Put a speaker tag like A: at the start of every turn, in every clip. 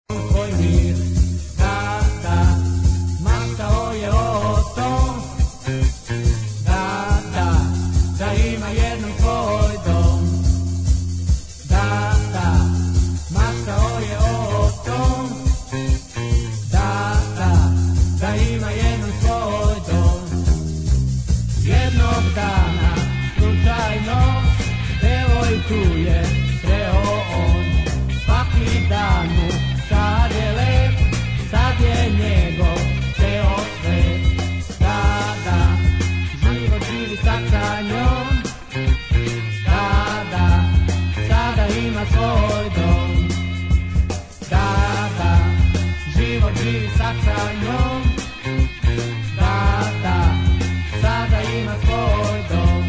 A: Da, Da, Da, Da, Da, Da, Da, sa njom Tata sada ima svoj dom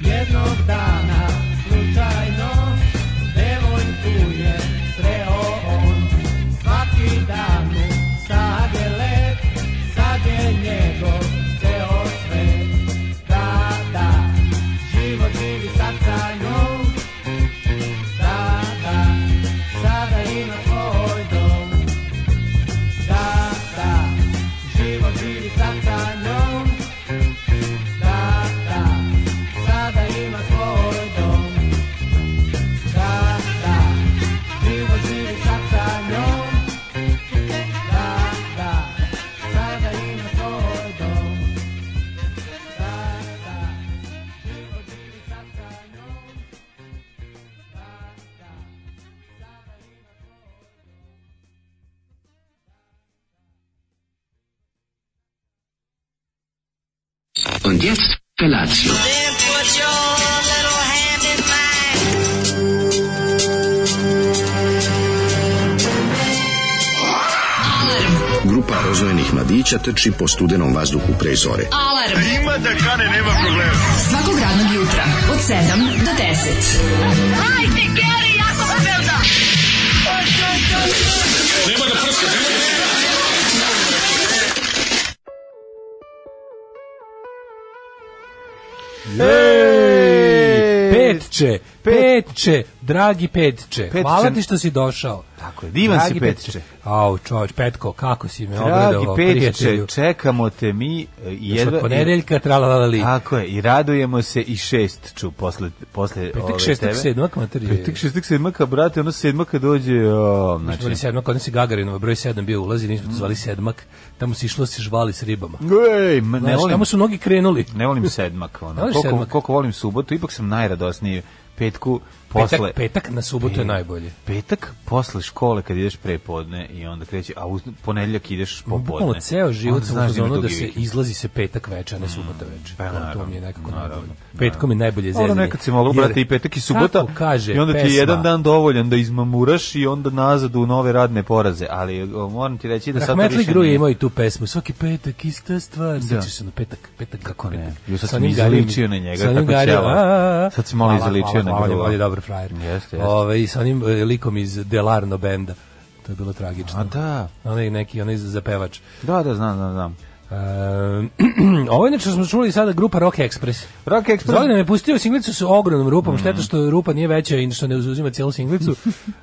A: Jednog dana, slučajno, devojku je sreo on. Svaki dan mu sad je lep, sad je njegov ceo svet. Da, da, život živi sad sa njom. Da, da, sada ima svoj dom. Da, da, život živi sad sa njom. Da, da, sada ima svoj dom. Da, da, život živi sad sa njom. Da, da, sada ima svoj dom. Da, da, život živi sad sa njom. Da, da, sada ima svoj dom.
B: Und jetzt Felatio.
C: Then put your little hand in mine.
D: Grupa rozvojenih mladića trči po studenom vazduhu pre zore.
E: Alarm. Ima da kane, nema problema. Svakog radnog jutra, od 7 do 10.
F: Ej!
G: Petče, petče, dragi petče,
F: Petče.
G: hvala ti što si došao.
F: Tako je, divan
G: Dragi
F: si petče.
G: Au, čovječ, petko, kako si me
F: Dragi
G: obradovao,
F: Petče,
G: prijatelju.
F: čekamo te mi e, i
G: Još od
F: jedva...
G: ponedeljka tralalali.
F: Tako je, i radujemo se i šest ču posle, posle
G: Petak
F: ove
G: šestak
F: tebe.
G: sedmak, materije.
F: Petak šestak sedmaka, brate, ono sedmaka dođe... O,
G: Mi smo zvali
F: znači, Mm.
G: sedmak, kod nas je Gagarinova, broj sedam bio ulazi, nismo to zvali sedmak, tamo se išlo da se žvali s ribama.
F: Ej, ma, ne
G: Znaš,
F: volim,
G: tamo su mnogi krenuli.
F: ne volim sedmak, ono.
G: Ne voliš
F: koliko,
G: sedmak?
F: koliko volim subotu, ipak sam najradosniji petku
G: Petak,
F: posle... E,
G: petak na subotu je najbolje.
F: Petak posle škole kad ideš prepodne i onda kreće, a u ponedeljak ideš popodne.
G: Bukvalno ceo život
F: Onda
G: sam
F: znaš
G: u
F: da ima
G: fazonu da
F: dugi
G: se
F: vikend.
G: izlazi se petak veče, a ne subota veče.
F: Pa,
G: to, to
F: naravno,
G: mi je nekako
F: naravno,
G: najbolje.
F: naravno.
G: Petkom je najbolje zezanje.
F: Ono nekad si moglo,
G: Jer-
F: brate, i petak i subota.
G: Kako kaže
F: I onda ti je
G: pesma?
F: jedan dan dovoljan da izmamuraš i onda nazad u nove radne poraze. Ali o, moram ti reći da sad to
G: Rahmetli
F: više
G: Gru je
F: nije. Da.
G: imao i tu pesmu. Svaki petak ista stvar. Sećaš se na petak, petak kako
F: ne?
G: petak.
F: Jo, sad
G: Sa
F: sam
G: onim
F: izličio
G: Garijom-
F: na njega,
G: sa onim
F: kako
G: Garijom,
F: ćela.
G: a, a, a.
F: Sad si malo
G: Hvala,
F: izličio na
G: hvala, hvala,
F: Grua.
G: On je dobar frajer.
F: Jeste, jeste.
G: Ove, I sa onim e, likom iz Delarno benda. To je bilo tragično.
F: A da.
G: Onaj neki, onaj zapevač.
F: Da, da, znam, znam, znam.
G: E, ovo je nešto smo čuli sada grupa Rock Express.
F: Rock Express.
G: Zoli nam je pustio singlicu sa ogromnom rupom,
F: Mhm.
G: šteta što rupa nije veća i što ne uzuzima cijelu singlicu.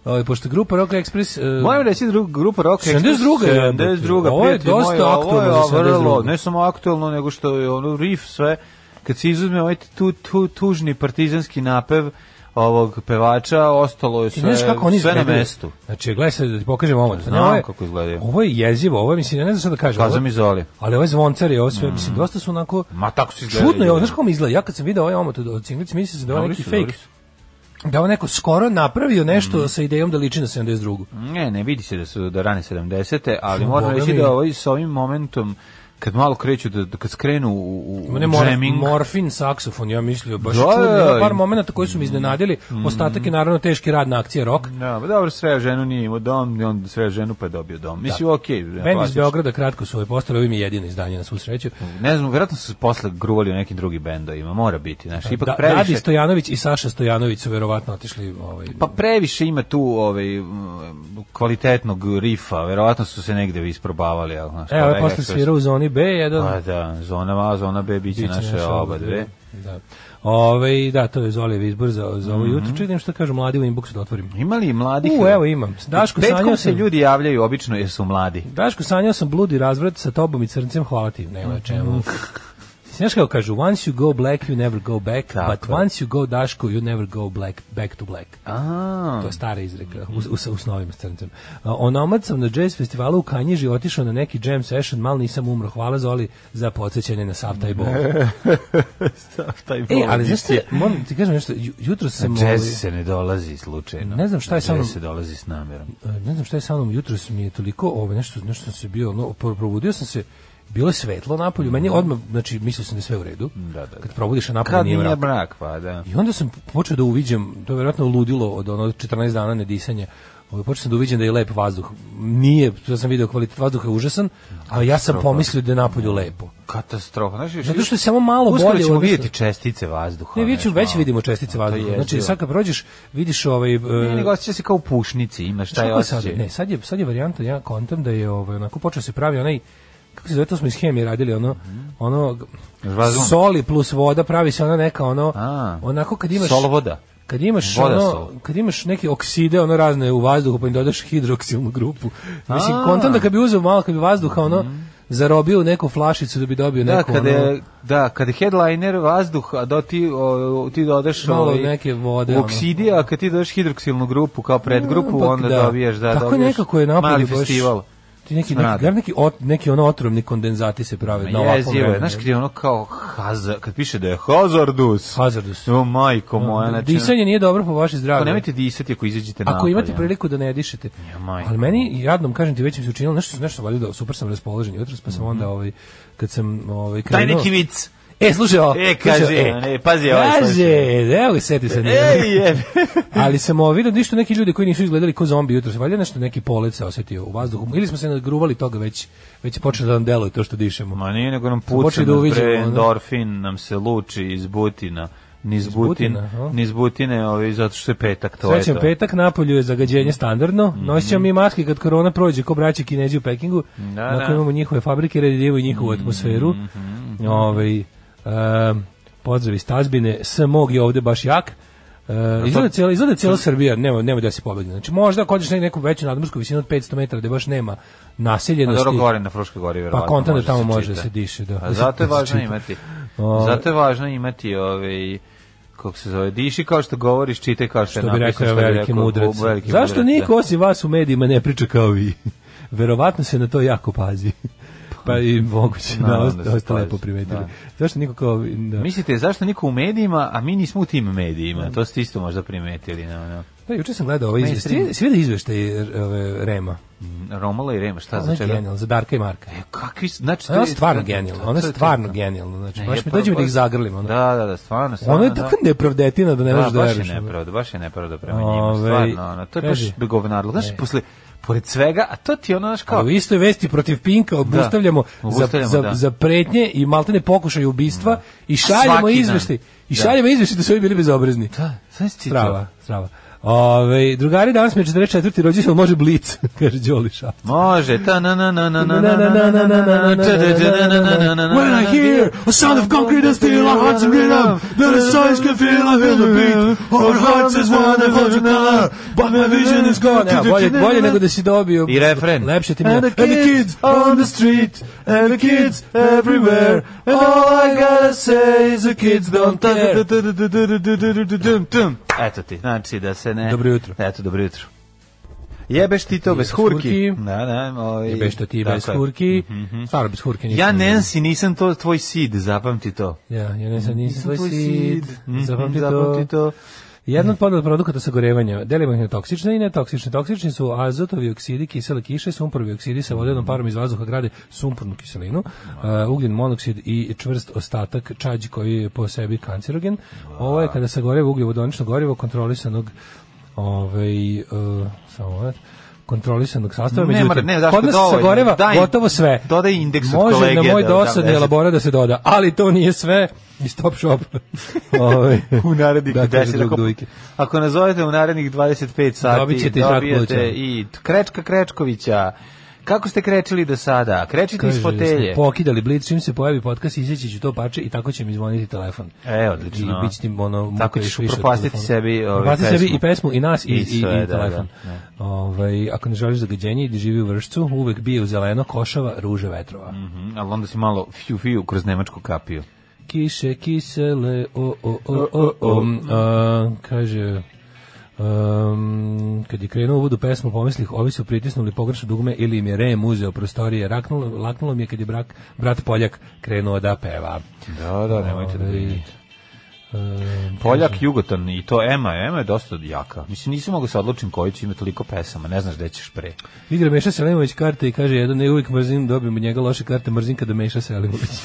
G: Ovaj, pošto grupa Rock Express... e,
F: Moram reći dru, grupa Rock Express.
G: 72 je, brate.
F: 72.
G: Ovo je
F: prijatelji moji,
G: dosta
F: Ovo je
G: aktuelno za
F: vrlo,
G: 72..
F: ne samo aktuelno, nego što je ono riff sve. Kad se izuzme ovaj tu, tu, tužni partizanski napev ovog pevača, ostalo je
G: Ti
F: sve,
G: znaš kako oni
F: sve na
G: izgledaju?
F: mestu.
G: Znači, gledaj sad da ti pokažem ovo.
F: Znam
G: Ovo je-
F: kako izgledaju.
G: Ovo je jezivo, ovo je, mislim, ja ne znam šta da kažem.
F: Kazao
G: Ovo-
F: mi Zoli.
G: Ali ovaj zvoncar je ovo sve, mislim, dosta su onako...
F: Mm. Ma tako se izgleda.
G: Čudno je ovo, znaš kako mi izgleda? Ja kad sam vidio ovaj omot od- od cinglice, mislio sam da je ovo
F: Dobri
G: neki
F: su, dobri
G: fake.
F: su. Mm.
G: Da je ovo neko skoro napravio nešto sa idejom da liči na 72.
F: Ne, ne vidi se da su do rane 70-te, ali
G: Što,
F: moram
G: Boga
F: reći
G: mi?
F: da ovaj, sa ovim momentom, kad malo kreću, da, da kad skrenu u, u,
G: Ima
F: u
G: ne mor,
F: jamming,
G: morfin saksofon, ja mislio, baš
F: Da,
G: čudno. Ima
F: da,
G: par
F: i- Mm.
G: momenata koji su mi iznenadili. Ostatak je naravno teški rad na akcije rock.
F: Da, pa dobro, sreo ženu nije imao dom, i onda sreo ženu pa je dobio dom. Mislim, okej. Okay,
G: Da. Bend iz Beograda kratko su ove postale, ovo im je jedino izdanje na svu sreću.
F: Ne znam, vjerojatno su se posle gruvali u nekim drugim bendovima, mora biti, znaš, ipak
G: Da,
F: previše...
G: Radi Stojanović i Saša Stojanović su verovatno otišli ovaj,
F: Pa previše ima tu ovaj, m, kvalitetnog rifa, verovatno su se negde vi isprobavali. Ali, znaš,
G: E, ovaj
F: kolega
G: posle
F: što-
G: svira u zoni zoni B1.
F: Pa da, zona A, zona B biće
G: Biće
F: naše oba dve.
G: Da. Ove, da, to je Zolijev izbor za, za
F: Mhm.
G: ovo jutro. Čitam što kažu mladi u inboxu da otvorim.
F: Ima li mladih?
G: U, evo imam. Daško, sanjao
F: Petkom se
G: sam,
F: ljudi javljaju obično jer su mladi.
G: Daško, sanjao sam bludi razvrat sa tobom i crncem, hvala ti. Nema
F: Mhm.
G: na čemu. Znaš kako kažu, once you go black, you never go back,
F: Tako
G: but
F: je.
G: once you go Daško, you never go black, back to black.
F: A,
G: To je stara izreka u, u, u snovima s crncem. A, Onomad sam na jazz festivalu u Kanjiži otišao na neki jam session, mal nisam umro. Hvala Zoli za podsjećanje na sav taj bol.
F: taj
G: E, ali znaš šta, moram ti kažem nešto, ju- jutro sam... ovaj,
F: Jazz se ne dolazi slučajno.
G: Ne znam šta je sa
F: Jazz
G: mnom-
F: se dolazi s namjerom.
G: ovaj, ne znam šta je sa mnom jutros mi je toliko ovaj nešto nešto sam se bio no pro- probudio sam se bilo je svetlo napolju meni je odmah znači mislio sam da je sve u redu
F: Mhm. Da, da, da.
G: kad probudiš a napolju
F: Kad
G: nije
F: nije
G: mrak.
F: mrak, pa da.
G: i onda sam počeo da uviđam to je verovatno ludilo od ono 14 dana nedisanja Ovaj počeo sam da uviđam da je lep vazduh. Nije, ja sam video kvalitet vazduha je užasan, a ja sam pomislio da je napolju lepo.
F: Katastrofa. Znaš, još-
G: Zato što je samo malo
F: Mhm. Uskoro
G: bolje
F: ćemo
G: odnosno-
F: vidjeti čestice vazduha.
G: Ne, već,
F: znaš,
G: već
F: malo.
G: vidimo čestice
F: To
G: vazduha.
F: je
G: Znači,
F: jezivo.
G: sad kad prođeš, vidiš ovaj... e,
F: Ne, nego osjeća se kao u pušnici, imaš taj
G: Šta je sad?
F: osjećaj.
G: Ne, sad je, sad je varijanta, ja kontam da je ovaj, onako počeo se pravi onaj, kako se zove, to smo iz hemije radili, ono, ono,
F: Žvazon.
G: soli plus voda, pravi se ona neka, ono,
F: A.
G: onako kad imaš...
F: Solvoda.
G: Kad imaš,
F: Voda
G: ono,
F: sol.
G: kad imaš neke okside, ono razne u vazduhu, pa im dodaš hidroksilnu grupu. Mislim, kontam da kad bi uzeo malo, kad bi vazduha, ono, zarobio u neku flašicu da bi dobio
F: Mhm. Da,
G: neku,
F: kada
G: ono,
F: je, da, kada je headliner vazduh, a da ti, o, ti dodaš
G: Malo
F: ovaj,
G: neke vode, ono.
F: oksidi, a kad ti dodaš hidroksilnu grupu kao predgrupu,
G: Ampak
F: onda dobiješ, da,
G: Tako
F: dobiješ
G: nekako je napolju
F: mali
G: baš-
F: festival.
G: Ti neki,
F: Smrad.
G: neki, gar neki, ot, neki ono otrovni kondenzati se prave na ovakvom
F: Jezivo je,
G: vremenu.
F: znaš kad je ono kao hazard, kad piše da je hazardus.
G: Hazardus.
F: O majko moja, znači.
G: da Disanje nije dobro po vaše zdravlje.
F: Ako Pa nemojte pa disati ako izađete napolje.
G: Pa, Ako imate
F: ono.
G: priliku da ne dišete.
F: majko.
G: Ali meni jadnom kažem ti već mi se učinilo nešto nešto valjda da, super sam raspoložen jutros pa sam onda ovaj kad sam ovaj
F: Mhm. Daj
G: krenuo.
F: neki vic.
G: E slušaj ovo.
F: E,
G: slušaj ovo,
F: kaže, e, pazi ovaj
G: Kaže,
F: slušaj.
G: evo ga seti se.
F: Ej, jebe.
G: Ali sam ovo vidio da ništa neki ljudi koji nisu izgledali kao zombi jutros, valjda nešto neki polet se osetio u vazduhu. Ili smo se nagruvali toga već, već je počelo da nam deluje to što dišemo.
F: Ma nije, nego nam puca
G: počeli da
F: da
G: uviđamo, ono.
F: endorfin, nam se luči iz butina. Niz butin,
G: butina, a?
F: niz butine, ovaj, zato što je petak, to je
G: Srećan
F: to. Mm-hmm.
G: petak, napolju je zagađenje standardno. Nosit ćemo mi maske kad korona prođe, ko braće Kinezi u Pekingu.
F: Da, Mm-hmm,
G: Da,
F: da.
G: imamo njihove fabrike, redivaju njihovu atmosferu.
F: mm-hmm.
G: Ovaj, em, pozdrav iz Tazbine, s mog je ovde baš jak. E, izgleda cijela, izgleda cijela Srbija, nema, nema da se pobegne. Znači možda ako odeš na neku veću nadmorsku visinu od 500 metara gde baš nema
F: A
G: naseljenosti.
F: dobro gore na Fruškoj gori,
G: da pa
F: verovatno.
G: konta da
F: može
G: tamo
F: se
G: može da
F: čita.
G: se diše. Da,
F: A zato je
G: da se
F: važno
G: čita.
F: imati.
G: Ovaj.
F: Zato je važno imati ovaj kako se zove, diši kao što govoriš, čitaj kao što,
G: što
F: je
G: bi
F: napisano,
G: rekao
F: što bi
G: veliki
F: rekao
G: mudrac.
F: veliki
G: Zašto
F: mudrac, da.
G: niko osim vas u medijima ne priča kao vi? Verovatno se na to jako pazi. pa i moguće, da,
F: Naravno
G: da,
F: da
G: da
F: se
G: ste lepo
F: pazi,
G: primetili.
F: da.
G: Zašto niko kao... vi- Da.
F: Da. Mislite, zašto niko u medijima, a mi nismo u tim
G: Mm.
F: medijima? To ste isto možda primetili. No, no.
G: Da, juče sam gledao ovaj izveštaj.
F: Mainstream.
G: Svi da izveštaj ove, Rema.
F: Romola i Rema, šta
G: Ona
F: Pa, za
G: je
F: čega?
G: genijalna, za Darka i Marka.
F: E, kakvi, su- znači,
G: Ona je stvarno genijalna, ona je
F: to to.
G: stvarno genijalna. Znači,
F: Ne, je
G: baš mi
F: prvo-
G: dođe mi da ih zagrlim. Ono.
F: Da, da, da, stvarno, stvarno.
G: Ono je
F: da.
G: tako nepravdetina da ne možeš da
F: baš
G: veriš.
F: je
G: ono.
F: nepravda, baš je nepravda prema njima,
G: Ove,
F: stvarno, ono, to je
G: kaži.
F: baš govnarlo. Znaš, posle, pored svega, a to ti je ono, znaš,
G: A
F: kao, Da.
G: u istoj vesti protiv Pinka obustavljamo,
F: obustavljamo,
G: za, za,
F: da.
G: za pretnje i maltene pokušaje ubistva i šaljemo
F: Svaki dan.
G: izveštaj. I
F: Da.
G: šaljemo izveštaj da su ovi bili bezobrazni.
F: da, znaš ti
G: Strava,
F: to?
G: strava. Ove, drugari, danas mi je 44. rođendan, može blic, kaže Đoli Šaft.
F: Može, ta na na na na na na na na na na na na
G: When I hear a sound of concrete and steel, our hearts in rhythm, then the sighs can feel, I feel the beat. Our hearts is one and for another, but my vision is gone. Evo, bolje, bolje nego da si dobio.
F: I refren.
G: Lepše ti mi je.
F: And the kids on the street, and the kids everywhere, and all I gotta say is the kids don't care. Eto ti, znači da se ne...
G: Dobro jutro.
F: Eto, dobro jutro. Jebeš ti to bez hurki.
G: hurki.
F: Da, da, ovaj,
G: Jebeš to ti
F: tako
G: bez
F: je. Mhm,
G: hurki. Stvarno bez hurke nisam.
F: Ja Nancy nisam to tvoj sid, zapamti to.
G: Ja, ja ne znam, nisam tvoj sid.
F: Mhm,
G: Zapamti to.
F: Zapamti to.
G: Jedna od podela produkata sagorevanja, delimo ih na toksične i netoksične. Toksični su azotovi oksidi, kisele kiše, sumporovi oksidi sa vodenom parom iz vazduha grade sumpornu kiselinu, uh, ugljen monoksid i čvrst ostatak čađi koji je po sebi kancerogen. Ovo
F: Da.
G: je kada sagoreva ugljovodonično gorivo kontrolisanog ovaj, uh, samo moment, kontrolisanog sastava.
F: Ne mora,
G: Međutim,
F: ne, zašto,
G: kod nas
F: dovoljno.
G: sagoreva
F: Daj-
G: gotovo sve.
F: dodaj indeks od
G: Može
F: kolege
G: na moj
F: da-
G: dosadni
F: da- da-
G: elabora da se doda, ali to nije sve. I stop shop. Ovaj,
F: U narednih
G: da, kaže
F: 10
G: drug
F: ako,
G: dujke.
F: ako nazovete u narednih 25 sati
G: Dobit ćete i Žarka
F: dobijete
G: Luća.
F: i Krečka Krečkovića Kako ste krećili do sada? Krećite iz
G: Kaže,
F: fotelje.
G: smo Pokidali blic, čim se pojavi podcast, isjeći ću to pače i tako će mi zvoniti telefon.
F: E, odlično.
G: I bit će ti ono, muka
F: Tako
G: još
F: ćeš
G: više od
F: upropastiti
G: telefona.
F: sebi, ovaj,
G: Upropastiti
F: pesmu.
G: sebi i pesmu, i nas, i,
F: I
G: i, i,
F: sve, da,
G: telefon.
F: da,
G: Ovaj, ako ne želiš zagađenje, idi živi u vršcu, uvek bije u zeleno, košava, ruže vetrova.
F: Mhm, ali onda si malo fiu fiu kroz nemačku kapiju.
G: Kiše kisele, o, o, o, o, o. A, kaže, um, kad je krenuo uvodu pesmu, pomislih, ovi su pritisnuli pogrešno dugme ili im je rem uzeo prostorije. Raknulo, laknulo mi je kad je brak, brat Poljak krenuo da peva.
F: Da, da, nemojte da
G: Ovaj,
F: vidite.
G: Um,
F: Poljak, Jugotan i to Ema. Ema je dosta jaka. Mislim, nisam mogao da se odlučim koji će ima toliko pesama. Ne znaš gde ćeš pre.
G: Igra Meša Selimović karte i kaže, jedan ne uvijek mrzim, dobijem od njega loše karte, mrzim kada Meša Selimović.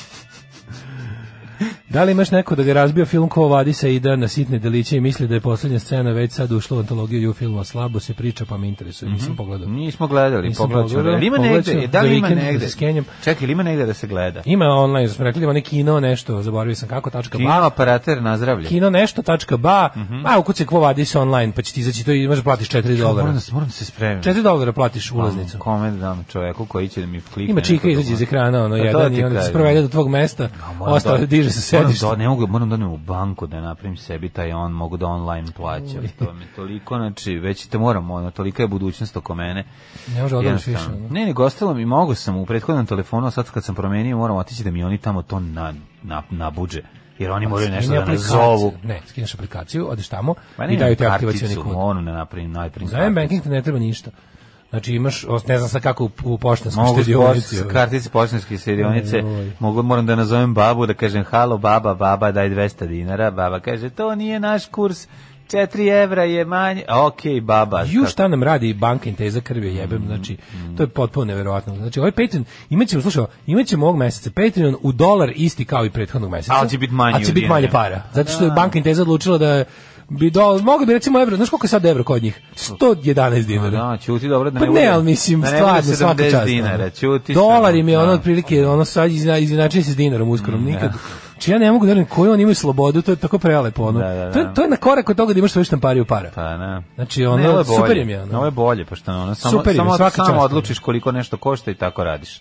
G: da li imaš neko da ga razbio film ko vadi se ida na sitne deliće i misli da je poslednja scena već sad ušla u antologiju ju filma slabo se priča pa me interesuje, nisam mhm. pogledao.
F: Nismo gledali,
G: Nisam
F: pogledat ćemo.
G: pogledao,
F: Jel Ima
G: pogledat
F: negde,
G: ću
F: da
G: za
F: li ima
G: vikend da
F: negde?
G: se skenjam.
F: Čekaj, ili ima negde da se gleda?
G: Ima online, smo rekli, da ima neki kino nešto, zaboravio sam kako, tačka ba,
F: Ima aparater nazdravlje.
G: kino nešto, tačka ba,
F: Mhm.
G: a ukucaj kvo vadi se online, pa će ti izaći to i možeš da platiš 4 dolara.
F: Moram da se, moram da se spremim.
G: 4 dolara platiš ulaznicu.
F: Kome da dam čoveku koji će da mi klikne?
G: Ima čika
F: neko
G: izađe iz
F: da-
G: ekrana, ono,
F: Pa to
G: jedan
F: ti
G: i onda se
F: kažem.
G: provede do tvog mesta,
F: A moram
G: ostao
F: da-
G: diže se
F: moram
G: sedište.
F: Da, ne mogu, moram da odem u banku da napravim sebi taj on, mogu da online plaćam. To mi toliko, znači, već te moram, ono, tolika je budućnost oko mene.
G: Ne može odmah da više.
F: Jednostavno.
G: ono.
F: Ne, nego ostalo mi mogu sam u prethodnom telefonu, a sad kad sam promenio, moram otići da mi oni tamo to na, na, nabuđe. Jer oni moraju nešto
G: Skini
F: da nas
G: aplikaciju.
F: zovu.
G: Ne, skineš aplikaciju, odeš tamo
F: Ma
G: i
F: ne,
G: daju ti aktivacioni
F: karticu,
G: kod.
F: ono ne napravim najprim
G: Za M
F: karticu.
G: banking ti ne treba ništa. Znači imaš, os- ne znam sad kako u- u poštanskom
F: Mogu
G: štedionici.
F: s
G: ono.
F: kartice poštanske štedionice,
G: Joj.
F: mogu, moram da nazovem babu, da kažem halo baba, baba daj 200 dinara, baba kaže to nije naš kurs, 4 evra je manje, ok baba.
G: Ju šta nam radi banka Inteza krvio jebem, znači to je potpuno neverovatno. Znači ovaj Patreon imaćemo, slušaj, imaćemo ovog meseca Patreon u dolar isti kao i prethodnog meseca.
F: Ali će biti manji
G: ali će
F: u
G: biti manje
F: dinarima.
G: para. Zato što je banka Inteza odlučila da bi do, mogu bi recimo evro, znaš koliko je sad evro kod njih? 111 dinara.
F: Da, ćuti dobro da ne
G: Pa ne, ali mislim,
F: da ne bude
G: stvarno, svaka
F: 70
G: čast.
F: dinara,
G: ono.
F: ćuti
G: Dolar
F: samo,
G: im je ono
F: da. Mm,
G: otprilike, ono sad izna, izinačio se s dinarom uskoro, nikad. Či ja ne mogu da verujem koju oni imaju slobodu, to je tako prelepo. Ono.
F: Da, da,
G: To, je,
F: da.
G: to je na korak od toga da imaš svoju štampariju para.
F: Pa, ne.
G: Znači, ono,
F: Ne, ovo bolje.
G: super im je, ono.
F: Ovo je bolje, pošto ono, samo,
G: Super im je,
F: samo,
G: svaka čast,
F: samo
G: ono.
F: odlučiš koliko nešto košta i tako radiš.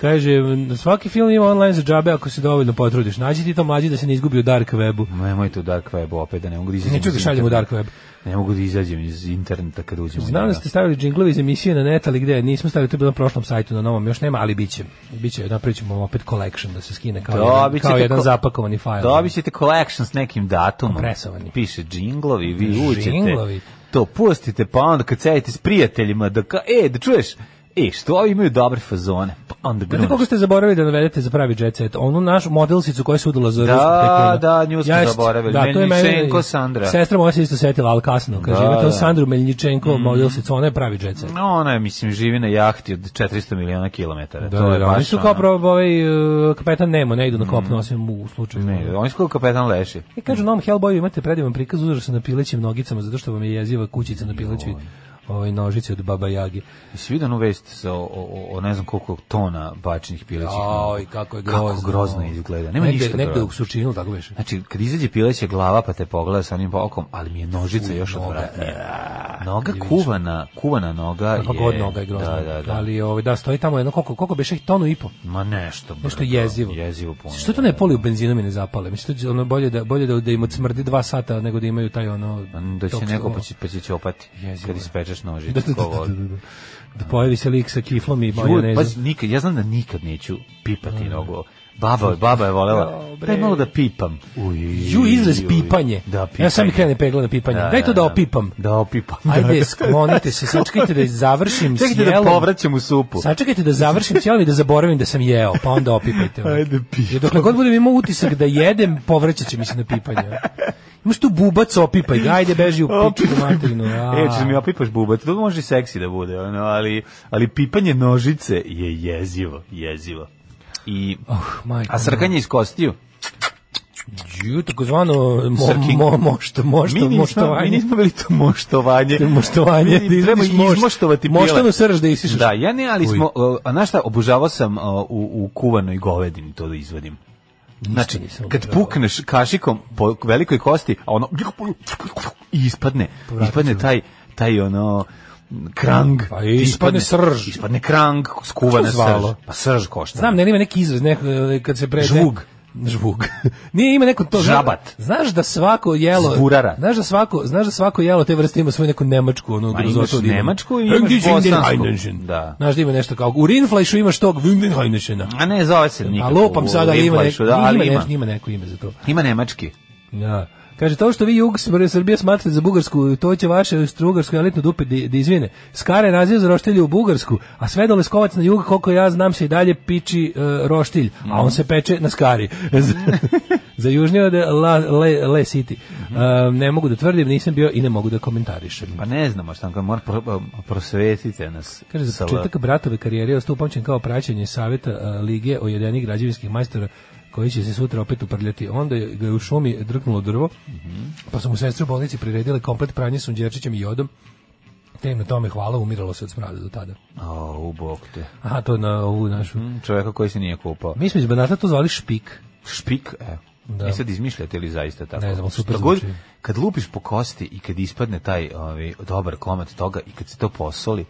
G: Kaže, svaki film ima online za džabe ako se dovoljno potrudiš. Nađi ti to mlađi da se ne izgubi u dark webu.
F: Nemoj tu Dark Web opet, da ne mogu da izađem.
G: Neću da
F: iz
G: šaljem u
F: interneta.
G: dark web.
F: Ne mogu da izađem iz interneta kad uđem. u
G: Znam da
F: njega.
G: ste stavili džinglovi iz emisije na net, ali gde? Nismo stavili, to je bilo na prošlom sajtu, na novom još nema, ali bit će. Biće, napravit ćemo opet collection da se skine kao, jedan,
F: Dobit
G: kao
F: ćete
G: jedan
F: ko-
G: zapakovani
F: da,
G: fajl.
F: Dobit ćete collection s nekim datumom.
G: Kompresovani.
F: Piše džinglovi, vi
G: Džinglovi.
F: uđete. To pustite, pa onda kad sedite s prijateljima, da ka, e, da čuješ, e, što ovi imaju dobre fazone, pa onda
G: Znate
F: gruneš.
G: koliko ste zaboravili da navedete za pravi jet set? Onu našu modelsicu koja se udala za
F: Da,
G: rusku tekunu.
F: da, nju smo
G: Jest,
F: zaboravili.
G: to je meni-
F: Meljičenko Sandra.
G: Sestra moja se isto setila, ali kasno. Kaže,
F: Da,
G: imate
F: da. Mhm.
G: on Sandru Meljičenko, modelsicu, ona je pravi jet set.
F: No, ona je, mislim, živi na jahti od 400 miliona kilometara.
G: Da,
F: to je
G: da,
F: baš
G: oni su kao
F: ono- Mm.
G: pravo ovaj, e, kapetan Nemo, ne idu na kopno, osim u slučaju.
F: Ne, da. oni su kao kapetan leši.
G: I kažu, na ovom Hellboyu imate predivan prikaz uzrašta na pilećim nogicama, zato što vam je jeziva kućica na pilećoj ovaj, nožici od Baba Jagi.
F: Jesi vidio onu vest sa, o, o, o ne znam koliko tona bačnih pilećih nogu?
G: Aj, kako je grozno.
F: Kako grozno izgleda. Nema
G: negde,
F: ništa
G: Negde
F: grozno.
G: u sučinu, tako beše.
F: Znači, kad izađe pileća glava pa te pogleda sa onim okom, ali mi je nožica još odvratnija. Noga kuvana, kuvana noga
G: Pa
F: je...
G: da, god noga je grozna.
F: Da, da, da.
G: Ali ovaj, da, stoji tamo jedno, koliko, koliko beše ih tonu i po.
F: Ma nešto. brdo,
G: Nešto jezivo.
F: Da, Jezivo puno. da,
G: Što to ne poli u benzinom i ne zapale? Mislim, to je ono bolje da, bolje da, da im odsmrdi dva sata nego da imaju taj ono...
F: Da će
G: toksko-
F: neko pa će, pa će ćopati kad ispečeš
G: Da,
F: nožicu.
G: da, da,
F: ko voli.
G: da, da, da. Da pojavi se lik sa kiflom i
F: Ju,
G: majonezom.
F: pazi, nikad, ja znam da nikad neću pipati
G: Da,
F: nogu. Baba, baba je volela. Daj malo da pipam. Uj,
G: Ju, izraz
F: uj.
G: pipanje.
F: Da, pipanje.
G: Ja sam i krene pegla na pipanje. Daj to da opipam.
F: Da opipam. Da,
G: Ajde,
F: da.
G: sklonite se, sačekajte da završim s
F: Čekajte da
G: jelom.
F: povraćam u supu.
G: Sačekajte da završim s jelom i da zaboravim da sam jeo, pa onda opipajte. ono.
F: Ajde, pipam.
G: Jer dokle god budem imao utisak da jedem, povraćat će mi se na pipanje. ono. Imaš tu bubac, opipaj ga, ajde beži u pičku
F: Opipaj.
G: materinu. a.
F: E, ćeš mi opipaš bubac, to može i seksi da bude, ono, ali, ali pipanje nožice je jezivo, jezivo. I,
G: Oh, majko
F: a srkanje iz kostiju?
G: Ju, takozvano mo,
F: Srking.
G: mo, mošto, mošto,
F: mi, nismo, mi
G: moštovanje.
F: nismo bili to moštovanje.
G: Moštovanje,
F: Mi
G: da
F: treba
G: izvadiš mošt.
F: izmoštovati pile.
G: Moštanu srž da isišaš.
F: Da, ja ne, ali
G: Uj.
F: smo, uh, a znaš šta, obožavao sam uh, u, u kuvanoj govedini to da izvadim. Znači,
G: nisam
F: kad
G: obožavao.
F: pukneš kašikom po velikoj kosti, a ono i ispadne, ispadne taj taj ono krang.
G: Pa ispadne srž.
F: Ispadne krang, skuvana
G: Što zvalo?
F: srž. Pa srž košta.
G: Znam, ne, ima neki izraz, neko, e, kad se pre...
F: Žvug.
G: Žvug. Nije ima neko to... znaš-
F: Žabat.
G: Znaš da svako jelo...
F: Zburara.
G: Znaš da svako, znaš da svako jelo te vrste ima svoju neku nemačku, da ono,
F: Ma,
G: grozotu.
F: Pa imaš
G: od imena.
F: nemačku i imaš
G: Engdischen
F: bosansku.
G: Eindeschen.
F: Da.
G: Znaš da ima nešto kao... U Rinfleišu imaš tog Wundenheindeschena.
F: A ne zove se nikako.
G: A Pa lopam
F: u
G: sada, ali ima,
F: Limplešu,
G: neko,
F: da, ali
G: ima,
F: ima.
G: ne- ima neko ime za to.
F: Ima nemački.
G: Ja. Da. Kaže, to što vi jug Sr- Srbije smatrate za Bugarsku, to će vaše strugarsko elitno dupe da da izvine. Skare naziv za roštilje u Bugarsku, a sve do Leskovac na jug, koliko ja znam se i dalje piči e, roštilj, a on se peče na Skari. za južnije od La, Le, Le City. E, ne mogu da tvrdim, nisam bio i ne mogu da komentarišem.
F: Pa ne znamo šta, kao mora pro, prosvetite nas.
G: Kaže, za
F: Sa-
G: početak bratove karijere ostao upamćen kao praćenje savjeta e, Lige ojedenih građevinskih majstora koji će se sutra opet uprljati. Onda je, ga je u šumi drknulo drvo, pa su mu sestre u bolnici priredile komplet pranje sunđerčićem i jodom. Te im na tome hvala, umiralo se od smrada do tada.
F: O, u bok te.
G: Aha, to na ovu našu.
F: Mm, Čoveka koji se nije kupao.
G: Mi smo iz Banata to zvali špik.
F: Špik, evo.
G: Da.
F: Da. I sad izmišljate ili zaista tako?
G: Ne znam, ali super
F: Šta god,
G: zvuči.
F: Kad lupiš po kosti i kad ispadne taj ovaj, dobar komad toga i kad se to posoli,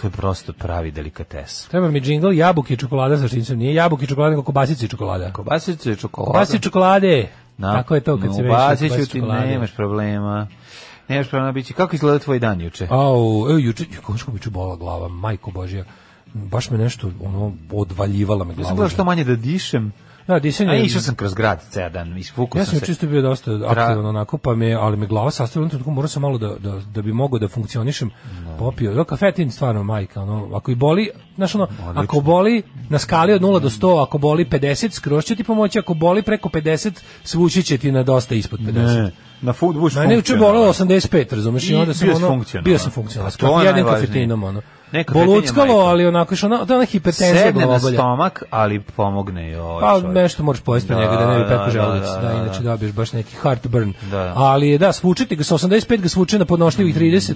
F: to je prosto pravi delikates.
G: Treba mi džingl, jabuke i čokolada sa štincem. Nije jabuke i čokolada, nego kobasice i čokolada.
F: Kobasicu je čokolada.
G: Kobasice i čokolade! Tako je to kad
F: no,
G: se veže
F: ubacit ću
G: kobasice i
F: ti,
G: čokolade.
F: nemaš problema. Nemaš problema bići. Kako izgleda tvoj dan juče?
G: Au, e, juče, kako mi čubola glava, majko božja. Baš me nešto, ono, odvaljivala me
F: Ja
G: glava.
F: sam gledao što manje da dišem.
G: Da, disanje.
F: A išao sam kroz grad ceo dan, isfukao
G: Ja
F: sam
G: sam
F: se.
G: čisto bio dosta aktivan onako, pa me, ali me glava sastavila, tako morao sam malo da, da, da bi mogao da funkcionišem. Popio, da kafetin stvarno majka, ono, ako i boli, znaš ono, ako boli na skali od 0 do 100, ako boli 50, skroz će ti pomoći, ako boli preko 50, svući će ti na dosta ispod 50.
F: Ne, E, na food bush
G: Mene je juče bolelo 85, razumeš, i
F: I
G: onda sam
F: bio si
G: ono,
F: funkcionalan.
G: bio sam funkcionalan,
F: A to je
G: jednim
F: najvažnije.
G: kafetinom, ono.
F: Ne, kafetin je
G: Boluckalo,
F: majka.
G: ali onako, što ona, to je ona hipertenzija
F: Sedne na
G: glavobolja.
F: stomak, ali pomogne joj
G: Pa
F: čovječe.
G: nešto moraš pojesti od
F: Da,
G: njega da ne bi
F: da,
G: petko
F: da,
G: želudac, da,
F: da, da,
G: inače dobiješ baš neki heartburn.
F: Da. Mm,
G: Ali da, svučiti ga sa 85 ga svuče na podnošljivih 30,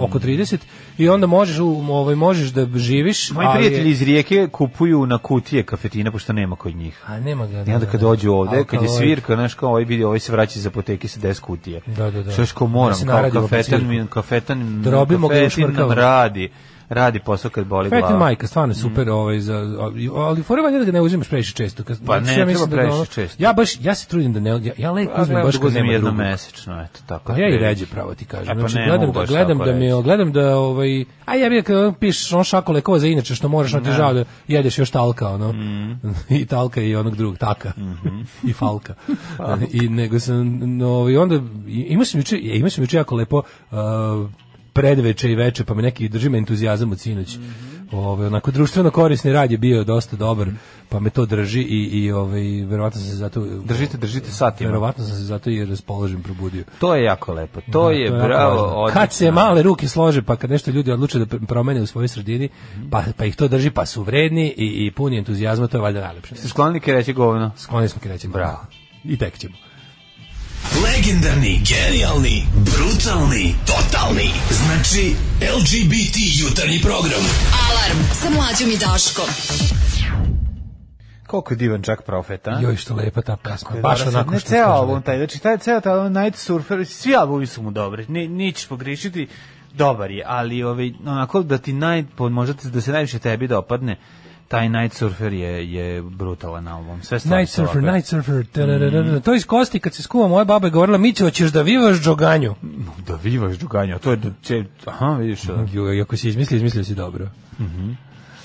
G: oko 30 i onda možeš u- ovaj možeš da živiš,
F: Moji
G: ali je-
F: prijatelji iz Rijeke kupuju na kutije kafetina, pošto nema kod njih.
G: A nema ga. da,
F: I onda kad dođu ovde, kad je
G: Alkaloid.
F: svirka, znaš kao ovaj vidi, ovaj se vraća iz apoteke sa 10 kutije.
G: Da, da, da.
F: Što još kao
G: Da
F: moram,
G: se
F: kao
G: naradimo pred
F: kafetan,
G: svirku.
F: mi, kafetan,
G: Drobimo Da ga i
F: kafetin nam
G: ušmrkavamo.
F: radi, radi posao kad boli glava. Mm.
G: Fetin majka, stvarno je super, ovaj za ali- ali fora valjda da ga ne uzimaš previše često. Kad,
F: Pa ne,
G: mislim,
F: treba
G: mislim da ga
F: previše
G: ono-
F: često.
G: Ja baš ja se trudim da ne ja, ja lek
F: A
G: uzmem
F: gledam
G: baš
F: da
G: kad
F: uzmem
G: nema
F: jednom
G: drugog.
F: mesečno, eto, tako.
G: Pa ja i
F: otprilike.
G: ređe pravo ti
F: E,
G: kažem.
F: pa
G: Znači,
F: ne
G: gledam,
F: mogu
G: da,
F: baš
G: gledam
F: tako
G: da mi
F: reći.
G: gledam da ovaj a ja bih kad pišeš on šako lekova za inače što moraš on ti žao da jedeš još talka ono.
F: Mm.
G: I talka i onog drugog taka.
F: Mhm.
G: I falka. I nego sam no, ovaj onda i- imao sam juče e, imao sam juče jako lepo uh, predveče i veče pa me neki drži me entuzijazam od sinoć.
F: Mhm.
G: Ovaj onako društveno korisni rad je bio dosta dobar, pa me to drži i i ovaj verovatno sam se zato
F: Držite, držite satima.
G: verovatno sam se zato i raspoložen probudio.
F: To je jako lepo. To
G: Da,
F: je
G: jako
F: bravo,
G: važno.
F: odlično.
G: Kad se male ruke slože, pa kad nešto ljudi odluče da pr- promene u svojoj sredini,
F: Mhm.
G: pa, pa ih to drži, pa su vredni i, i puni entuzijazma, to je valjda najlepše.
F: Ste sklonili kreće govno?
G: Skloni smo krećemo.
F: Bravo.
G: I tek ćemo.
H: Legendarni, genijalni, brutalni, totalni. Znači, LGBT jutarnji program.
E: Alarm sa mlađom i Daškom.
F: Koliko je divan čak profet, a?
G: Joj, što lepa ta pesma. Baš
F: Dobro, sad
G: onako
F: ne
G: što
F: ceo
G: kaže
F: album
G: lepo.
F: taj, znači taj ceo taj album Night Surfer, svi albumi su mu dobri. Ni nič pogrešiti, dobar je, ali ovaj onako da ti naj po- možda ti- da se najviše tebi dopadne taj Night Surfer je je brutalan album. Sve stvari
G: Night
F: su
G: surfer,
F: dobre.
G: night surfer.
F: Mhm.
G: tadadadada. To iz kosti kad se skuva moja baba je govorila Mićo, hoćeš da vivaš džoganju.
F: Da vivaš džuganja, to je do če, aha, vidiš. da.
G: Joj, ako si izmislio, izmislio si dobro.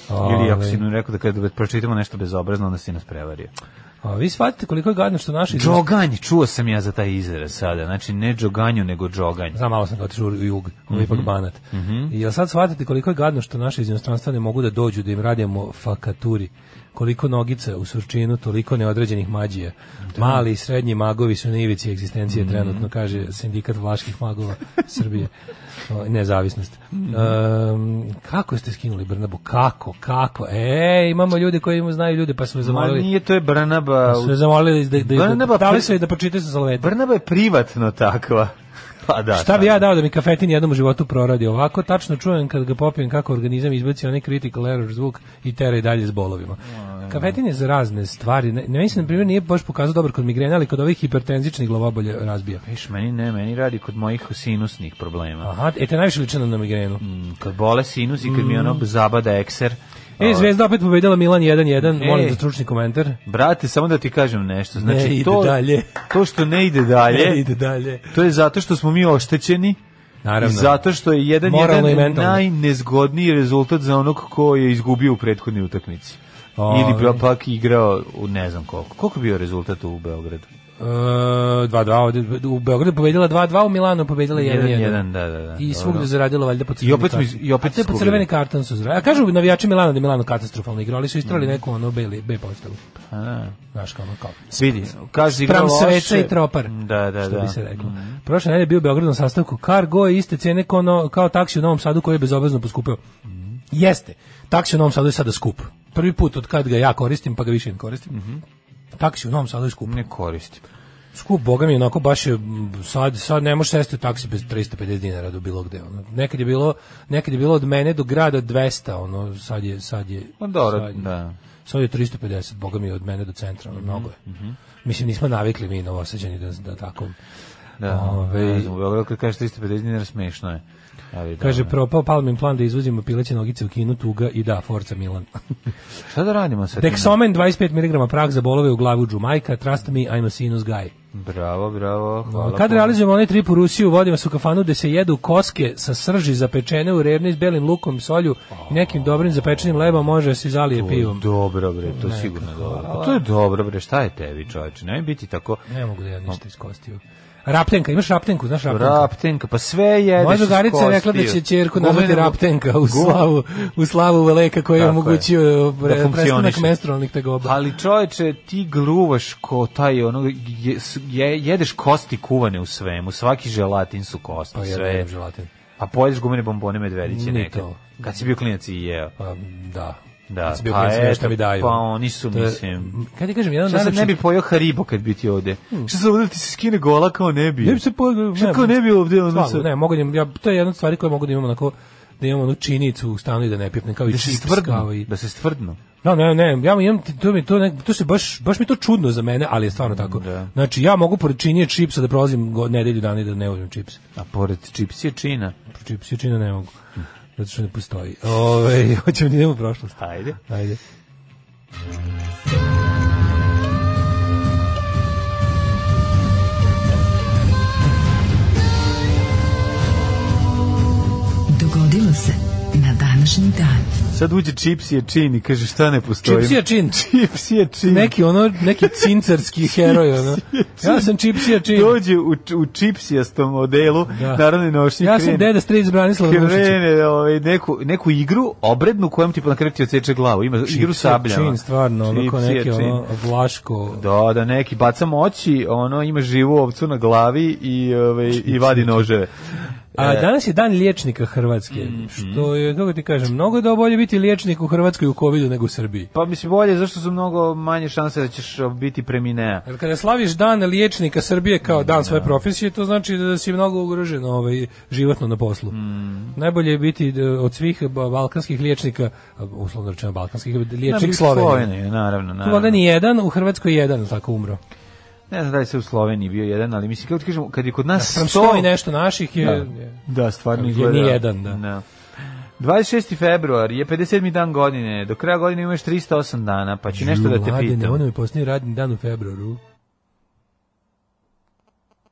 F: Ili ako
G: Ovaj.
F: si nam rekao da kada pročitamo nešto bezobrazno, onda si nas prevario.
G: A vi shvatite koliko je gadno što naši...
F: Džoganj, čuo sam ja za taj izraz sada. Znači, ne džoganju, nego džoganj.
G: Znam, malo sam ga otišao u jug, mm ipak
F: Mhm.
G: banat. I jel sad shvatite koliko je gadno što naše iz inostranstva ne mogu da dođu da im radimo fakaturi? Koliko nogica u surčinu, toliko neodređenih mađija.
F: Da.
G: Mali i srednji magovi su na ivici egzistencije
F: Mhm.
G: trenutno, kaže sindikat vlaških magova Srbije. O, Nezavisnost.
F: Mhm.
G: Um, kako ste skinuli Brnabu? Kako? Kako? E, imamo ljude koji im znaju ljude, pa su me
F: Ma
G: zamolili.
F: nije, to je Brnaba.
G: Su me zamolili da, da, da,
F: Brnaba
G: dali
F: pri-
G: su mi da pročitaju sa Salveta.
F: Brnaba je privatno takva. Pa da.
G: Šta bi ja dao da mi kafetin jednom u životu proradi ovako? Tačno čujem kad ga popijem kako organizam izbaci onaj critical error zvuk i tera i dalje s bolovima. Kafetin je za razne stvari. Ne, ne mislim, na primjer, nije baš pokazao dobar kod migrena, ali kod ovih hipertenzičnih glavobolje razbija.
F: Viš, meni ne, meni radi kod mojih sinusnih problema.
G: Aha, e te najviše liče na- na migrenu.
F: Kad bole sinus i kad mi ono zabada ekser.
G: Mm.
F: Ovaj,
G: E, Zvezda opet pobedila Milan 1-1,
F: E.
G: molim za stručni komentar.
F: Brate, samo da ti kažem nešto. Znači,
G: Ne ide
F: to,
G: dalje.
F: to što ne ide dalje,
G: E, Ide dalje.
F: to je zato što smo mi oštećeni.
G: Naravno.
F: I zato što je jedan
G: Moralno i
F: jedan
G: mentalno.
F: najnezgodniji rezultat za onog ko je izgubio u prethodnoj utakmici.
G: Ove.
F: Ili bi pak igrao u ne znam koliko. Koliko je bio rezultat u Beogradu?
G: E, 2-2, ovde- u Beogradu pobedila 2-2, u Milanu pobedila 1-1.
F: 1-1, da, da, da.
G: I
F: Dobro.
G: svugde zaradilo valjda po crveni
F: I opet smo iz-
G: karton.
F: i opet
G: A to je po
F: izgubili.
G: crveni karton su zaradili. A kažu navijači Milana da je Milano katastrofalno igrao, ali su istrali neku ono B, B postavu.
F: Mhm. A,
G: Znaš kao ono kao.
F: vidi, kaže igra
G: Pram
F: loše.
G: sveca i tropar.
F: Da, da,
G: što
F: da.
G: bi se reklo. Prošle nedelje je bio u Beogradnom sastavku Cargo je iste cene kao, no- kao taksi u Novom Sadu koji je bezobrazno poskupeo.
F: Mhm.
G: Jeste. Taksi u Novom Sadu je sada skup. Prvi put od kad ga ja koristim, pa ga više ne koristim. Taksi u Novom Sadu je skup.
F: Mhm. Ne koristim.
G: Skup, boga mi, onako baš je, m, sad, sad ne možeš sesti u taksi bez 350 dinara do bilo gde. Ono. Nekad, je bilo, nekad je bilo od mene do grada 200, ono, sad je... Sad je
F: Pa dobro,
G: sad je-
F: da.
G: Sad je 350, boga mi, od mene do centra, ono, mnogo je.
F: Mhm,
G: Mislim, nismo navikli mi novosađani da, da tako...
F: Da,
G: Ovaj,
F: ne znam, u Beogradu kad kažeš 350 dinara smešno je. Ali da,
G: Kaže,
F: ne.
G: propao palmin plan da izvozimo pileće nogice u kinu, tuga i da, Forca Milan.
F: šta da radimo sa tim?
G: Dexomen 25 mg prag za bolove u glavu džumajka, trust me, I'm a sinus guy.
F: Bravo, bravo. Hvala.
G: Kad
F: puno.
G: realizujemo onaj trip u Rusiju, vodimo se u kafanu gde se jedu koske sa srži zapečene u revni s belim lukom, solju i nekim dobrim zapečenim lebom, može da se zalije pivom.
F: Dobro bre, to je sigurno dobro. Pa to je dobro bre, šta je tebi čoveče? Ne biti tako
G: Ne mogu da ja ništa iskostio. Rapljenka, imaš rapljenku, znaš rapljenku?
F: raptenka, pa sve jedeš.
G: Moja
F: iz
G: drugarica je rekla da
F: kostiju.
G: će ćerku
F: Gume
G: nazvati
F: nego-
G: Raptenka u
F: Gume.
G: slavu, u slavu Veleka koji je
F: Tako je.
G: omogućio e, pre-
F: Da funkcioniše.
G: prestanak menstrualnih tegoba.
F: Ali čoveče, ti gruvaš ko taj ono je, je- jedeš kosti kuvane u svemu, svaki želatin su kosti,
G: Pa ja ne
F: sve.
G: jedem želatin.
F: A pojedeš gumene bombone medvediće
G: Ni
F: nekad.
G: to.
F: Kad si bio klinac i jeo.
G: Pa, da.
F: Da,
G: Kad sam bio
F: pa
G: klinac,
F: eto,
G: nešto mi daju.
F: pa oni su,
G: To je-
F: mislim-
G: Kad ti kažem, jedan
F: Šta sad
G: najlepši... Hmm.
F: ne bi pojeo Haribo kad bi ti ovde? Šta sad ovde ti se skine gola kao ne bi?
G: Ne bi se pojeo-
F: Šta
G: ne,
F: kao ne bi ovde? ono
G: Stvarno,
F: sad-
G: ne, mogu da im- ja, to je jedna od stvari koje mogu da imam onako da imam onu činicu u stanu i da ne pipnem kao i
F: Da se
G: čips, kao
F: stvrdno,
G: i...
F: da se stvrdno.
G: Da, ne, ne, ja imam, to mi to, nek, to se baš, baš mi to čudno za mene, ali je stvarno tako.
F: Da.
G: Znači, ja mogu pored činije čipsa da prolazim go, nedelju dana i da ne uzmem čips.
F: A pored čips je čina.
G: Pro čips je čina ne mogu, zato što ne postoji. Ove, hoćemo da idemo u prošlost.
F: Ajde.
G: Ajde.
E: Dogodilo se na današnji dan.
F: Sad uđe čips je čin i kaže šta ne postoji.
G: Čips je čin.
F: Čips je čin.
G: Neki ono, neki cincarski heroj, ono. Ja sam čipsija čin.
F: Dođe u, č- u čipsijastom modelu,
G: Da.
F: narodni nošnji
G: Ja sam deda stric Branislava Nušića.
F: Krene ovaj, neku, neku igru obrednu kojom ti na kraju ti odseče glavu. Ima igru sabljama.
G: Čin, stvarno, ono ko
F: Čipsija
G: neki
F: čin.
G: ono vlaško...
F: Da, da neki baca moći, ono ima živu ovcu na glavi i ovaj i vadi noževe. E.
G: A danas je dan liječnika Hrvatske,
F: Mhm.
G: što je, kako ti kažem, mnogo je da bolje biti liječnik u Hrvatskoj u covidu nego u Srbiji.
F: Pa mislim bolje zašto su mnogo manje šanse da ćeš biti preminea.
G: Jer kada slaviš dan liječnika Srbije kao dan svoje profesije, to znači da si mnogo ugrožen ovaj, životno na poslu.
F: Mhm.
G: Najbolje je biti e, od svih ba- balkanskih liječnika, a, uslovno rečeno balkanskih, da, liječnik Slovenije.
F: naravno, Da, naravno.
G: Slovenija je jedan, u Hrvatskoj je jedan, jel tako umro.
F: Ne znam da li se u Sloveniji bio jedan, ali mislim kako ti kažemo, kad je kod nas
G: Sam
F: 100
G: sto i nešto naših je... je-
F: Da, stvarno
G: Je
F: izgleda.
G: ni jedan, da.
F: 26. februar je 57. dan godine. Do kraja godine imaš 308 dana, pa ću nešto da te
G: Mladene,
F: pitam.
G: Ono mi postoji radni dan u februaru.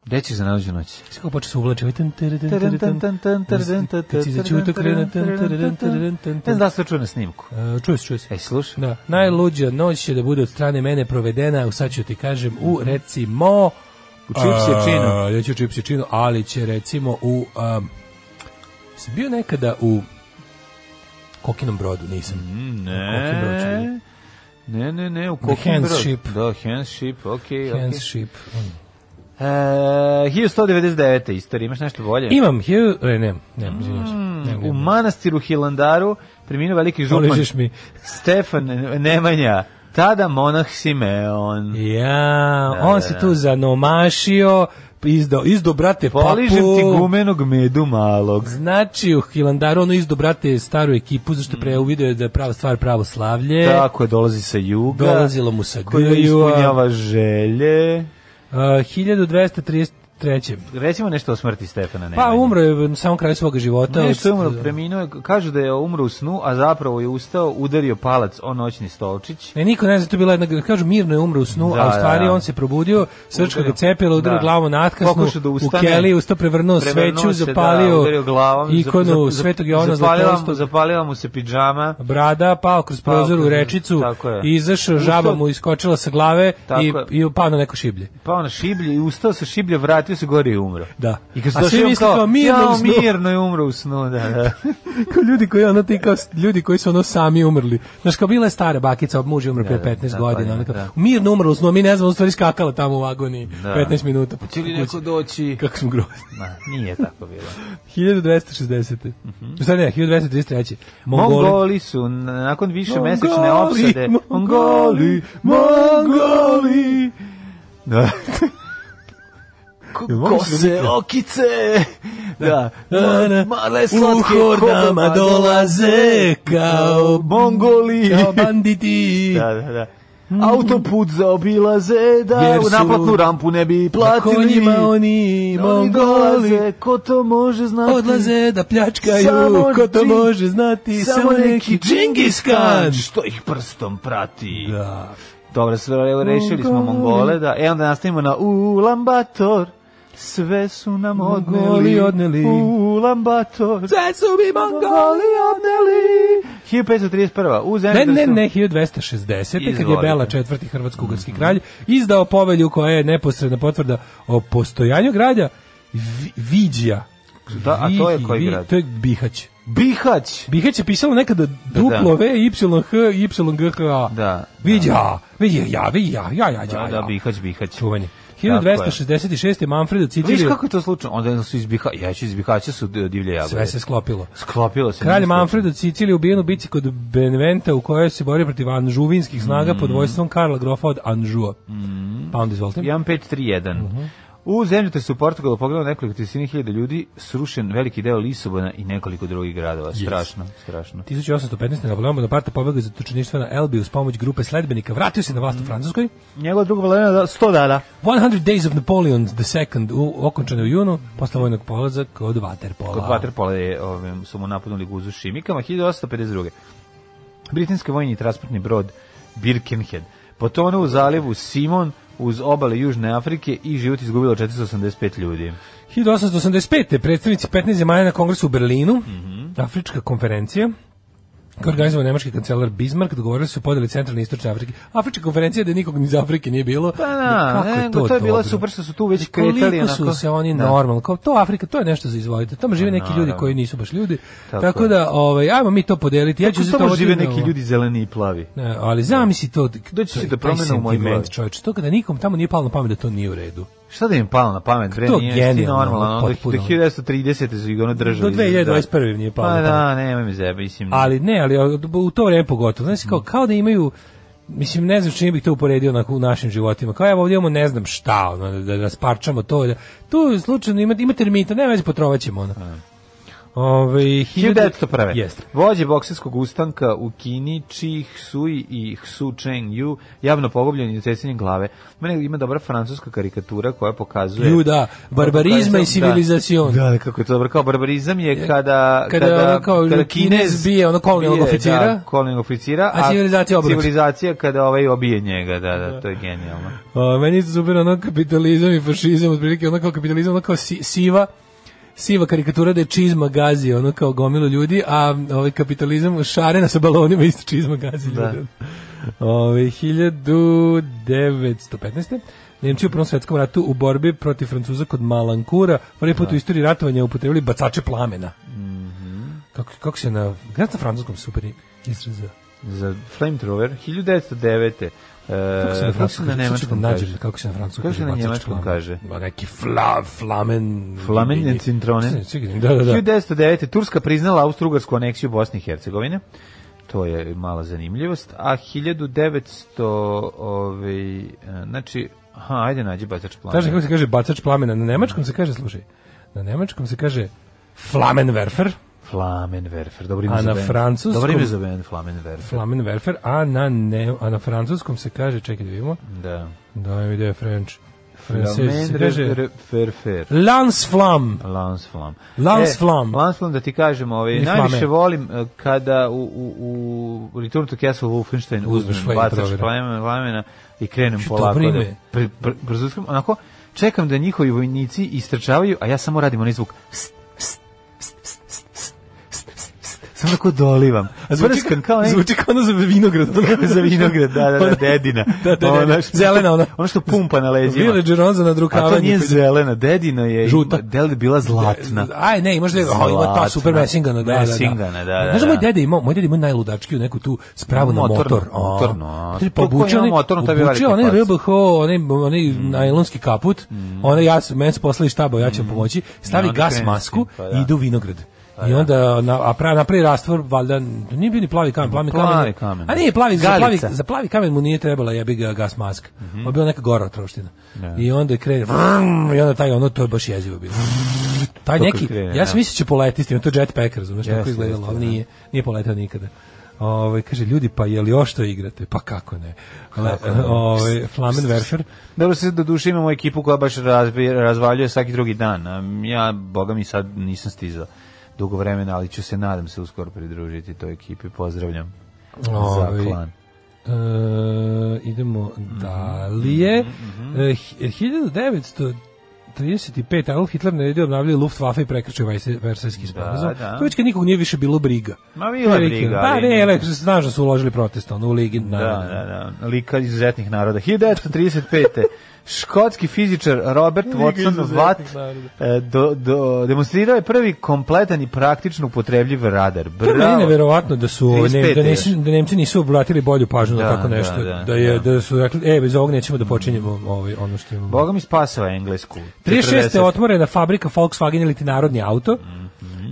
F: Gde ćeš za najluđu noć?
G: Sve kako počne se uvlače. ovaj tan, tere, tan, tere, tan. Kad si začuto krene, tan, tere, tan,
F: Ne
G: tere,
F: znam
G: tan.
F: da li se čuje na snimku.
G: E, Čuje se, čuje se.
F: Ej, slušaj.
G: Da, najluđa noć će da bude od strane mene provedena, u sad ću ti kažem, u recimo... U
F: Čipsječinu.
G: Ja ću u Čipsječinu, ali će recimo u... Um, sam bio nekada u Kokinom brodu, nisam. Kokinom brodu sam bio.
F: Ne. Ne, ne, ne, u kokim
G: handship.
F: Da, handship, okej, okej.
G: Handship.
F: E, 1199. istorija, imaš nešto bolje? Mm,
G: Imam, hiju, e, nemam, nemam, izvinjam se. Nemam,
F: U
G: nemam.
F: manastiru Hilandaru preminuo veliki župan
G: Poližeš mi.
F: Stefan Nemanja. Tada monah Simeon.
G: Ja,
F: Da,
G: on
F: da,
G: se
F: da.
G: tu zanomašio, izdo, izdo brate papu.
F: Poližem ti gumenog medu malog.
G: Znači, u Hilandaru ono izdo brate staru ekipu, zašto pre
F: Mm.
G: uvideo da je prava stvar pravoslavlje.
F: Tako je, dolazi sa juga.
G: E. Dolazilo mu sa
F: Koja
G: grljua.
F: ispunjava želje.
G: Uh, 1233.
F: Recimo nešto o smrti Stefana Nemanje.
G: Pa umro je na samom kraju svoga života.
F: Nešto je
G: od-
F: umro, preminuo je, kažu da je umro u snu, a zapravo je ustao, udario palac o noćni stolčić.
G: Ne, niko ne zna, to je bila jedna, kažu, mirno je umro u snu,
F: Da,
G: a u
F: da,
G: stvari
F: da.
G: on se probudio, srčka ga
F: Udario.
G: cepila, udario
F: Da.
G: glavom natkasnu,
F: Pokušao da
G: u
F: ustane.
G: keli, ustao, prevrnuo,
F: Prevrnuo
G: sveću,
F: se, da,
G: zapalio
F: udario glavom,
G: ikonu
F: zap- zap-
G: svetog Jovana
F: zapalila mu-
G: Zlatorostog.
F: Zapalila mu se pidžama.
G: brada, pao kroz
F: Pao
G: prozor u
F: kroz-
G: rečicu,
F: tako je.
G: izašao,
F: Ustao-
G: žaba mu iskočila sa glave
F: Tako
G: i,
F: je.
G: i pao na neko šiblje.
F: pao na Pa šiblje i ustao sa šiblje, vratio se gore i umro.
G: Da.
F: I kad se
G: A svi
F: došao
G: misle kao, mirno u snu.
F: mirno je umro u snu, da, da.
G: Kao ljudi koji ono ti kao ljudi koji su ono sami umrli. Znaš kao bila je stara bakica, muž je umro pre
F: da,
G: 15
F: da,
G: godina,
F: pa
G: ona
F: je,
G: kao
F: da.
G: mirno umrla, u snu, a mi ne znamo, u stvari skakala tamo u agoniji 15 minuta. po
F: Hoće li
G: kući.
F: neko doći?
G: Kako smo grozni.
F: Ma, nije tako bilo.
G: 1260. U stvari ne, 1233.
F: Mhm. Mongoli,
G: Mongoli.
F: su na- nakon više
G: Mongoli,
F: mesečne opsade
G: Mongoli, Mongoli.
F: Da.
G: Jel mogu se
F: Kose, okice. Da.
G: Na, na.
F: Male
G: U
F: slatke
G: hordama
F: kobama
G: dolaze kao
F: Mongoli.
G: kao banditi.
F: Da, da, da. Autoput zaobilaze da
G: Jer
F: u
G: su-
F: naplatnu rampu ne bi
G: Na
F: platili. da
G: konjima oni Mongoli.
F: dolaze, ko to može znati?
G: Odlaze da pljačkaju,
F: Samo
G: ko to
F: džing-
G: može znati, samo, neki Džingis Khan.
F: što ih prstom prati.
G: Da.
F: Dobro, sve, evo, rešili smo
G: Mongoli.
F: Mongole, da. E, onda nastavimo na Ulambator. Sve su nam odneli,
G: Mongoli odneli.
F: Ulambator.
G: Sve su mi Mongoli. da
F: Mongoli odneli. 1531. U
G: Ne,
F: Zendersu.
G: ne, ne, 1260. kad je
F: Izvolite.
G: Bela IV. Hrvatsko-Ugarski kralj izdao povelju koja je neposredna potvrda o postojanju grada Vi- Viđija.
F: Da, a to je
G: Vi-
F: koji
G: Vi-
F: grad?
G: To je Bihać.
F: Bihać.
G: Bihać je pisalo nekada duplo V, Y, H, Y, G, H, A.
F: Da,
G: Viđa, Viđa, ja, Viđa, ja, ja, ja,
F: Da, da,
G: ja.
F: Bihać, Bihać.
G: Čuvanje.
F: Tako je.
G: 1266. Manfred od Sicilije.
F: Viš kako je to slučajno? Onda su iz Bihaća, ja ću iz Bihaća su divlje jagode.
G: Sve se sklopilo.
F: Sklopilo se.
G: Kralj
F: ništa.
G: Manfred od Sicilije ubijen u bici kod Benventa u kojoj se borio protiv anžuvinskih snaga
F: Mm.
G: pod vojstvom Karla Grofa od Anžua. Pa onda izvolite.
F: 1531.
G: Mhm.
F: U zemljotresu u Portugalu pogledalo nekoliko tisini hiljada ljudi, srušen veliki deo Lisobona i nekoliko drugih gradova. Strašno, strašno.
G: 1815. Napoleon Bonaparte pobegao iz zatočeništva na Elbi uz pomoć grupe sledbenika. Vratio se na
F: Mm.
G: vlast u Francuskoj.
F: Njegova druga vladavina da 100 dana.
G: 100 Days of Napoleon II u, okončane u junu, posle vojnog polaza kod Waterpola.
F: Kod Waterpola je, ovim, su mu napunuli guzu šimikama. 1852. Britanski vojni transportni brod Birkenhead potonuo u zalivu Simon uz obale Južne Afrike i život izgubilo 485 ljudi.
G: 1885. predstavnici 15 zemalja na kongresu u Berlinu,
F: Mhm.
G: Afrička konferencija, koja je organizovao nemački kancelar Bismarck, dogovorili su o podeli centralne i istočne Afrike. Afrička konferencija da nikog iz Afrike nije bilo.
F: Pa da,
G: Kako je
F: ne, to, je bilo
G: dobro?
F: super što su tu već kretali.
G: Koliko su
F: onako.
G: se oni
F: Da. Pa
G: normalno, kao to Afrika, to je nešto za izvojiti. Tamo žive neki ljudi
F: naravno.
G: koji nisu baš ljudi. Tako,
F: Tako
G: da, ovaj, ajmo mi to podeliti. Ja ću
F: Kako
G: za
F: tamo
G: to
F: žive
G: otići na
F: neki
G: ovo.
F: ljudi zeleni i plavi.
G: Ne, ali zamisli to.
F: Doći će
G: to je
F: do
G: taj
F: promena u mojoj
G: sentiment,
F: glavi.
G: čoveče, to kada nikom tamo nije palo na pamet da to nije u redu.
F: Šta da im palo na pamet, bre,
G: To
F: nije jesi ti
G: genijalno,
F: normalno, ono, do
G: potpuno.
F: 1930. su ih ono držali.
G: Do 2021. nije palo na
F: Pa
G: pamet.
F: da, nemoj mi zebe, mislim.
G: Mm. Ali ne, ali u to vreme pogotovo. Znači, kao, kao da imaju Mislim, ne znam čim bih to uporedio onako u našim životima. Kao evo ovdje imamo ne znam šta, ono, da, da rasparčamo to. Da, tu slučajno ima, ima termita, ne veze, potrovaćemo. Ono. Ove,
F: 1901.
G: Jeste.
F: Vođe bokserskog ustanka u Kini, Chi Hsui i Hsu Cheng Yu, javno pogubljeni u cecenje glave. Mene ima dobra francuska karikatura koja pokazuje...
G: Ju, da, barbarizma i
F: civilizacion.
G: civilizacion.
F: Da, da, kako je to dobro. Kao barbarizam je kada...
G: kada ono kao Kinez bije ono kolonijalnog
F: bije,
G: oficira.
F: Da, kolonijalnog oficira.
G: A civilizacija obrat.
F: Civilizacija kada ovaj obije njega, da, da, to je genijalno.
G: O, meni je super ono kapitalizam i fašizam, otprilike ono kao kapitalizam, ono kao si- siva, siva karikatura da je čizma gazi, ono kao gomilo ljudi, a ovaj kapitalizam šarena sa balonima isto čizma gazi Ovaj,
F: Da.
G: ljudi. Ove, 1915. Nemci u Prvom svjetskom ratu u borbi protiv Francuza kod Malankura prvi put u istoriji ratovanja upotrebili bacače plamena. Kako, kako se na... Gledaj na francuskom super izraz za...
F: za Flamethrower 1909.
G: Kako se na
F: E, kako se
G: francuskom
F: na nemačkom
G: kaže? Sad ću da nađem
F: kaže?
G: Kako se na francuskom
F: Kako se na
G: bacač
F: njemačkom
G: flamen.
F: kaže?
G: Ma neki fla, flamen...
F: Flamenjen cintronen.
G: Čekaj, čekaj, Da, da, da.
F: 1909. Turska priznala Austro-Ugarsku aneksiju Bosne i Hercegovine. To je mala zanimljivost. A 1900, ovaj, e, znači, aha, ajde nađi bacač plana.
G: Znaš kako se kaže bacač plamena? Na nemačkom se kaže, slušaj, na nemačkom se kaže Flamenwerfer,
F: Flamenwerfer, dobro ime
G: A
F: za
G: na
F: bend.
G: francuskom-
F: Dobro ime za bend, Flamenwerfer.
G: Flamenwerfer, a na, ne, a na francuskom se kaže, čekaj da vidimo,
F: Da.
G: da mi ide French. Francesi se kaže
F: Flamenwerfer.
G: Lansflam.
F: Lansflam.
G: Lansflam.
F: E, Lansflam da ti kažem, ovaj,
G: Ni
F: najviše
G: flame.
F: volim e, kada u, u, u Return to Castle Wolfenstein uzmem
G: flame
F: bacač
G: trovera.
F: plamena, plamena i krenem
G: Što
F: polako.
G: dobro
F: Da,
G: ime.
F: pre- pre- brzuskam, onako, čekam da njihovi vojnici istrčavaju, a ja samo radim onaj zvuk. Pst, pst, pst, pst, pst, pst, pst, pst, pst. Samo tako dolivam. Brskam kao neki
G: zvuči kao ono za vinograd.
F: za vinograd, da, da, da, dedina.
G: Da, dedina. Zelena ona.
F: Ono što pumpa na leđima.
G: Villager on za
F: A
G: nadrukavanje.
F: to nije
G: koji-
F: zelena, dedina je
G: Žuta.
F: Del je bila zlatna.
G: Da, Aj, ne, možda je, o, ima ta
F: Zlatna.
G: super mesingana, da, da, da.
F: Mesingana, da, da,
G: Znaš,
F: da.
G: moj deda imao, moj deda imao najludačkiju neku tu spravu na
F: Motornu,
G: motor. a.
F: motornu, a.
G: Znači, Pa
F: Ko- ko
G: obučio
F: ima
G: onaj,
F: motornu, to bi
G: obučio
F: veliki
G: onaj
F: plac.
G: RBH, onaj, onaj najlonski kaput, onaj, ja, sam- meni se poslali štaba, ja ću vam pomoći,
F: Mm. I
G: stavi
F: onda
G: gas
F: krene s
G: masku
F: tim, pa da. Pa
G: i ide u vinograd. I onda na a pra napravi rastvor valjda nije bio ni plavi kamen, plavi,
F: Plavi kamen.
G: A nije plavi, za plavi,
F: Galica.
G: za Da plavi kamen mu nije trebala jebi ga gas maska.
F: Mhm.
G: Ovo je bila neka gora troština.
F: Da.
G: I onda je krene vrrm, i onda taj ono to je baš jezivo bilo. Taj
F: To kad
G: neki,
F: krene,
G: ja
F: da.
G: sam mislio će poleti s tim, to je jetpack, razumeš, tako
F: Jeste,
G: izgledalo,
F: jeste, da.
G: ali nije, nije poletao nikada. Ove, kaže, ljudi, pa je li još to igrate? Pa kako ne? Le, ovaj, ove, Flamenwerfer,
F: Dobro se do duše imamo ekipu koja baš razvi- razvaljuje svaki drugi dan. A Ja, boga mi sad nisam stizao dugo vremena, ali ću se, nadam se, uskoro pridružiti toj ekipi. Pozdravljam
G: Ovaj,
F: za klan.
G: E, idemo
F: Mhm,
G: dalje. E, hi- 1935. Adolf Hitler naredio da obnavljaju Luftwaffe i prekrčio Vajse- Versajski sporazum.
F: da.
G: To već kad nikog nije više bilo briga.
F: Ma bila je briga,
G: Da,
F: ali-
G: ne, ne, znaš da su uložili protest ono, u Ligi.
F: Pa,
G: Da,
F: Da, da, da. Lika izuzetnih naroda. 1935. Škotski fizičar Robert Watson
G: izuzetnih
F: Watt
G: naroda.
F: e, do, do, demonstrirao je prvi kompletan i praktično upotrebljiv radar.
G: To je meni
F: Bravo.
G: neverovatno da su ovaj, ne,
F: 35
G: da,
F: je
G: nisu, da Nemci nisu obratili bolju pažnju na
F: Da,
G: tako
F: da,
G: nešto. Da,
F: da,
G: je,
F: da.
G: da. su rekli, e, bez ovog nećemo da počinjemo ovaj, ono što imamo.
F: Boga mi spasava englesku.
G: 36.
F: 40.
G: otvorena fabrika Volkswagen ili ti narodni auto.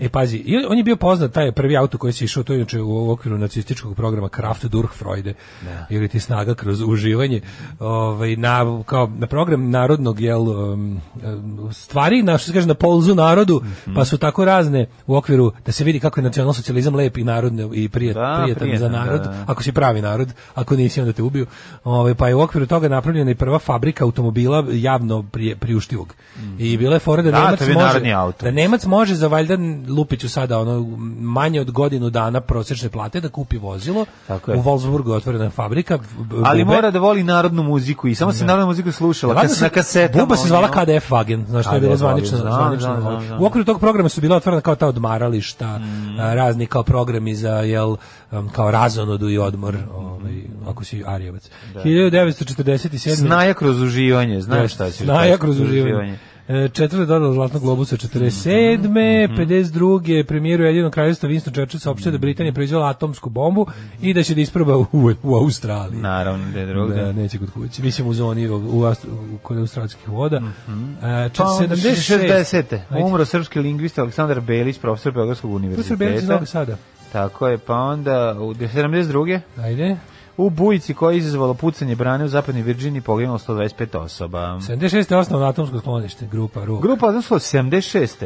G: E pazi, i on je bio poznat taj prvi auto koji se išao to je inače u okviru nacističkog programa Kraft durch Freude.
F: Da.
G: Ili ti snaga kroz uživanje. Ovaj na kao na program narodnog jel um, um, stvari na što se kaže na polzu narodu,
F: Mhm.
G: pa su tako razne u okviru da se vidi kako je nacionalsocijalizam lep i narodno i prijet,
F: Da,
G: prijetan, za
F: prijetan, da,
G: narod,
F: da.
G: ako si pravi narod, ako nisi onda te ubiju. Ovaj pa je u okviru toga napravljena i prva fabrika automobila javno prije, priuštivog. I bila je fora da,
F: Da,
G: Nemac
F: to je
G: može
F: narodni auto.
G: da Nemac može za valjda Lupiću sada ono manje od godinu dana prosječne plate da kupi vozilo.
F: Tako je.
G: U Wolfsburgu je otvorena fabrika. b- b-
F: Ali
G: bube.
F: mora da voli narodnu muziku i samo se narodnu muziku slušala
G: Valjda
F: kas,
G: se-
F: Pa na kasetama.
G: Buba se zvala
F: ono.
G: KDF Wagen, znaš što je
F: KDF
G: bilo
F: Wagen,
G: zvanično.
F: znam,
G: zvanično
F: znam,
G: ovaj.
F: znam, znam.
G: U okviru tog programa su bila otvorena kao ta odmarališta,
F: Mm.
G: a, razni kao programi za jel um, kao razonodu i odmor,
F: Mm.
G: ovaj ako si Arijevac. 1947.
F: Snaja kroz uživanje, znaš Da. šta ćeš.
G: Snaja
F: znaš,
G: kroz uživanje. E, Četvrta dodala Zlatnog globusa 47.
F: Mhm,
G: 52. premijeru jedinog kraljevstva Winston Churchill saopštio da Britanija proizvela atomsku bombu i da će da isproba u, u Australiji.
F: Naravno, da je drugo.
G: Da, neće kod kuće. Mislim u zoni u, u, Aust- u- kod australijskih voda. Mm
F: Pa onda
G: 76.
F: 60.
G: Ajde.
F: Umro srpski lingvista Aleksandar Belić, profesor Beogradskog
G: Tu se Belci
F: univerziteta.
G: zove sada.
F: Tako je, pa onda u 72.
G: Ajde.
F: U bujici koja je izazvala pucanje brane u zapadnoj Virđini poginulo 125 osoba.
G: 76. je osnovno atomsko sklonište, grupa RU.
F: Grupa odnosno 76.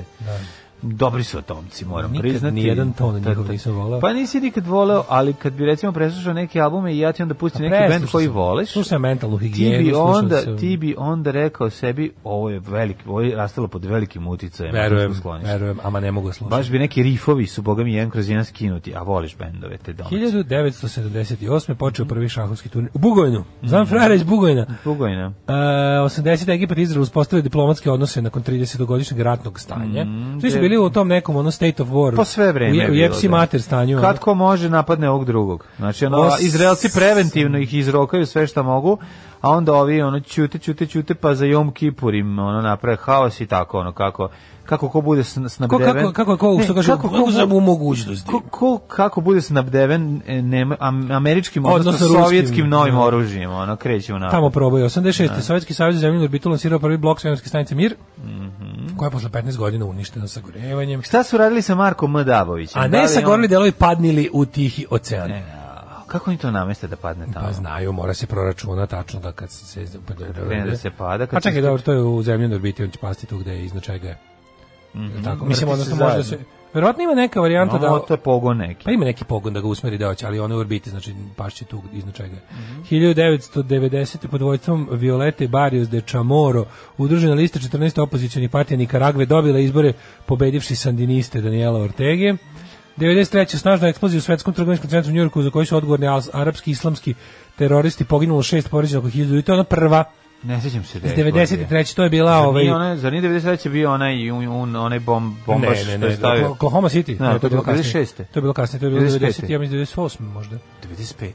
F: Dobri su atomci, moram
G: Da. Nikad
F: priznati.
G: nijedan ton njihov
F: Ta- ta-
G: nisam voleo.
F: Pa nisi nikad voleo, ali kad bi recimo preslušao neke albume i ja ti onda pustim neki
G: Preslušao
F: bend koji
G: sam-
F: voliš,
G: Slušao sam mentalnu
F: ti
G: higijenu.
F: bi,
G: slušao
F: onda,
G: sam-
F: ti bi onda rekao sebi, ovo je veliki, ovo je rastalo pod velikim uticajem.
G: Verujem,
F: atomskog skloništa.
G: verujem, ama ne mogu da slušati.
F: Baš bi neki rifovi su, boga mi, jedan kroz jedan skinuti, a voliš bendove te domaće.
G: 1978.
F: Mhm.
G: počeo prvi šahovski turnir u Bugojnu. Znam Frareć Bugojna.
F: Bugojna.
G: E, 80. Egipat i Izrael uspostavio diplomatske odnose nakon 30-godišnjeg ratnog stanja. Svi su
F: de-
G: bili u tom nekom ono state of war.
F: Mm-hmm. Pa sve vreme
G: U, je-
F: je
G: u
F: bilo,
G: Jepsi
F: da.
G: mater stanju. ono.
F: Kad ko može napadne ovog drugog. Znači, ono,
G: Os-
F: Izraelci preventivno ih izrokaju sve što mogu, a onda ovi ono ćute, ćute, ćute, pa za Jom Kipur im ono naprave haos i tako, ono kako, kako ko bude sn-
G: Ko,
F: snabdeven.
G: kako, kako, kako,
F: Ne,
G: što kaže, kako,
F: bu-
G: za mu mogućnosti.
F: ko, ko- kako bude snabdeven e, nema- am- američkim, odnosno,
G: Odnosno ruskim,
F: sovjetskim novim
G: da.
F: oružjem, ono, krećemo na...
G: Tamo probaju.
F: Da.
G: 86. Sovjetski savez za zemljenu orbitu lansirao prvi blok svemirske stanice Mir, koja je posle 15 godina uništena sa gorevanjem.
F: Mm-hmm. Šta su radili sa Markom M. Dabovićem?
G: A
F: Da li
G: ne sa
F: on-
G: gorili delovi padnili u tihi ocean.
F: E, a, Kako oni to nameste da padne tamo?
G: Pa znaju, mora se proračuna tačno da kad se... Pa, da,
F: krene da se pada, kad
G: Pa
F: se-
G: čekaj, dobro, to je u zemljenoj orbiti, on će pasti tu gde je, iznad čega je. Jel Tako, mislim,
F: Mm-hmm. vrti se
G: odnosno može da se...
F: zajedno.
G: Verovatno ima neka varijanta
F: da,
G: da...
F: to je pogon neki.
G: Pa ima neki pogon da ga usmeri da hoće, ali on je u orbiti, znači pašće tu iznad čega. je. 1990. pod vojstvom Violete Barrios de Chamorro, udružena lista 14 opozicijalnih partija Nikaragve dobila izbore pobedivši sandiniste Daniela Ortege. 93. snažna eksplozija u svetskom trgovinskom centru u Njurku za koju su odgovorni als- arapski i islamski teroristi poginulo šest poređeno oko 1000 i to je ona prva
F: Ne sjećam se da
G: iz
F: je to bio.
G: 93. to je bila
F: Zar
G: ovaj
F: nije onaj, zar nije 93. bio onaj, un, un, onaj bomb, bombaš
G: ne, ne,
F: što je
G: ne,
F: stavio? Da,
G: Oklahoma City.
F: Ne,
G: Ne, to je bilo kasnije.
F: 96..
G: To je bilo kasnije, to je bilo
F: 95..
G: 90, ja mislim 98 možda.
F: 95.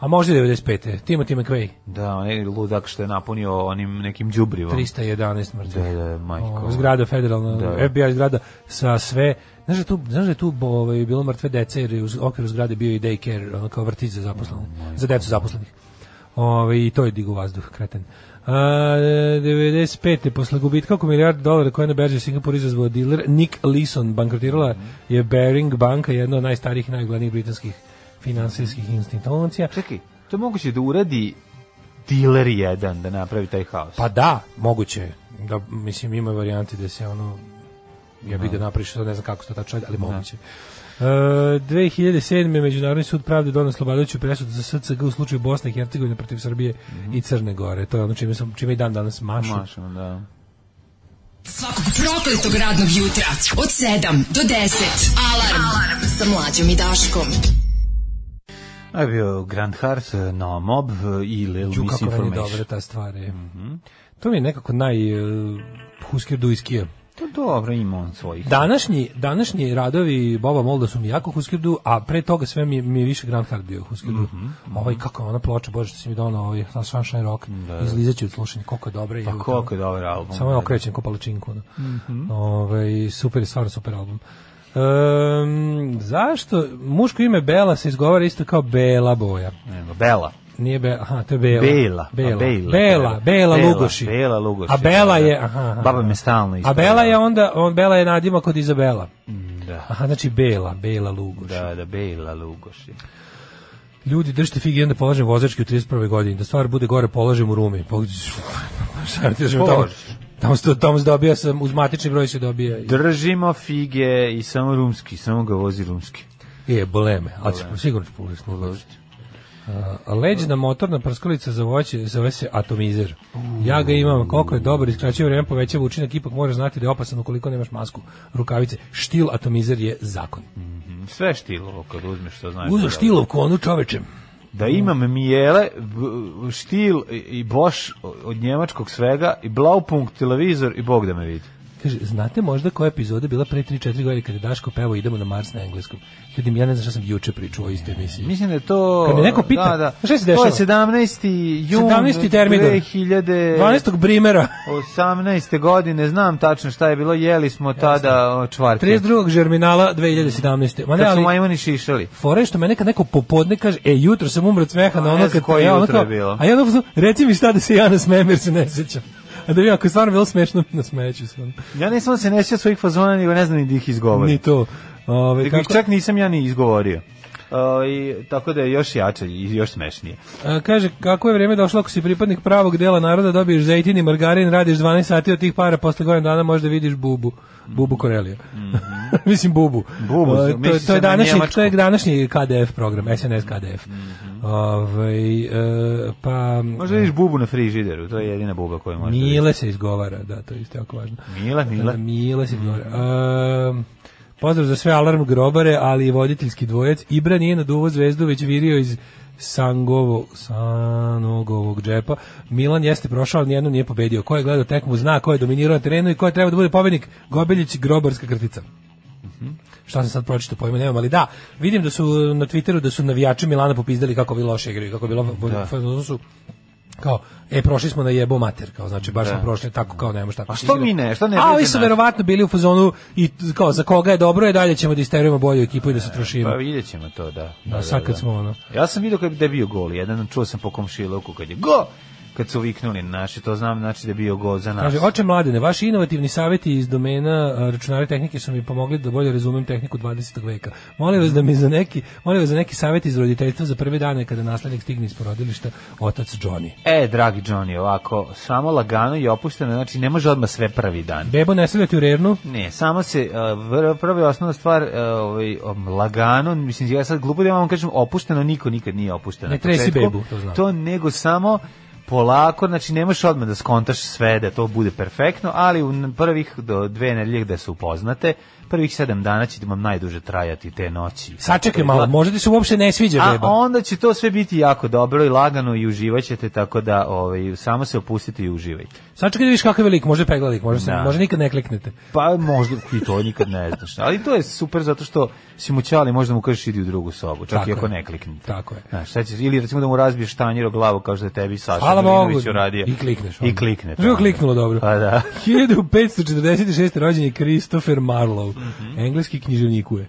G: A možda i 95. Timothy McVeigh,
F: Da, onaj ludak što je napunio onim nekim đubrivom.
G: 311 mrtvih.
F: Da, da, majko.
G: O, zgrada federalna,
F: Da.
G: FBI zgrada sa sve... Znaš da tu, znaš da je tu bo- ovaj, bilo mrtve dece jer je u z- okviru zgrade bio i daycare, ono kao vrtić za zaposlene, za decu zaposlenih. Ove, I to je digu vazduh, kreten. A, 95. posle gubitka oko milijarda dolara koje je na berži u Singapuru izazvao diler Nick Leeson, bankrotirala
F: Mhm.
G: je Bering banka, jedna od najstarijih i najuglednijih britanskih finansijskih institucija.
F: Čekaj, to je moguće da uradi dealer jedan da napravi taj haos.
G: Pa da, moguće. je. Da, mislim, ima varijanti da se ono... Ja bih ga napriš, sad ne znam kako se to tačno radi, ali moguće. E, 2007. je Međunarodni sud pravde donio slobodajuću presudu za SCG u slučaju Bosne i Hercegovine protiv Srbije i Crne Gore. To je ono čime, sam, čime i dan danas mašu.
F: Mašamo, da.
E: Svakog prokletog radnog jutra od 7 do 10. Alarm, Alarm. sa mlađom i Daškom.
F: A je bio Grand Hart, na Mob eh, i Little
G: Ču kako meni je dobra
F: Misinformation.
G: ta stvar je. To mi je nekako naj... e, Husker du iz Kijeva.
F: To Pa dobro, ima on svojih.
G: Da. Današnji, današnji radovi Boba Molda su mi jako Huskerdu, a pre toga sve mi, je- mi je više Grand Hard bio Huskerdu.
F: Mhm,
G: Ovaj, kako je ona ploča, bože što si mi donao, ovaj Sunshine Rock, da. izlizaću od slušanja, koliko je dobra. i
F: Pa koliko je Mhm. dobar album.
G: Samo je okrećen ko palačinku. ono. Ovaj, super, je, stvarno super album. Ehm, zašto muško ime Bela se izgovara isto kao Bela boja?
F: Nego, Bela.
G: Nije Bela, aha, to je Bela.
F: Bela.
G: Bela,
F: A
G: Bela,
F: Bela,
G: Bela, Lugoši.
F: Bela Lugoši.
G: A Bela
F: da, da.
G: je, aha, aha.
F: Baba me stalno da.
G: A
F: ispravlja.
G: Bela je onda, on Bela je nadima kod Izabela.
F: Da.
G: Aha, znači Bela, Bela Lugoš.
F: Da, da, Bela Lugoši.
G: Ljudi, držite figi, onda polažem vozački u 31. godini. Da stvar bude gore, polažem u Rumi. Pa, šta ja ti kažem, tamo,
F: Polažeš.
G: tamo, se, tamo se dobija, sam, uz matični broj se dobija. i-
F: Držimo fige i samo rumski, samo ga vozi rumski.
G: Je, boleme, ali se sigurno ću polažiti. Leđna motorna prskalica za voće zove se atomizer. Ja ga imam, koliko je dobar, iskraćuje vreme, povećava učinak, ipak moraš znati da je opasan ukoliko nemaš masku, rukavice. Štil atomizer je zakon.
F: Sve štilovo kad uzmeš što znaš. da
G: Uzo
F: je
G: štilovku, onu čovečem.
F: dobro. Da imam mijele, b- štil i- i boš od njemačkog svega, i blaupunkt, televizor i bog da me vidi.
G: Kaže, znate možda koja epizoda bila pre 3-4 godine kada je Daško pevao Idemo na Mars na engleskom? Ljudi, ja ne znam šta sam juče pričao o istoj emisiji.
F: Mislim da je to...
G: Kad me neko
F: da,
G: pita,
F: da.
G: šta se
F: To je
G: dešava?
F: 17. jun
G: 17. Termidor.
F: 2000...
G: 12. Brimera,
F: 18. godine, znam tačno šta je bilo, jeli smo tada o, čvarke.
G: 32. Žerminala 2017. Ma ne,
F: Kad su
G: ali
F: majmuni šišali.
G: fora je što me nekad neko popodne kaže, e, jutro sam umro od smeha
F: A,
G: na
F: ne
G: ono
F: znam
G: kad...
F: koje
G: ja ono
F: jutro je
G: kao-
F: bilo.
G: A ja ono, kao, reci mi šta da se ja nasmejem jer se ne sjećam. A da bi ako je stvarno bilo smešno, nasmeću se. ono.
F: Ja nisam se ne sjećao svojih fazona, nego ne znam ni da ih
G: Ni
F: izgovorim.
G: to. Ove,
F: Nego ih čak nisam ja ni izgovorio. O, i, tako da je još jače i još smešnije.
G: A, kaže, kako je vrijeme došlo ako si pripadnik pravog dela naroda, dobiješ zejtin i margarin, radiš 12 sati od tih para, posle godinu dana možda vidiš bubu. Bubu Korelija. Mislim bubu.
F: Mhm. Bubu,
G: A, to,
F: misli
G: je-
F: se
G: to, je
F: na
G: današnji,
F: njemačku. Mhm.
G: to je današnji KDF program, SNS KDF. Ovaj, e, pa...
F: Možda vidiš bubu na frižideru, to je jedina buba koju možda vidiš.
G: Mile se izgovara, da, to je isto jako važno. da
F: Mile, Mile.
G: Mile se izgovara. Ehm, pozdrav za sve alarm grobare, ali i voditeljski dvojac. Ibra nije na duvo zvezdu, već virio iz Sangovo, Sanogovog džepa. Milan jeste prošao, ali nijednom nije pobedio. Ko je gledao tekmu, zna ko je dominirao na terenu i ko je trebao da bude pobednik. Gobeljić, grobarska krtica šta sam sad pročitao pojma nemam, ali da, vidim da su na Twitteru da su navijači Milana popizdali kako vi loše igraju, kako je bilo da. su kao E, prošli smo na jebo mater, kao znači baš smo prošli tako kao nema šta.
F: Da. A što mi ne, što ne
G: A ovi
F: vrijede
G: su
F: nas?
G: verovatno bili u fazonu i t- kao za koga je dobro je dalje ćemo da isterujemo bolju ekipu i da se trošimo.
F: Pa vidjet ćemo to, da. da,
G: A sad
F: da,
G: kad
F: da.
G: smo ono.
F: Ja sam vidio kad da je bio gol, jedan čuo sam po komšiluku kad je go, kad su viknuli na naše, to znam znači da je bio gol za nas.
G: Kaže, oče mladene, vaši inovativni savjeti iz domena a, računara i tehnike su mi pomogli da bolje razumem tehniku 20. veka. Molim vas da mi za neki, molim vas za neki savjet iz roditeljstva za prve dane kada naslednik stigne iz porodilišta, otac Johnny.
F: E, dragi Johnny, ovako, samo lagano i opušteno, znači ne može odmah sve prvi dan.
G: Bebo ne stavljati u rernu,
F: Ne, samo se uh, vr- prva i osnovna stvar uh, ovaj um, lagano, mislim ja sad glupo da ja vam kažem opušteno, niko nikad nije opušteno.
G: Ne
F: na
G: tresi
F: početku.
G: bebu, to znam.
F: To nego samo polako, znači nemaš odmah da skontaš sve da to bude perfektno, ali u n- prvih do dve nedelje da se upoznate, prvih sedam dana će vam najduže trajati te noći. da
G: sačekaj malo, možda ti se uopšte ne sviđa
F: pa- A
G: beba.
F: onda će to sve biti jako dobro i lagano i uživaćete, tako da ovaj, samo se opustite i uživajte.
G: Sačekaj da vidiš kakav je lik, možda je peglanik, možda, se,
F: Da.
G: možda nikad ne kliknete.
F: Pa možda i to nikad ne znaš. Ali to je super zato što si mu ćali, možda mu kažeš idi u drugu sobu, čak
G: Tako
F: i ako
G: je.
F: ne kliknete.
G: Tako je.
F: Znaš, šta ćeš, ili recimo da mu razbiješ tanjir o glavu kao što je tebi Saša
G: Hvala Bogu.
F: Milinović uradio.
G: I klikneš.
F: I klikne.
G: Živo kliknulo dobro.
F: Pa da.
G: 1546. rođen je Christopher Marlowe,
F: Mhm.
G: engleski književnikuje.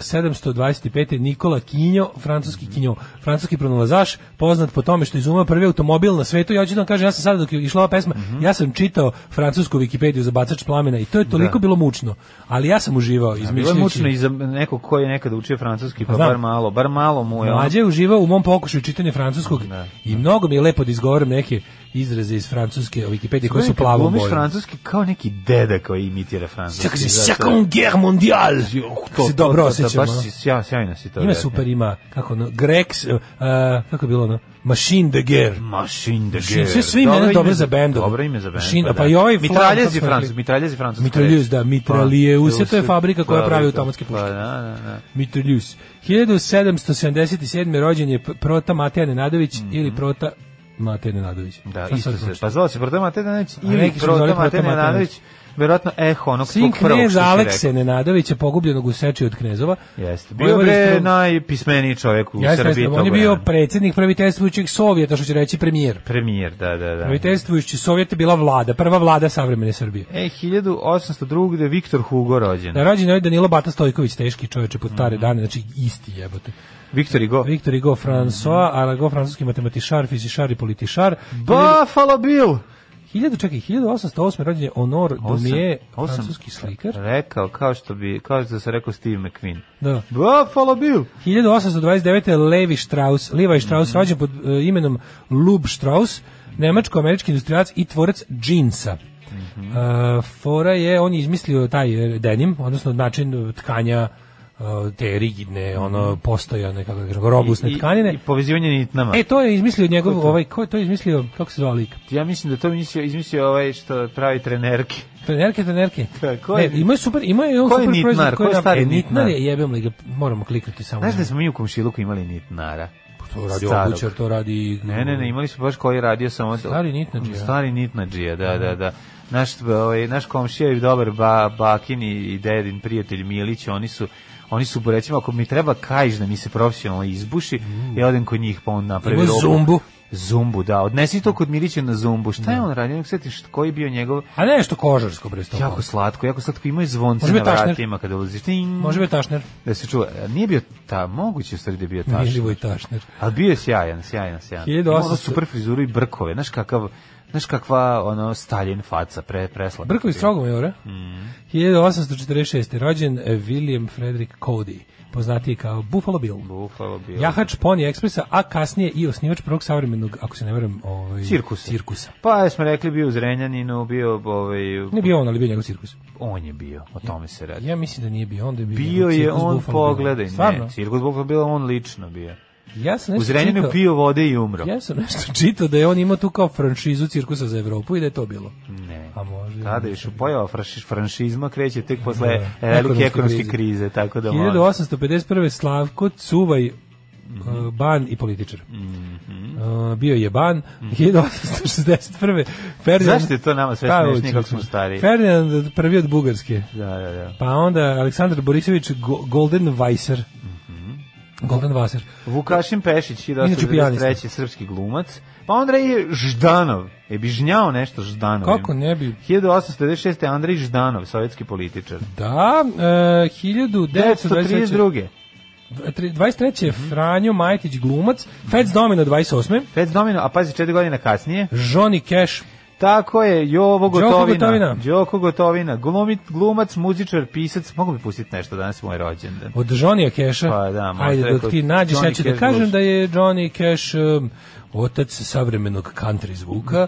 G: 1725. Nikola Kinjo, francuski
F: Mhm.
G: Kinjo, francuski pronalazaš, poznat po tome što je izumao prvi automobil na svetu. Ja hoću da vam kažem, ja sam sada dok je išla ova pesma,
F: Mhm.
G: ja sam čitao francusku Wikipediju za bacač plamena i to je toliko bilo mučno, ali ja sam uživao
F: Da. Bilo je
G: izmišljajući.
F: mučno i za nekog koji je nekada učio francuski, pa
G: Znam.
F: bar malo, bar malo mu je. ono-
G: Mlađe je uživao u mom pokušaju čitanja francuskog i mnogo mi je lepo da izgovorim neke izraze iz francuske Wikipedije koji su
F: Kad
G: plavom
F: glumiš
G: bojom.
F: francuski kao neki deda koji imitira francuski.
G: Čak se
F: zato-
G: second guerre mondiale.
F: To- to-
G: se dobro
F: to- to-
G: osjećam.
F: Baš
G: ono.
F: si sja- sjajno si to.
G: Ima
F: rekao.
G: super, ima, kako ono, Grex, uh, kako je bilo ono, Machine de guerre.
F: Machine de
G: Machine,
F: Guerre.
G: sve- sve ime
F: Dobro
G: je dobro
F: ime
G: za bendove.
F: Dobro ime za bendove.
G: Machine,
F: da.
G: pa i ovaj flan, kako
F: Mitraljez je
G: smo
F: francus,
G: rekli?
F: mitraljez je francus.
G: Mitraljez, da, mitraljeuse, to je fabrika koja pravi automatske puške.
F: Pa da, da, da.
G: Mitraljus. 1777. rođen je P- Prota Mateja Nenadović ili Prota Mateja Nenadović.
F: Mhm. Da,
G: Šta
F: isto
G: sad
F: se.
G: znači?
F: Pa zvao se Proto Matej Nenadić ili
G: neki su zvali
F: Proto
G: Proto
F: Matej
G: Matej
F: Nenadić. Verovatno eho onog svog
G: Sin
F: prvog što
G: knjez
F: si
G: Alekse
F: rekao.
G: Nenadovića, pogubljenog u seči od knezova.
F: Jeste.
G: Vojvodinskog-
F: Bio bre najpismeniji čovjek u
G: Jeste,
F: Srbiji.
G: jeste, on je
F: toga
G: bio
F: vremena.
G: predsjednik praviteljstvujućeg Sovjeta, što će reći premijer.
F: premijer, da, da, da.
G: Praviteljstvujući Sovjet je bila vlada, prva vlada savremene Srbije.
F: E, 1802. gde je Viktor Hugo rođen.
G: Na rođenju je Danilo Bata Stojković, teški čoveče pod stare
F: Mhm.
G: dane, znači isti jebote.
F: Viktor Hugo.
G: Viktor Hugo
F: Mhm.
G: François, Arago, francuski matematičar, fizičar i političar.
F: Buffalo Bill.
G: 1000, čekaj, 1808. rođen je Honor
F: Osam-
G: Domije,
F: osam- da.
G: francuski slikar.
F: Rekao, kao što bi, kao što se rekao Steve McQueen.
G: Da.
F: Buffalo Bill.
G: 1829. Levi Strauss,
F: Mhm.
G: Levi Strauss, rođen pod e, imenom Lub Strauss, nemačko-američki industrijac i tvorac džinsa.
F: Mhm.
G: E, fora je, on je izmislio taj e, denim, odnosno način e, tkanja e, te rigidne, ono, postojane, kako da kažem, robustne
F: Mhm. I-
G: tkanine.
F: I, i povezivanje nitnama.
G: E, to je izmislio njegov, ovaj, ko je to izmislio, kako se zvao lik?
F: Ja mislim da to mislio, izmislio ovaj što pravi trenerke.
G: Trenerke, trenerke.
F: Ka- ko
G: Ne,
F: je-
G: ima je super, ima je on
F: ko je
G: super
F: nitnar?
G: proizvod
F: Ko je
G: nam-
F: stari
G: e, nitnar je,
F: nitnar?
G: jebem li ga, moramo kliknuti samo.
F: Znaš
G: na-
F: da smo mi u komšiluku imali nitnara?
G: to radi
F: starog.
G: obućar, to radi...
F: Ne, ne, ne, imali su baš koji je radio samo...
G: Stari nitnadžija.
F: Stari nitnadžija, da, da, da. Naš, ovaj, naš komšija i dobar ba, bakin i, i dedin prijatelj Milić, oni su oni su recimo ako mi treba kajš da mi se profesionalno izbuši, ja odem kod njih pa on napravi
G: Ima
F: robu.
G: zumbu.
F: Zumbu, da. Odnesi to kod Milića na zumbu. Šta je on radio? Ne sjetiš koji je bio njegov
G: A nešto kožarsko bre sto.
F: jako slatko, jako slatko. Imao je zvonce
G: Može
F: na
G: biti tašner.
F: vratima kada ulaziš. Ting,
G: Može biti tašner.
F: Da se čuva. Nije bio ta, moguće u stvari da je bio tašner.
G: Milivoj tašner.
F: Ali bio je sjajan, sjajan, sjajan.
G: 1800
F: Imao ono super frizuru i brkove, znaš kakav, znaš kakva ono staljen faca, pre, presla.
G: Brkovi strogo majore.
F: Mm.
G: 1846. rođen eh, William Frederick Cody, poznatiji kao Buffalo Bill.
F: Bufalo bio.
G: Jahač Pony Ekspresa, a kasnije i osnivač prvog savremenog, ako se ne verujem, ovaj,
F: Cirkusa.
G: cirkusa.
F: Pa ja smo rekli bio u Zrenjaninu, bio ovaj,
G: Ne bio on, ali bio njegov cirkus.
F: on je bio, o tome se radi.
G: Ja mislim da nije bio, onda je bio,
F: Bio
G: cirkus
F: je on,
G: Buffalo Bill.
F: pogledaj,
G: Stvarno?
F: ne, cirkus Bufalo bio, on lično bio.
G: Ja sam
F: U
G: nešto
F: Zrenjaninu
G: čitao-
F: pio vode i umro.
G: Ja sam nešto čitao da je on imao tu kao franšizu cirkusa za Evropu i da je to bilo.
F: Ne.
G: A može.
F: Tada je što pojava franši- franšizma kreće tek posle
G: Da.
F: e, velike
G: Ekonomske
F: ekonomske
G: krize.
F: krize, tako da molim.
G: 1851. Slavko Cuvaj e, ban i političar.
F: Mhm.
G: E, bio je ban. 1861. Ferdinand...
F: Zašto je to nama sve
G: Pa,
F: smešnije kako
G: učin-
F: smo stariji?
G: Ferdinand prvi od Bugarske.
F: Da, da, da. Mhm.
G: Pa onda Aleksandar Borisović Go- Golden Weiser. Goran Vaser.
F: Vukašin Pešić,
G: Inače pijanista.
F: 1993. srpski glumac. Pa Andrej Ždanov, je bi žnjao nešto Ždanov.
G: Kako ne bi?
F: 1896. Andrej Ždanov, sovjetski političar.
G: Da, e, 1932.
F: 1932.
G: 23. je Franjo Majtić glumac, Fats Domino 28.
F: Fec Domino, a pazi, četiri godine kasnije.
G: Johnny Cash,
F: Tako je, Jovo Gotovina.
G: Gotovina.
F: Đoko Gotovina. Glumit, glumac, muzičar, pisac. Mogu bi pustiti nešto danas je moj rođendan.
G: od Johnnyja Casha.
F: Pa da, možda
G: Ajde,
F: je
G: dok
F: kod
G: ti nađeš, ja ću
F: Johnny
G: da
F: Cash
G: kažem
F: blues.
G: da je Johnny Cash um, otac savremenog country zvuka.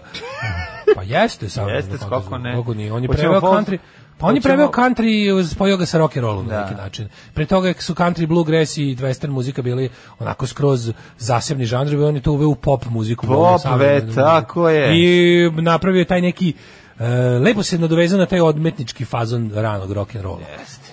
G: pa jeste savremenog
F: Jeste,
G: country
F: kako
G: zvuka,
F: ne.
G: kako nije. On je
F: Hoćemo
G: preveo
F: folk-
G: country... Pa on je
F: hoćemo- Da.
G: preveo country i uz- spojio ga sa rock and rollom na neki način. Pre toga su country bluegrass i western muzika bili onako skroz zasebni žanrovi, on je to uveo u pop muziku.
F: Pop,
G: uveo savremenu
F: ve,
G: muziku.
F: tako je.
G: da, I napravio je taj neki e, lepo se nadovezao na taj odmetnički fazon ranog rock and rolla.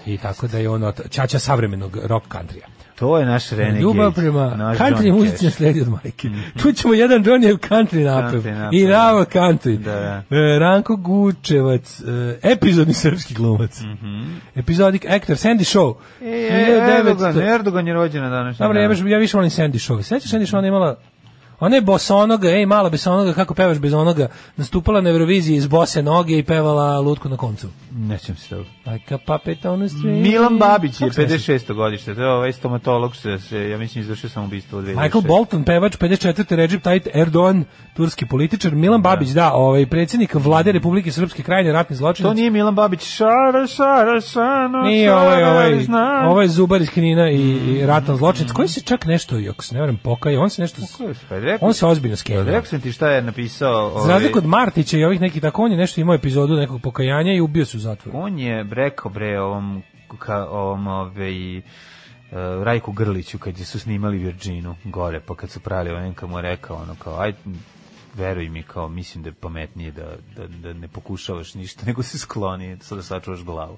G: I tako da je on ota- ćaća savremenog rock countrya.
F: To je naš Renegade.
G: Ljubav prema
F: naš
G: country
F: Johnny
G: muzici
F: Cash. Mhm.
G: sledi od majke. Tu ćemo jedan Johnny country napev.
F: Country napev,
G: I
F: da.
G: Rava country.
F: Da, da.
G: E, Ranko Gučevac, e, epizodni srpski glumac. Epizodik aktor Sandy Show.
F: Mhm. E, Erdogan, Erdogan je rođen na današnji
G: Dobro, ja,
F: dan.
G: baš- ja više volim Sandy Show. Sećaš Sandy Show, ona je imala Ona je bosonoga, ej, mala bez onoga, kako pevaš bez onoga, nastupala na Euroviziji iz bose noge i pevala lutku na koncu.
F: Nećem se toga.
G: Like a puppet on a string.
F: Milan Babić je
G: Kako se ne
F: 56. godište, to je ovaj stomatolog se, se ja mislim izvršio samoubistvo u 2006.
G: Michael Bolton, pevač, 54. Recep Tayyip Erdogan, turski političar, Milan Babić, da, ovaj, predsjednik vlade Republike Srpske krajine, ratni zločinac.
F: To nije Milan Babić. Šara, šara, šano,
G: Nije
F: šara,
G: ovaj, ovaj,
F: zna.
G: ovaj zubar iz Knina i,
F: Mm.
G: i ratan zločinac, koji se čak nešto, ako se ne varam, pokaje, on se nešto,
F: Koji su, pa rekao-
G: on se ozbiljno skenio.
F: Rekao sam ti šta je napisao. Ovaj,
G: Za razliku od Martića i ovih nekih tako, on je nešto imao epizodu nekog pokajanja i ubio se u zatvoru.
F: On je rekao bre ovom, ka, ovom ovaj, eh, Rajku Grliću kad je su snimali Virginu gore, pa kad su pravili on kad mu je rekao ono kao, aj veruj mi kao mislim da je pametnije da, da, da ne pokušavaš ništa nego se skloni sad da sačuvaš glavu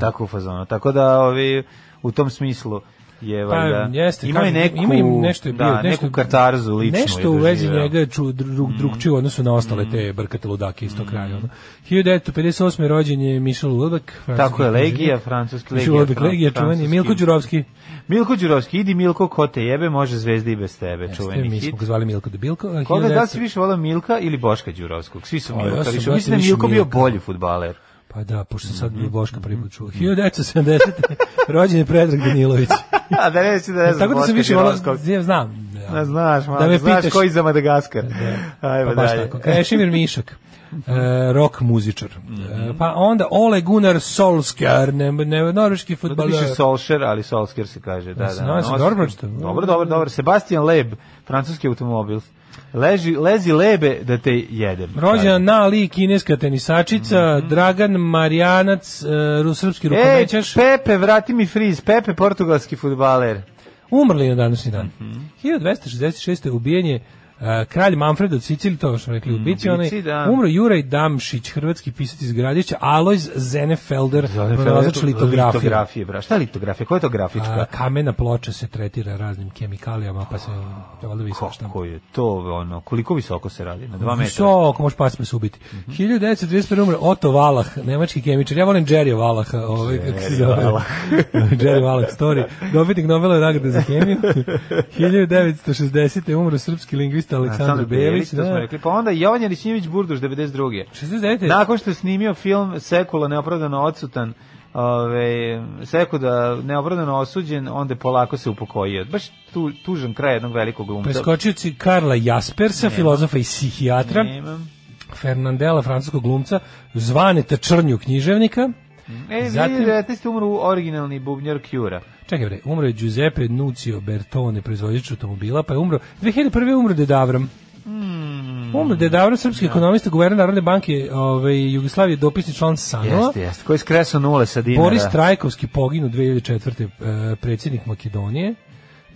F: tako u fazonu tako da ovi, u tom smislu je
G: Pa,
F: valjda
G: jeste,
F: ima i
G: kažem,
F: neku
G: ima im nešto je bio,
F: da,
G: nešto-
F: neku katarzu ličnu je
G: Nešto u vezi
F: doživeo. Mhm.
G: njega je ču, drug, drugčije u odnosu na ostale te brkate ludake iz tog kraja. Ono. 1958. rođen je Michel Ulbeck.
F: tako je
G: francuski
F: Legija
G: književnik.
F: francuski
G: Michel
F: Legija,
G: Ulbeck, Legija čuveni,
F: francuski-
G: Milko Đurovski.
F: Milko Đurovski, idi Milko, ko te jebe, može zvezda i bez tebe,
G: Ste,
F: čuveni
G: mi smo
F: hit.
G: ga zvali Milko Debilko.
F: Koga da li si više volao Milka ili Boška Đurovskog? Svi su
G: A, ja
F: Milka,
G: sam,
F: više.
G: brate,
F: Mislim da je
G: više
F: Milko bio
G: Milka.
F: bolji futbaler.
G: Pa da, pošto sam sad
F: Mhm.
G: bio Boška prvi put čuo. 1970. rođen je Predrag Danilović.
F: A da reći da ne znam
G: Tako da
F: Boška
G: sam više volao,
F: Đurovskog.
G: ja znam.
F: Da, znaš, malo,
G: da me
F: znaš
G: pitaš.
F: koji za Madagaskar. Ajmo
G: pa baš
F: dalje.
G: tako. Krešimir Mišak. E, rock muzičar. E, pa onda Ole Gunnar Solskjaer, ne, ne, norveški
F: Da
G: futbaler.
F: piše Solskjaer, ali Solskjaer se kaže. Da,
G: Ja se
F: da.
G: nadam se
F: Nos-
G: dobro pročitao.
F: Dobro, dobro, dobro. Sebastian Leb, francuski automobil. Leži, lezi lebe da te jedem.
G: Rođena Na Li, kineska tenisačica,
F: Mhm.
G: Dragan Marjanac, e, ru- srpski
F: Ej,
G: rukomećaš,
F: Pepe, vrati mi friz. Pepe, portugalski futbaler.
G: umrli na današnji dan.
F: Mhm.
G: 1266. ubijen je e, kralj Manfred od Sicilije, to što smo rekli, ubici, onaj,
F: ubici, da.
G: umro Juraj Damšić, hrvatski pisac iz Gradića, Alojz Zenefelder, pronalazač litografije.
F: Litografije, bra. Šta je litografija? Koja je to grafička?
G: A, kamena ploča se tretira raznim kemikalijama, pa se valjda visoko šta.
F: Kako je to, ono, koliko visoko se radi? Na dva metra? Mhm.
G: Visoko, može pasme se ubiti. 1931. umre Otto Valah, nemački kemičar. Ja volim Jerry Valaha, ovaj, kako se zove.
F: Valah.
G: Jerry Valah story. Dobitnik Nobelove nagrade za kemiju. 1960. umro srpski lingvist Aleksandar Belić.
F: to smo
G: Da.
F: rekli. Da. Pa onda Jovan Jelićinjević Burduš, 92.
G: 69.
F: Nakon što je snimio film Sekula neopravdano odsutan, ove, Sekuda neopravdano osuđen, onda je polako se upokojio. Baš tu, tužan kraj jednog velikog glumca.
G: Preskočio si Karla Jaspersa, filozofa i psihijatra.
F: Nemam.
G: Fernandela, francuskog glumca, Zvaneta Črnju, književnika.
F: E,
G: Zatim-
F: Zatim... 19. umru originalni bubnjar Kjura.
G: Čekaj bre, umro je Giuseppe Nucio Bertone, proizvođač automobila, pa je umro 2001. je umro Ded Avram. Umro Ded Avram, srpski ekonomista, guverner Narodne banke ovaj, Jugoslavije, dopisni član Sanova.
F: Jeste, da. jeste. Koji je skresao nule sa dinara.
G: Boris Trajkovski poginu 2004. e, predsjednik Makedonije.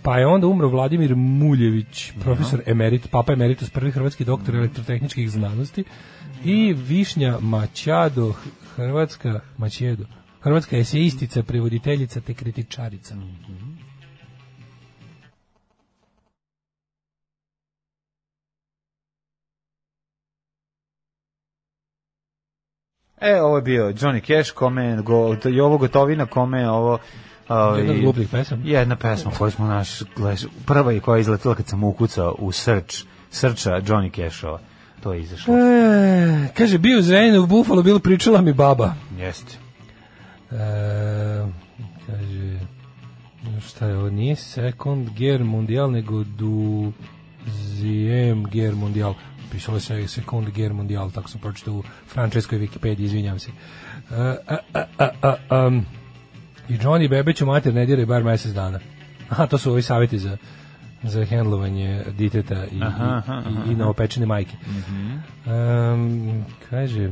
G: Pa je onda umro Vladimir Muljević, profesor emerit, papa emeritus, prvi hrvatski doktor elektrotehničkih znanosti i Višnja Maćado, hrvatska Maćedo, hrvatska eseistica, prevoditeljica te kritičarica.
F: E, ovo je bio Johnny Cash, kome je go, Jovo Gotovina, kome je ovo Ovaj,
G: Jedna od glupljih pesama.
F: Jedna pesma koju smo naš, gledaš, prva je koja je izletila kad sam ukucao u srč, srča Johnny Cashova. To je izašlo.
G: E, kaže, bio u Zrenjaninu u Buffalo, bilo pričala mi baba.
F: Jeste.
G: E, kaže, šta je ovo, nije Second Gear Mundial, nego du Ziem Gear Mundial. Pisalo se Second Gear Mundial, tako sam pročitao u frančeskoj Wikipediji, izvinjam se. E, a, a, a, a, am. I Johnny Bebeću mater ne diraj bar mesec dana. Aha, to su ovi savjeti za za hendlovanje diteta i, i, i, i novopečene majke. Em, kaže,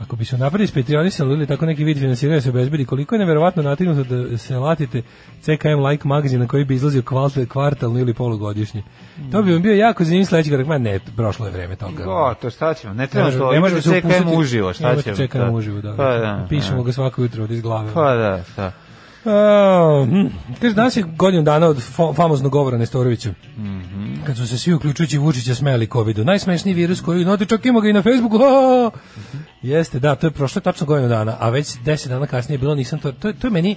G: ako bi se napravili ispetrionisali ili tako neki vid finansiranja se obezbedi, koliko je neverovatno natignuto da se latite CKM Like magazin na koji bi izlazio kvalte- kvartalno ili polugodišnje. To bi vam bio jako zanimljiv sledeći korak. Ma ne, prošlo je vreme toga.
F: Goto, šta ćemo? Ne treba
G: Ne
F: što,
G: ne
F: imaš
G: može
F: da
G: se
F: CKM
G: upustiti-
F: uživo,
G: ne
F: šta
G: može
F: ćemo?
G: CKM uživo, da.
F: Pa da.
G: Pišemo
F: da.
G: ga svako jutro od iz glave.
F: Pa da, da.
G: A, hm, Kaže, danas je godinu dana od fa- famoznog govora Nestorovića.
F: Mhm.
G: Kad su se svi, uključujući Vučića, smeli COVID-u. Najsmešniji virus koji, znate, čak ima ga i na Facebooku. a!
F: Mhm.
G: Jeste, da, to je prošlo tačno godinu dana, a već deset dana kasnije je bilo, nisam to, to, je- to je meni,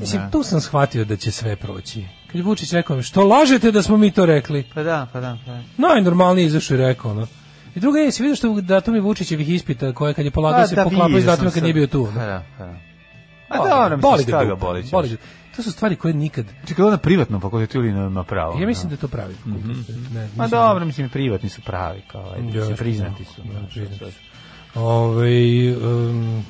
G: mislim, tu sam shvatio da će sve proći. Kad je Vučić rekao, što lažete da smo mi to rekli?
F: Pa da, pa da, pa da.
G: Najnormalnije izašao i rekao, ono. I druga je, si vidio što datumi Vučićevih ispita koje kad je polagao
F: Pa
G: se
F: da,
G: poklapao
F: vidio
G: s datumima
F: sam
G: kad nije
F: sad.
G: bio tu. ono.
F: Pa da, pa da. A da, ono
G: Boli
F: mislim,
G: ga
F: šta ga
G: dupe,
F: boli ćeš.
G: boli ga. To su stvari koje nikad...
F: Čekaj, ovo na privatnom fakultetu ili na, na pravom?
G: Ja mislim da je to pravi. Ne,
F: Mhm, Ma
G: mislim
F: dobro, mislim, privatni su pravi, kao, ajde, mislim,
G: Jasno,
F: priznati su. znači,
G: da,
F: znaš,
G: priznati
F: sad.
G: su. Ovaj em,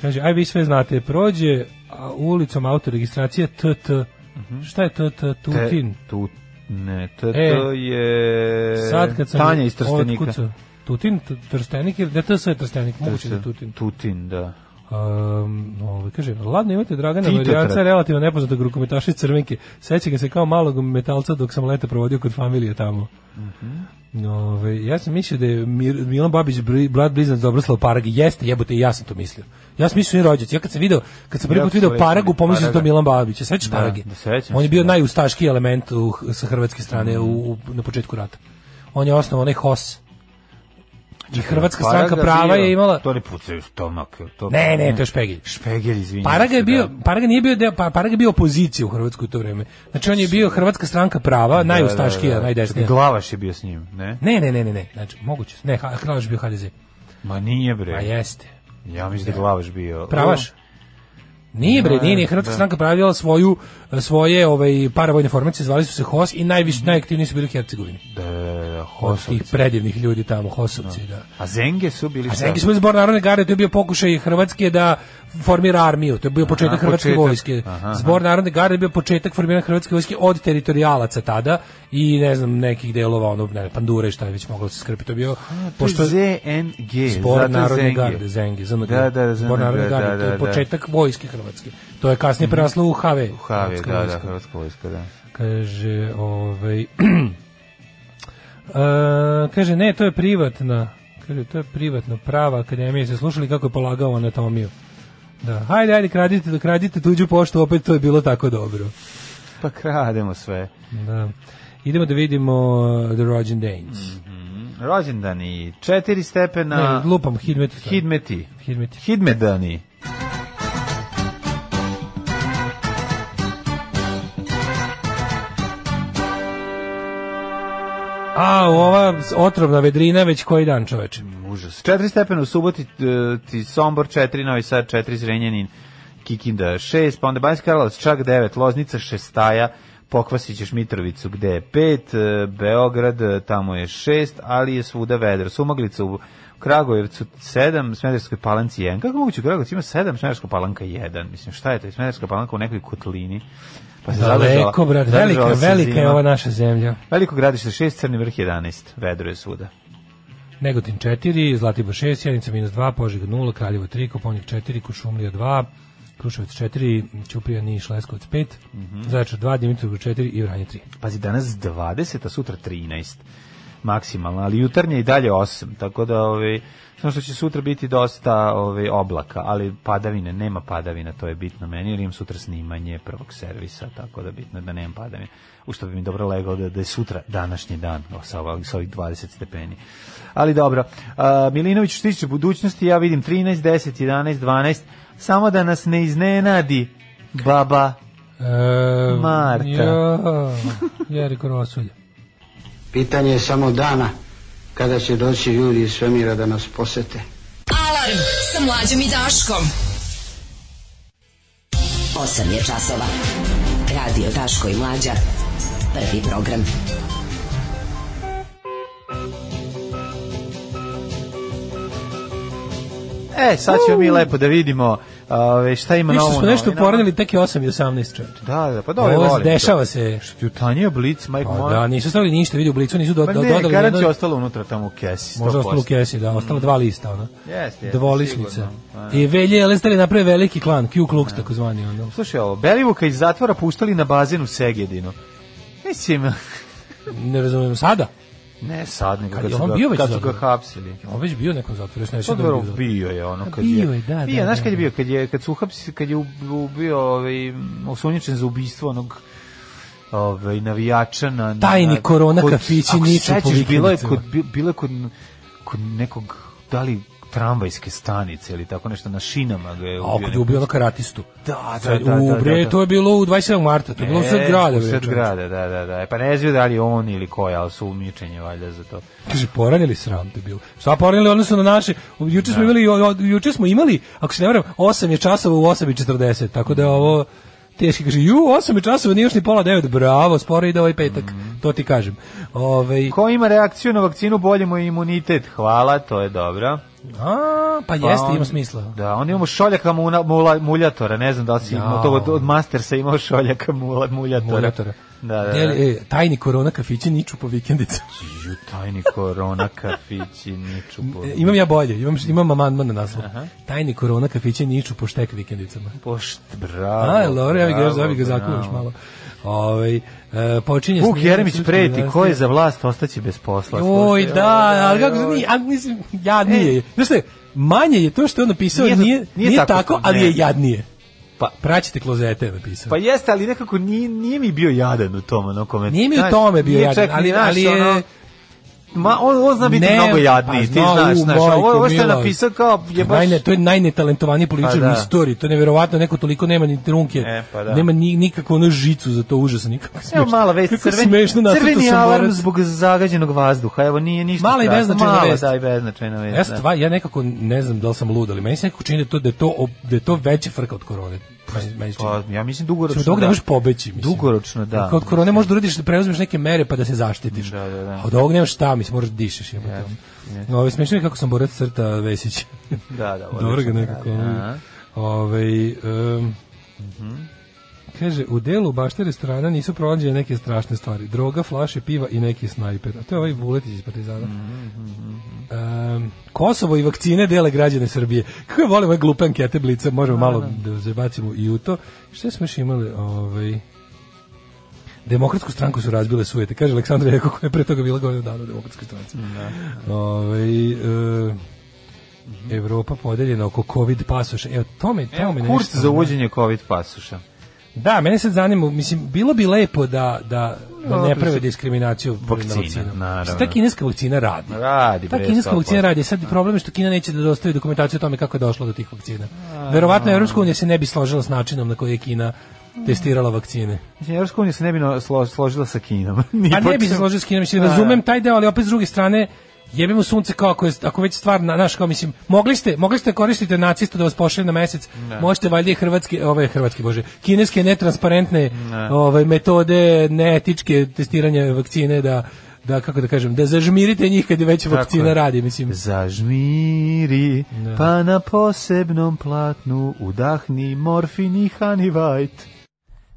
G: kaže, aj vi sve znate, prođe a, ulicom autoregistracija TT.
F: Mhm.
G: Šta je TT?
F: Te-
G: Tutin?
F: E, Tu, ne, to,
G: E,
F: to je
G: Sad kad sam
F: Tanja iz Trstenika.
G: otkucao- Tutin, T- Trstenik, ili da TS je Trstenik, moguće da je
F: Trste-
G: Tutin.
F: Tutin, da.
G: Um, ovaj, kaže, ladno imate Dragana
F: Tito
G: Varijanca,
F: Trak.
G: relativno nepoznatog rukometaša iz Crvenke. Seća ga se kao malog metalca dok sam leta provodio kod familije tamo.
F: Mhm.
G: Ove, ja sam mislio da je Mir- Milan Babić bri, brat blizanac Dobroslav Parag. Jeste, jebote, i ja sam to mislio. Ja sam mislio da je rođac. Ja kad sam video, kad sam prvi
F: Ja
G: put
F: sam
G: video
F: rekao da
G: Paragu,
F: je
G: pomislio sam da je to
F: Paraga.
G: Milan Babić. Ja sećaš
F: Da,
G: Parage?
F: da, sećam
G: On je
F: se,
G: bio
F: da. Mhm.
G: najustaški element u, sa hrvatske strane u, u- na početku rata. On je osnovao onaj HOS. I Hrvatska stranka
F: Paraga
G: prava
F: bio-
G: je imala...
F: To Mhm. ne pucaju stomak. To,
G: Ne, ne, to je špegelj.
F: Špegelj, izvinjam
G: Paraga je
F: se,
G: bio,
F: da.
G: Paraga nije bio deo, Pa- Paraga je bio opozicija u Hrvatskoj u to vrijeme. Znači on je bio Hrvatska stranka
F: Da,
G: prava, najustaškija, najdesnija.
F: Glavaš je bio s njim, ne?
G: Ne, ne, ne, ne, ne. Znači moguće. Ne, Ha- Hrvaš je bio HDZ.
F: Ma nije bre.
G: A jeste.
F: Ja mislim da je Glavaš bio.
G: Pravaš? Nije bre, nije, nije
F: Da,
G: Hrvatska stranka pravila svoju svoje ovaj paravojne formacije, zvali su se HOS i najviše najaktivniji su bili u Hercegovini.
F: Da, da, da,
G: Od tih
F: Mhm. Hosovci.
G: predivnih ljudi tamo, HOSovci, da.
F: A Zenge su bili
G: A Zengi smo izbor narodne garde, to je bio pokušaj Hrvatske da formira armiju, to je bio početak Hrvatske
F: početak.
G: vojske.
F: Aha, aha.
G: Zbor narodne garde je bio početak formiranja Hrvatske vojske od teritorijalaca tada i ne znam nekih delova, ono, ne, pandure i šta je već moglo da se skrpiti, to je bio...
F: Pošto ZNG,
G: Zbor
F: zato
G: Narodne
F: Zenge.
G: garde, Zengi, ZNG.
F: Da, da,
G: Zbor
F: ZNG,
G: Narodne garde,
F: da,
G: to je
F: da, da.
G: početak vojske Hrvatske. To je kasnije preraslo u HV.
F: U Havi, da,
G: Hrvatska
F: da,
G: vojska.
F: Hrvatska vojska, da.
G: Kaže, ovaj... E, kaže, ne, to je privatna. Kaže, to je privatno prava akademija. Se slušali kako je polagao anatomiju. Da, hajde, hajde, kradite, kradite tuđu poštu, opet to je bilo tako dobro.
F: Pa krademo sve.
G: Da. Idemo da vidimo uh, The Rođen Danes.
F: Rođendani, četiri stepena...
G: Ne, lupam, Hidmet.
F: Hidmeti.
G: Hidmet.
F: Hidmedani.
G: A, ova otrovna vedrina već koji dan, čoveče.
F: Užas. Četiri stepena u Suboti, e, ti Sombor četiri, Novi Sad četiri, Zrenjanin, Kikinda šest, pa onda Banjska Karlovac čak devet, Loznica šestaja, Pokvasit ćeš Mitrovicu gde je pet, e, Beograd e, tamo je šest, ali je svuda vedro. Sumaglica u Kragujevcu sedam, Smederskoj palanci jedan. Kako je moguće u Kragujevcu ima sedam, Smederska palanka jedan? Mislim, šta je to? Smederska palanka u nekoj kotlini. Pa se
G: Daleko,
F: zadržala-
G: brate,
F: zadržala
G: velika,
F: se
G: velika je
F: zima.
G: ova naša zemlja.
F: Veliko gradište 6, Crni vrh 11, vedro je svuda.
G: Negotin 4, Zlatibor 6, Sjenica minus 2, Požega 0, Kraljevo 3, Koponik 4, Kušumlija 2, Kruševac 4, Ćuprija Niš, Leskovac 5,
F: Mhm.
G: Zaječar 2, Dimitrovgrad 4 i Vranje 3.
F: Pazi, danas 20, a sutra 13 maksimalno, ali jutarnje i dalje 8, tako da ovaj, samo što će sutra biti dosta ovaj, oblaka, ali padavine, nema padavina, to je bitno meni, jer imam sutra snimanje prvog servisa, tako da bitno je da nemam padavine. U što bi mi dobro legao da, da je sutra današnji dan o, sa, ovog- sa ovih 20 stepeni. Ali dobro, a, Milinović što se tiče budućnosti, ja vidim 13, 10, 11, 12, samo da nas ne iznenadi Baba.
G: E,
F: Marta.
G: Ja, Jeriko Rosulje.
I: Pitanje je samo dana kada će doći ljudi iz svemira da nas posete.
E: Alarm sa mlađom i Daškom.
J: 8 je časova. Radio Daško i Mlađa. Prvi program.
F: E, sad ćemo mi lepo da vidimo ove, šta ima
G: Mi
F: novo.
G: što smo
F: u
G: nešto
F: novinama.
G: poradili, tek je 8 i 18 čovječe.
F: Da, da, pa dobro,
G: Ovo
F: volim to.
G: dešava se.
F: Jutanje Blitz, Mike
G: Pa
F: Moore.
G: da, nisu stavili ništa, vidi u blicu, nisu do,
F: Pa
G: do,
F: ne,
G: dodali.
F: garant
G: nijedno-
F: je ostalo unutra tamo u kesi. 100%.
G: Možda ostalo u kesi, da, ostalo dva lista, ono.
F: Mhm. Jeste, jeste,
G: Dvolisnice.
F: sigurno. Da. Pa,
G: I Velje je Lestari napravio veliki klan, Q Klux takozvani, ono.
F: Slušaj ovo, Belivuka iz zatvora puštali na bazen u Segedinu. Mislim,
G: Ne razumijem sada.
F: ne sad, nego
G: Kad
F: kad,
G: je
F: su
G: on
F: ga,
G: bio već
F: kad su
G: zatvor?
F: ga hapsili.
G: On Pa već bio u nekom zatvoru, još ne
F: Sad
G: sjećam da je bio u
F: Pa dobro,
G: zatvoru.
F: bio je ono kad
G: bio
F: je.
G: je, da,
F: bio,
G: da,
F: znaš
G: da,
F: kad je
G: da.
F: bio, kad je kad su uhapsi, kad je ub- ubio ovaj osumnjičen za ubistvo onog ovaj navijača na na-
G: Tajni
F: na-
G: korona
F: kod-
G: kafići
F: ako se
G: niču po
F: sećaš, bilo je
G: vikendicama.
F: kod bi- bilo je kod kod nekog da li tramvajske stanice ili tako nešto na šinama ga je
G: A oko je
F: neko.
G: ubio ono karatistu.
F: Da, da,
G: Sad,
F: da, da,
G: u bre,
F: da, da.
G: to je bilo u 27. marta, to je bilo u sred
F: E,
G: grada.
F: u
G: bre,
F: sred
G: čoveče.
F: grada, da, da, da. E, Pa ne znaju da li je on ili ko je, ali su umničenje valjda za to.
G: Kaže poranili sram te bilo. Šta poranili odnosno na naše? Juče
F: Da.
G: smo imali o- o- juče smo imali, ako se ne varam, 8 je časova u 8:40, tako da je ovo teški kaže ju 8 je časova, nije još ni pola 9. Bravo, sporo ide ovaj petak. To ti kažem. Ovaj
F: Mhm. Ko ima reakciju na vakcinu, bolje mu je imunitet. Hvala, to je dobro.
G: a pa
F: Pa
G: jeste,
F: on-
G: ima smisla.
F: Da, onda imamo šoljaka muna, mula, muljatora, ne znam da li si imao to od, od mastersa imao šoljaka mula, muljatora.
G: Moljatora.
F: Da, da, da.
G: Deli- e, tajni korona kafići niču po vikendicu.
F: Ju, tajni korona kafići, niču po,
G: E, imam ja bolje, imam, imam amandman na naslov. Tajni korona kafići niču po štek vikendicama.
F: pošt, bravo.
G: A, Lore, ja bih ga još ja bih ga
F: bravo,
G: zakuvaš
F: bravo.
G: malo. Ovaj e, počinje
F: Vuk
G: snimanje
F: Jeremić
G: srpske
F: preti,
G: dinastije.
F: ko je za vlast ostaće bez posla.
G: Oj,
F: Slušaj,
G: da, ali kako
F: oj.
G: ni, a mislim jadnije. je. Znaš šta, je, manje je to što je on napisao,
F: Nije
G: nije,
F: za-
G: nije,
F: nije tako
G: tako,
F: što-
G: ali je
F: ne.
G: jadnije.
F: Pa-
G: Pa praćite klozete je napisao.
F: Pa jeste, ali nekako nije, nije mi bio jadan u tom ono komentu.
G: nije mi u
F: Znaš,
G: tome bio
F: nije
G: jadan,
F: čak ni
G: ali,
F: naš,
G: ali je
F: ono, Ma, on, on zna biti
G: Ne,
F: mnogo jadniji,
G: pa
F: ti
G: zna,
F: znaš,
G: u,
F: znaš, ovo, ovo što je
G: majko mila.
F: napisao kao je baš...
G: najne, to je najnetalentovaniji političar
F: Pa da.
G: u istoriji. To je neverovatno, neko toliko nema ni trunke.
F: E, pa da.
G: Nema ni nikakvu onu žicu za to užasno nikako.
F: Evo
G: smešno.
F: mala već
G: Kako
F: crveni,
G: smešno nacrtao
F: crveni
G: sam
F: alarm
G: borac.
F: zbog zagađenog vazduha. Evo nije ništa.
G: Mala i
F: strašno.
G: beznačajna
F: Mala,
G: vest.
F: da i beznačajna vest.
G: Ja
F: da.
G: stvar, ja nekako ne znam da li sam lud, ali meni se nekako čini da je to da je to ob- da je to veća frka od korone. Meni- meni se čini.
F: Pa, ja mislim
G: Sve
F: dugoročno.
G: dok da možeš pobeći, mislim.
F: Dugoročno, da.
G: Kod korone možeš da uradiš, da preuzmeš neke mere pa da se zaštitiš.
F: Da, da, da.
G: A od ovog nemaš šta, mislim, moraš da dišeš. Yes, yes. Ove, smiješno mi je kako sam borac crta Vesić.
F: Da, da. odlično.
G: Dobro ga nekako.
F: Aha.
G: Ove, um, Kaže, u delu bašte restorana nisu pronađene neke strašne stvari. Droga, flaše, piva i neki snajper. A to je ovaj Vuletić iz Partizana. mhm, Um, Kosovo i vakcine dele građane Srbije. Kako je volim ove glupe ankete blica, možemo malo da zabacimo i u to. Šta smo još imali? Ovaj... Demokratsku stranku su razbile sujete, kaže Aleksandar Jeko koja je pre toga bila godinu dana u demokratskoj stranci.
F: Da.
G: Ovaj, e, Evropa podeljena oko COVID pasoša. Evo, tome,
F: Evo,
G: tome
F: E, kurs
G: nešto.
F: za uvođenje COVID pasuša.
G: Da, mene sad zanima, mislim, bilo bi lepo da, da, da ne
F: Odlično.
G: prave diskriminaciju
F: Vakcina,
G: na vakcinama.
F: naravno.
G: Mislim, Ta kineska vakcina radi.
F: Radi,
G: Ta
F: bre,
G: kineska
F: sto
G: vakcina
F: posto.
G: radi. Sad problem je što Kina neće da dostavi dokumentaciju o tome kako je došlo do tih vakcina. Verovatno Evropska unija se ne bi složila s načinom na koji je Kina testirala vakcine.
F: Mislim, Evropska unija se ne bi no- slo- složila sa Kinom. Ni
G: Pa
F: po
G: ne bi se
F: čemu.
G: složio s Kinom, mislim, razumem taj deo, ali opet s druge strane, jebimo sunce kao ako, je, ako već stvar, na, naš, kao mislim, mogli ste, mogli ste koristiti nacista da vas pošalje na mesec, možete valjda i hrvatske, ove hrvatske, bože, kineske netransparentne ovaj, metode, neetičke testiranja vakcine da da kako da kažem, da zažmirite njih kad je već vakcina
F: je.
G: radi, mislim.
F: Zažmiri,
G: Da.
F: pa na posebnom platnu udahni morfin i honey white.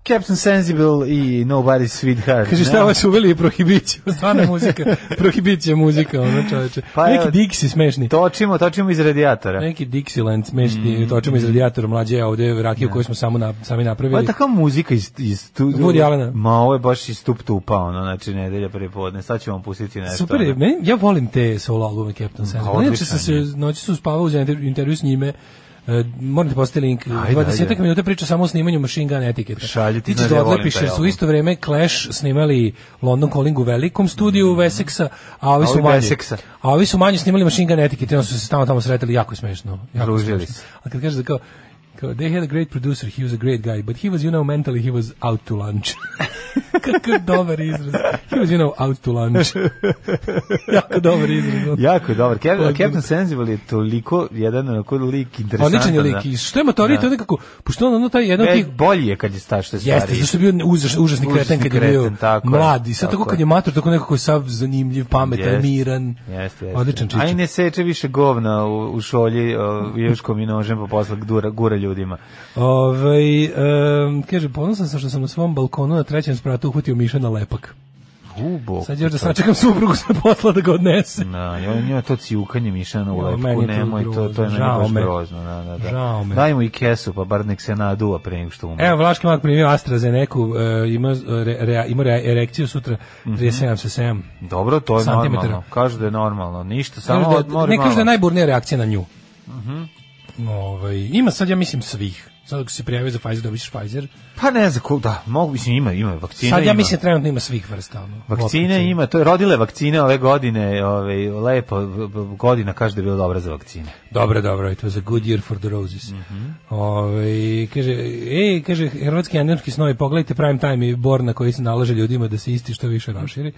F: Captain Sensible i Nobody's Sweetheart.
G: Kaže
F: ne?
G: šta vas uveli je prohibicija, stvarno muzika, prohibicija muzika, ono čoveče.
F: Pa
G: Neki
F: evo-
G: Dixi smešni.
F: Točimo, točimo iz radijatora.
G: Neki Dixieland smešni, mm. točimo iz radijatora mlađe, a ovde rakiju koju smo samo na, sami napravili.
F: Ovo je takva muzika iz, iz tu,
G: Woody Allena.
F: Ma ovo je baš iz tup tupa, ono, znači nedelja prije podne. Sad ću vam pustiti nešto.
G: Super, je,
F: ono.
G: meni, ja volim te solo albume Captain Sensible. Inače sam se
F: da. odličan
G: noći su spavao za inter- intervju s njime. E, moram ti postati link.
F: Ajde,
G: 20
F: ajde.
G: minuta priča samo o snimanju Machine Gun etiketa.
F: Šalji, ti
G: ti ćeš
F: znaš
G: da
F: da ja volim
G: odlepiš
F: taj
G: jer su u
F: album.
G: isto vreme Clash snimali London Calling u velikom studiju Veseksa, a ovi su
F: Mm. ovi
G: manje.
F: Wessexa.
G: A ovi su manje snimali Machine Gun etiketa, i onda su se tamo tamo sretali jako je smešno. Jako je
F: Družili
G: smešno.
F: se.
G: A kad kažeš da kao Kao, they had a great producer, he was a great guy, but he was, you know, mentally he was out to lunch. Kakav dobar izraz. He was, you know, out to lunch. jako dobar izraz.
F: Jako je dobar. Captain,
G: Odbor.
F: Captain Sensible je toliko jedan onako lik interesantan.
G: Odličan je lik.
F: da.
G: I što je motorija, to je nekako, pošto on ono taj jedan
F: E,
G: od tih
F: bolji je kad je star što je stariji.
G: Jeste, zašto je bio užas, užasni kreten kad je bio
F: kreten, tako je,
G: mlad i sad
F: tako
G: tako kad
F: je.
G: je mator, tako nekako je sav zanimljiv, pametan,
F: Jeste.
G: miran,
F: Jeste, jeste.
G: odličan čičak.
F: A i ne seče više govna u, u šolji o, juškom i nožem pa posle gura, gura ljudima.
G: Ovaj, em, kaže, ponosan sam što sam na svom balkonu na trećem spratu uhvatio Miša na lepak.
F: Ubo.
G: Sad još da sačekam suprugu sa posla da ga odnese.
F: Na, ja njoj to ciukanje mišana u
G: Joj,
F: lepku,
G: meni je to
F: nemoj to, to je meni
G: grozno, žao
F: baš
G: me.
F: grozno. Da, da, da.
G: Žao me.
F: Daj mu i kesu, pa bar nek se naduva pre nego što umre.
G: Evo, Vlaški mak primio AstraZeneca, e, ima, re, re, ima re, erekciju sutra,
F: Mhm.
G: 37 sa 7.
F: Dobro, to je
G: Santimetara.
F: normalno. Kažu da je normalno, ništa, samo
G: Kažu da-
F: odmori
G: ne kažu da je
F: malo. Mhm.
G: najburnija reakcija na nju. Ovaj, ima sad, ja mislim, svih. Sad ako si se prijavio za Pfizer, dobiš Pfizer.
F: Pa ne znam, ko- da, mogu, mislim, ima, ima, vakcina
G: Sad ja
F: ima.
G: mislim trenutno ima svih vrsta. ono,
F: Vakcine ima, to je rodile vakcine ove godine, ovaj lepo v- v- godina kaže da je bila dobra za vakcine.
G: Dobro, dobro, it was a good year for the roses.
F: Mhm.
G: Ovaj, kaže, e, kaže, hrvatski andromski snovi, pogledajte prime time i bor na koji se nalaže ljudima da se isti što više raširi.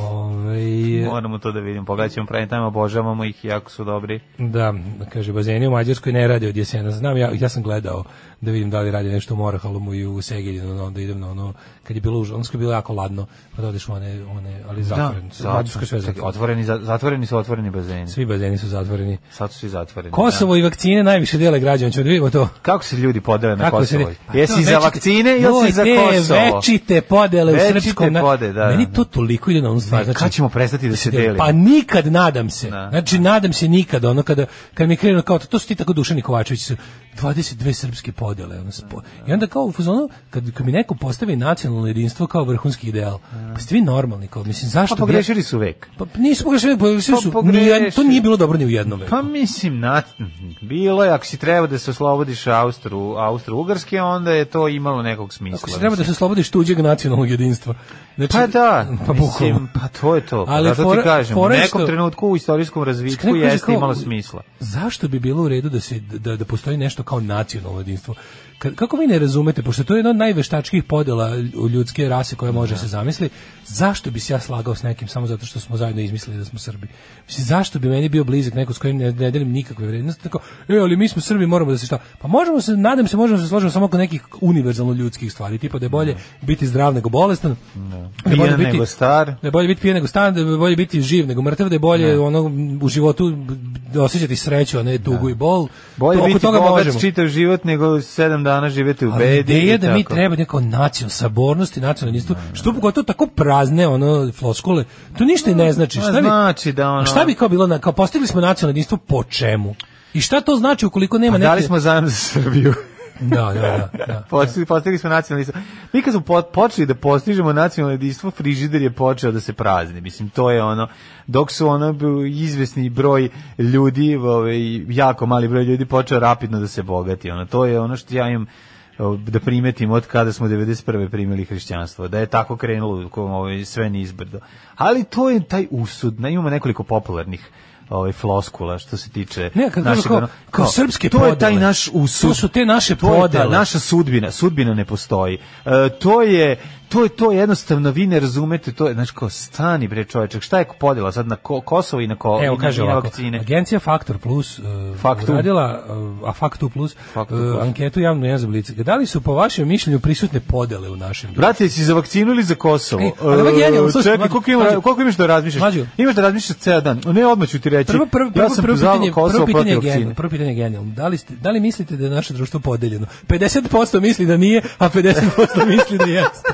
G: Ovaj,
F: Moramo to da vidimo, pogledat ćemo pravi time, obožavamo ih, jako su dobri.
G: da, kaže, bazeni u Mađarskoj ne rade od jesena. Znam, ja, ja sam gledao da vidim da li radi nešto u Morahalomu i u Segedinu, no, onda idem na ono, kad je bilo užasno, ono je bilo jako ladno, pa da odeš u one, one ali zatvoreni. su.
F: Da, zatvoreni,
G: Mađarska je Da,
F: čekaj,
G: sve zatvorena.
F: otvoreni, Da. za- zatvoreni su otvoreni bazeni.
G: Svi bazeni su zatvoreni.
F: Sad su svi zatvoreni.
G: Kosovo i vakcine najviše dele građana, ćemo da vidimo to.
F: Da. Kako se ljudi podele na
G: Kako se
F: Kosovo?
G: re- Pa to
F: Jesi za
G: večite-
F: vakcine ili
G: Joj,
F: si za
G: te
F: Kosovo?
G: Večite podele u
F: Večite
G: srpskom. na-
F: pode, da, da,
G: Meni
F: da.
G: to toliko ide na onu stvar. znači-
F: Kad ćemo prestati da se delimo?
G: Pa nikad nadam se.
F: Da.
G: Znači nadam se nikad ono kada kad mi krenu kao to, to su ti tako Dušan Kovačević su 22 srpske podele ono, spo- i onda kao u fazonu kad, kad mi neko postavi nacionalno jedinstvo kao vrhunski ideal. Pa ste vi normalni kao mislim zašto
F: Pa
G: bi ja-
F: pogrešili su vek.
G: Pa nisu pogrešili, pogrešili
F: Pa
G: su.
F: pogrešili.
G: Nijedan- to nije bilo dobro ni u jednom veku.
F: Pa mislim, na, bilo je, ako si trebao da se oslobodiš Austru, Austro-Ugrske, onda je to imalo nekog smisla.
G: Ako se treba da se slobodiš tuđeg nacionalnog jedinstva. Znači,
F: Pa da,
G: pa bukvalno.
F: mislim, pa to je to.
G: Ali
F: Ali Zato
G: fora-
F: ti kažem, u
G: fora je
F: nekom
G: što-
F: trenutku u istorijskom razvitku
G: Neko kaže
F: jeste
G: kao,
F: imalo smisla.
G: Zašto bi bilo u redu da se da, da postoji nešto kao nacionalno jedinstvo? Ka- Kako vi ne razumete, pošto to je jedna od najveštačkih podela u ljudske rase koja
F: Da.
G: može se zamisli, zašto bi se ja slagao s nekim samo zato što smo zajedno izmislili da smo Srbi? Mislim, zašto bi meni bio blizak neko s kojim ne, ne delim nikakve vrednosti? Tako, e, ali mi smo Srbi, moramo da se šta? Pa možemo se, nadam se, možemo da se složiti samo oko nekih univerzalno ljudskih stvari, tipa da je bolje biti zdrav nego bolestan, da je bolje
F: Pijan nego star.
G: da je bolje biti pijen nego stan, da je bolje biti živ nego mrtav, da je bolje ono u životu da osjećati sreću, a ne tugu i bol.
F: Da. Bolje
G: Oko
F: biti
G: toga
F: bogat
G: možemo.
F: čitav život nego sedam dana živete u
G: Ali
F: bedi.
G: ideja
F: i
G: da mi
F: tako. Da.
G: treba neko nacion, sabornost i nacionalno jedinstvo, što pogotovo tako prazne ono floskule, to ništa i ne znači.
F: Ma,
G: Šta bi,
F: znači da ono-
G: a šta bi kao bilo, na- kao postigli smo nacionalno jedinstvo po čemu? I šta to znači ukoliko nema
F: Pa
G: neke...
F: dali smo zajem za Srbiju.
G: Da, da, da. da.
F: Postigli, postigli smo nacionalno jedinstvo. Mi kad smo po- počeli da postižemo nacionalno jedinstvo, frižider je počeo da se prazni. Mislim, to je ono, dok su ono b- izvesni broj ljudi, ovaj, jako mali broj ljudi počeo rapidno da se bogati. Ono, to je ono što ja imam o, da primetim od kada smo 91. primili hrišćanstvo, da je tako krenulo ko- ovaj, sve nizbrdo. Ali to je taj usud, ne, imamo nekoliko popularnih ovaj floskula što se tiče
G: Ne, kad kažu
F: našeg,
G: kao-
F: ono,
G: kao srpske
F: to je taj
G: podele.
F: naš usud
G: To su te naše
F: To je ta
G: podele.
F: naša sudbina sudbina ne postoji E, to je to je to je jednostavno vi ne razumete to je znači kao stani bre čoveče šta je podela sad na ko, Kosovo i na ko
G: Evo
F: i na,
G: kaže
F: i na
G: ovako,
F: vakcine
G: agencija Faktor Plus uh,
F: Faktu.
G: uradila, uh, a Faktu Plus,
F: Faktu
G: uh,
F: Plus.
G: anketu javno je za Blic. Da li su po vašem mišljenju prisutne podele u našem društvu?
F: Brate, si za vakcinu ili za Kosovo?
G: Ej, ali ovo je genijalno,
F: E,
G: slušaj,
F: Čekaj,
G: mlađo,
F: koliko, ima,
G: mlađo.
F: koliko imaš da razmišljaš?
G: Mlađo.
F: Imaš da razmišljaš ceo dan. Ne, odmah ću ti reći.
G: Prvo, prvo, prvo,
F: ja sam
G: prvo
F: za
G: pitanje,
F: Kosovo
G: prvo pitanje je
F: protiv
G: genijalno,
F: vakcine.
G: prvo pitanje je genijalno. Da li, ste, da li mislite da je naše društvo podeljeno? 50% misli da nije, a 50% misli da jeste.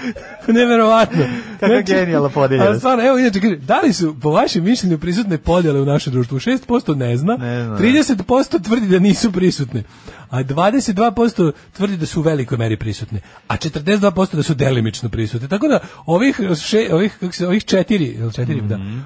G: Neverovatno. Znači,
F: Kakva genijalna podeljenost.
G: Ali stvarno, evo inače, kaže, da li su po vašem mišljenju prisutne podjele u našem društvu? 6% ne zna,
F: Ne zna, da.
G: 30% tvrdi da nisu prisutne, a 22% tvrdi da su u velikoj meri prisutne, a 42% da su delimično prisutne. Tako da ovih še, ovih kako se ovih četiri, jel četiri, da.
F: Mhm.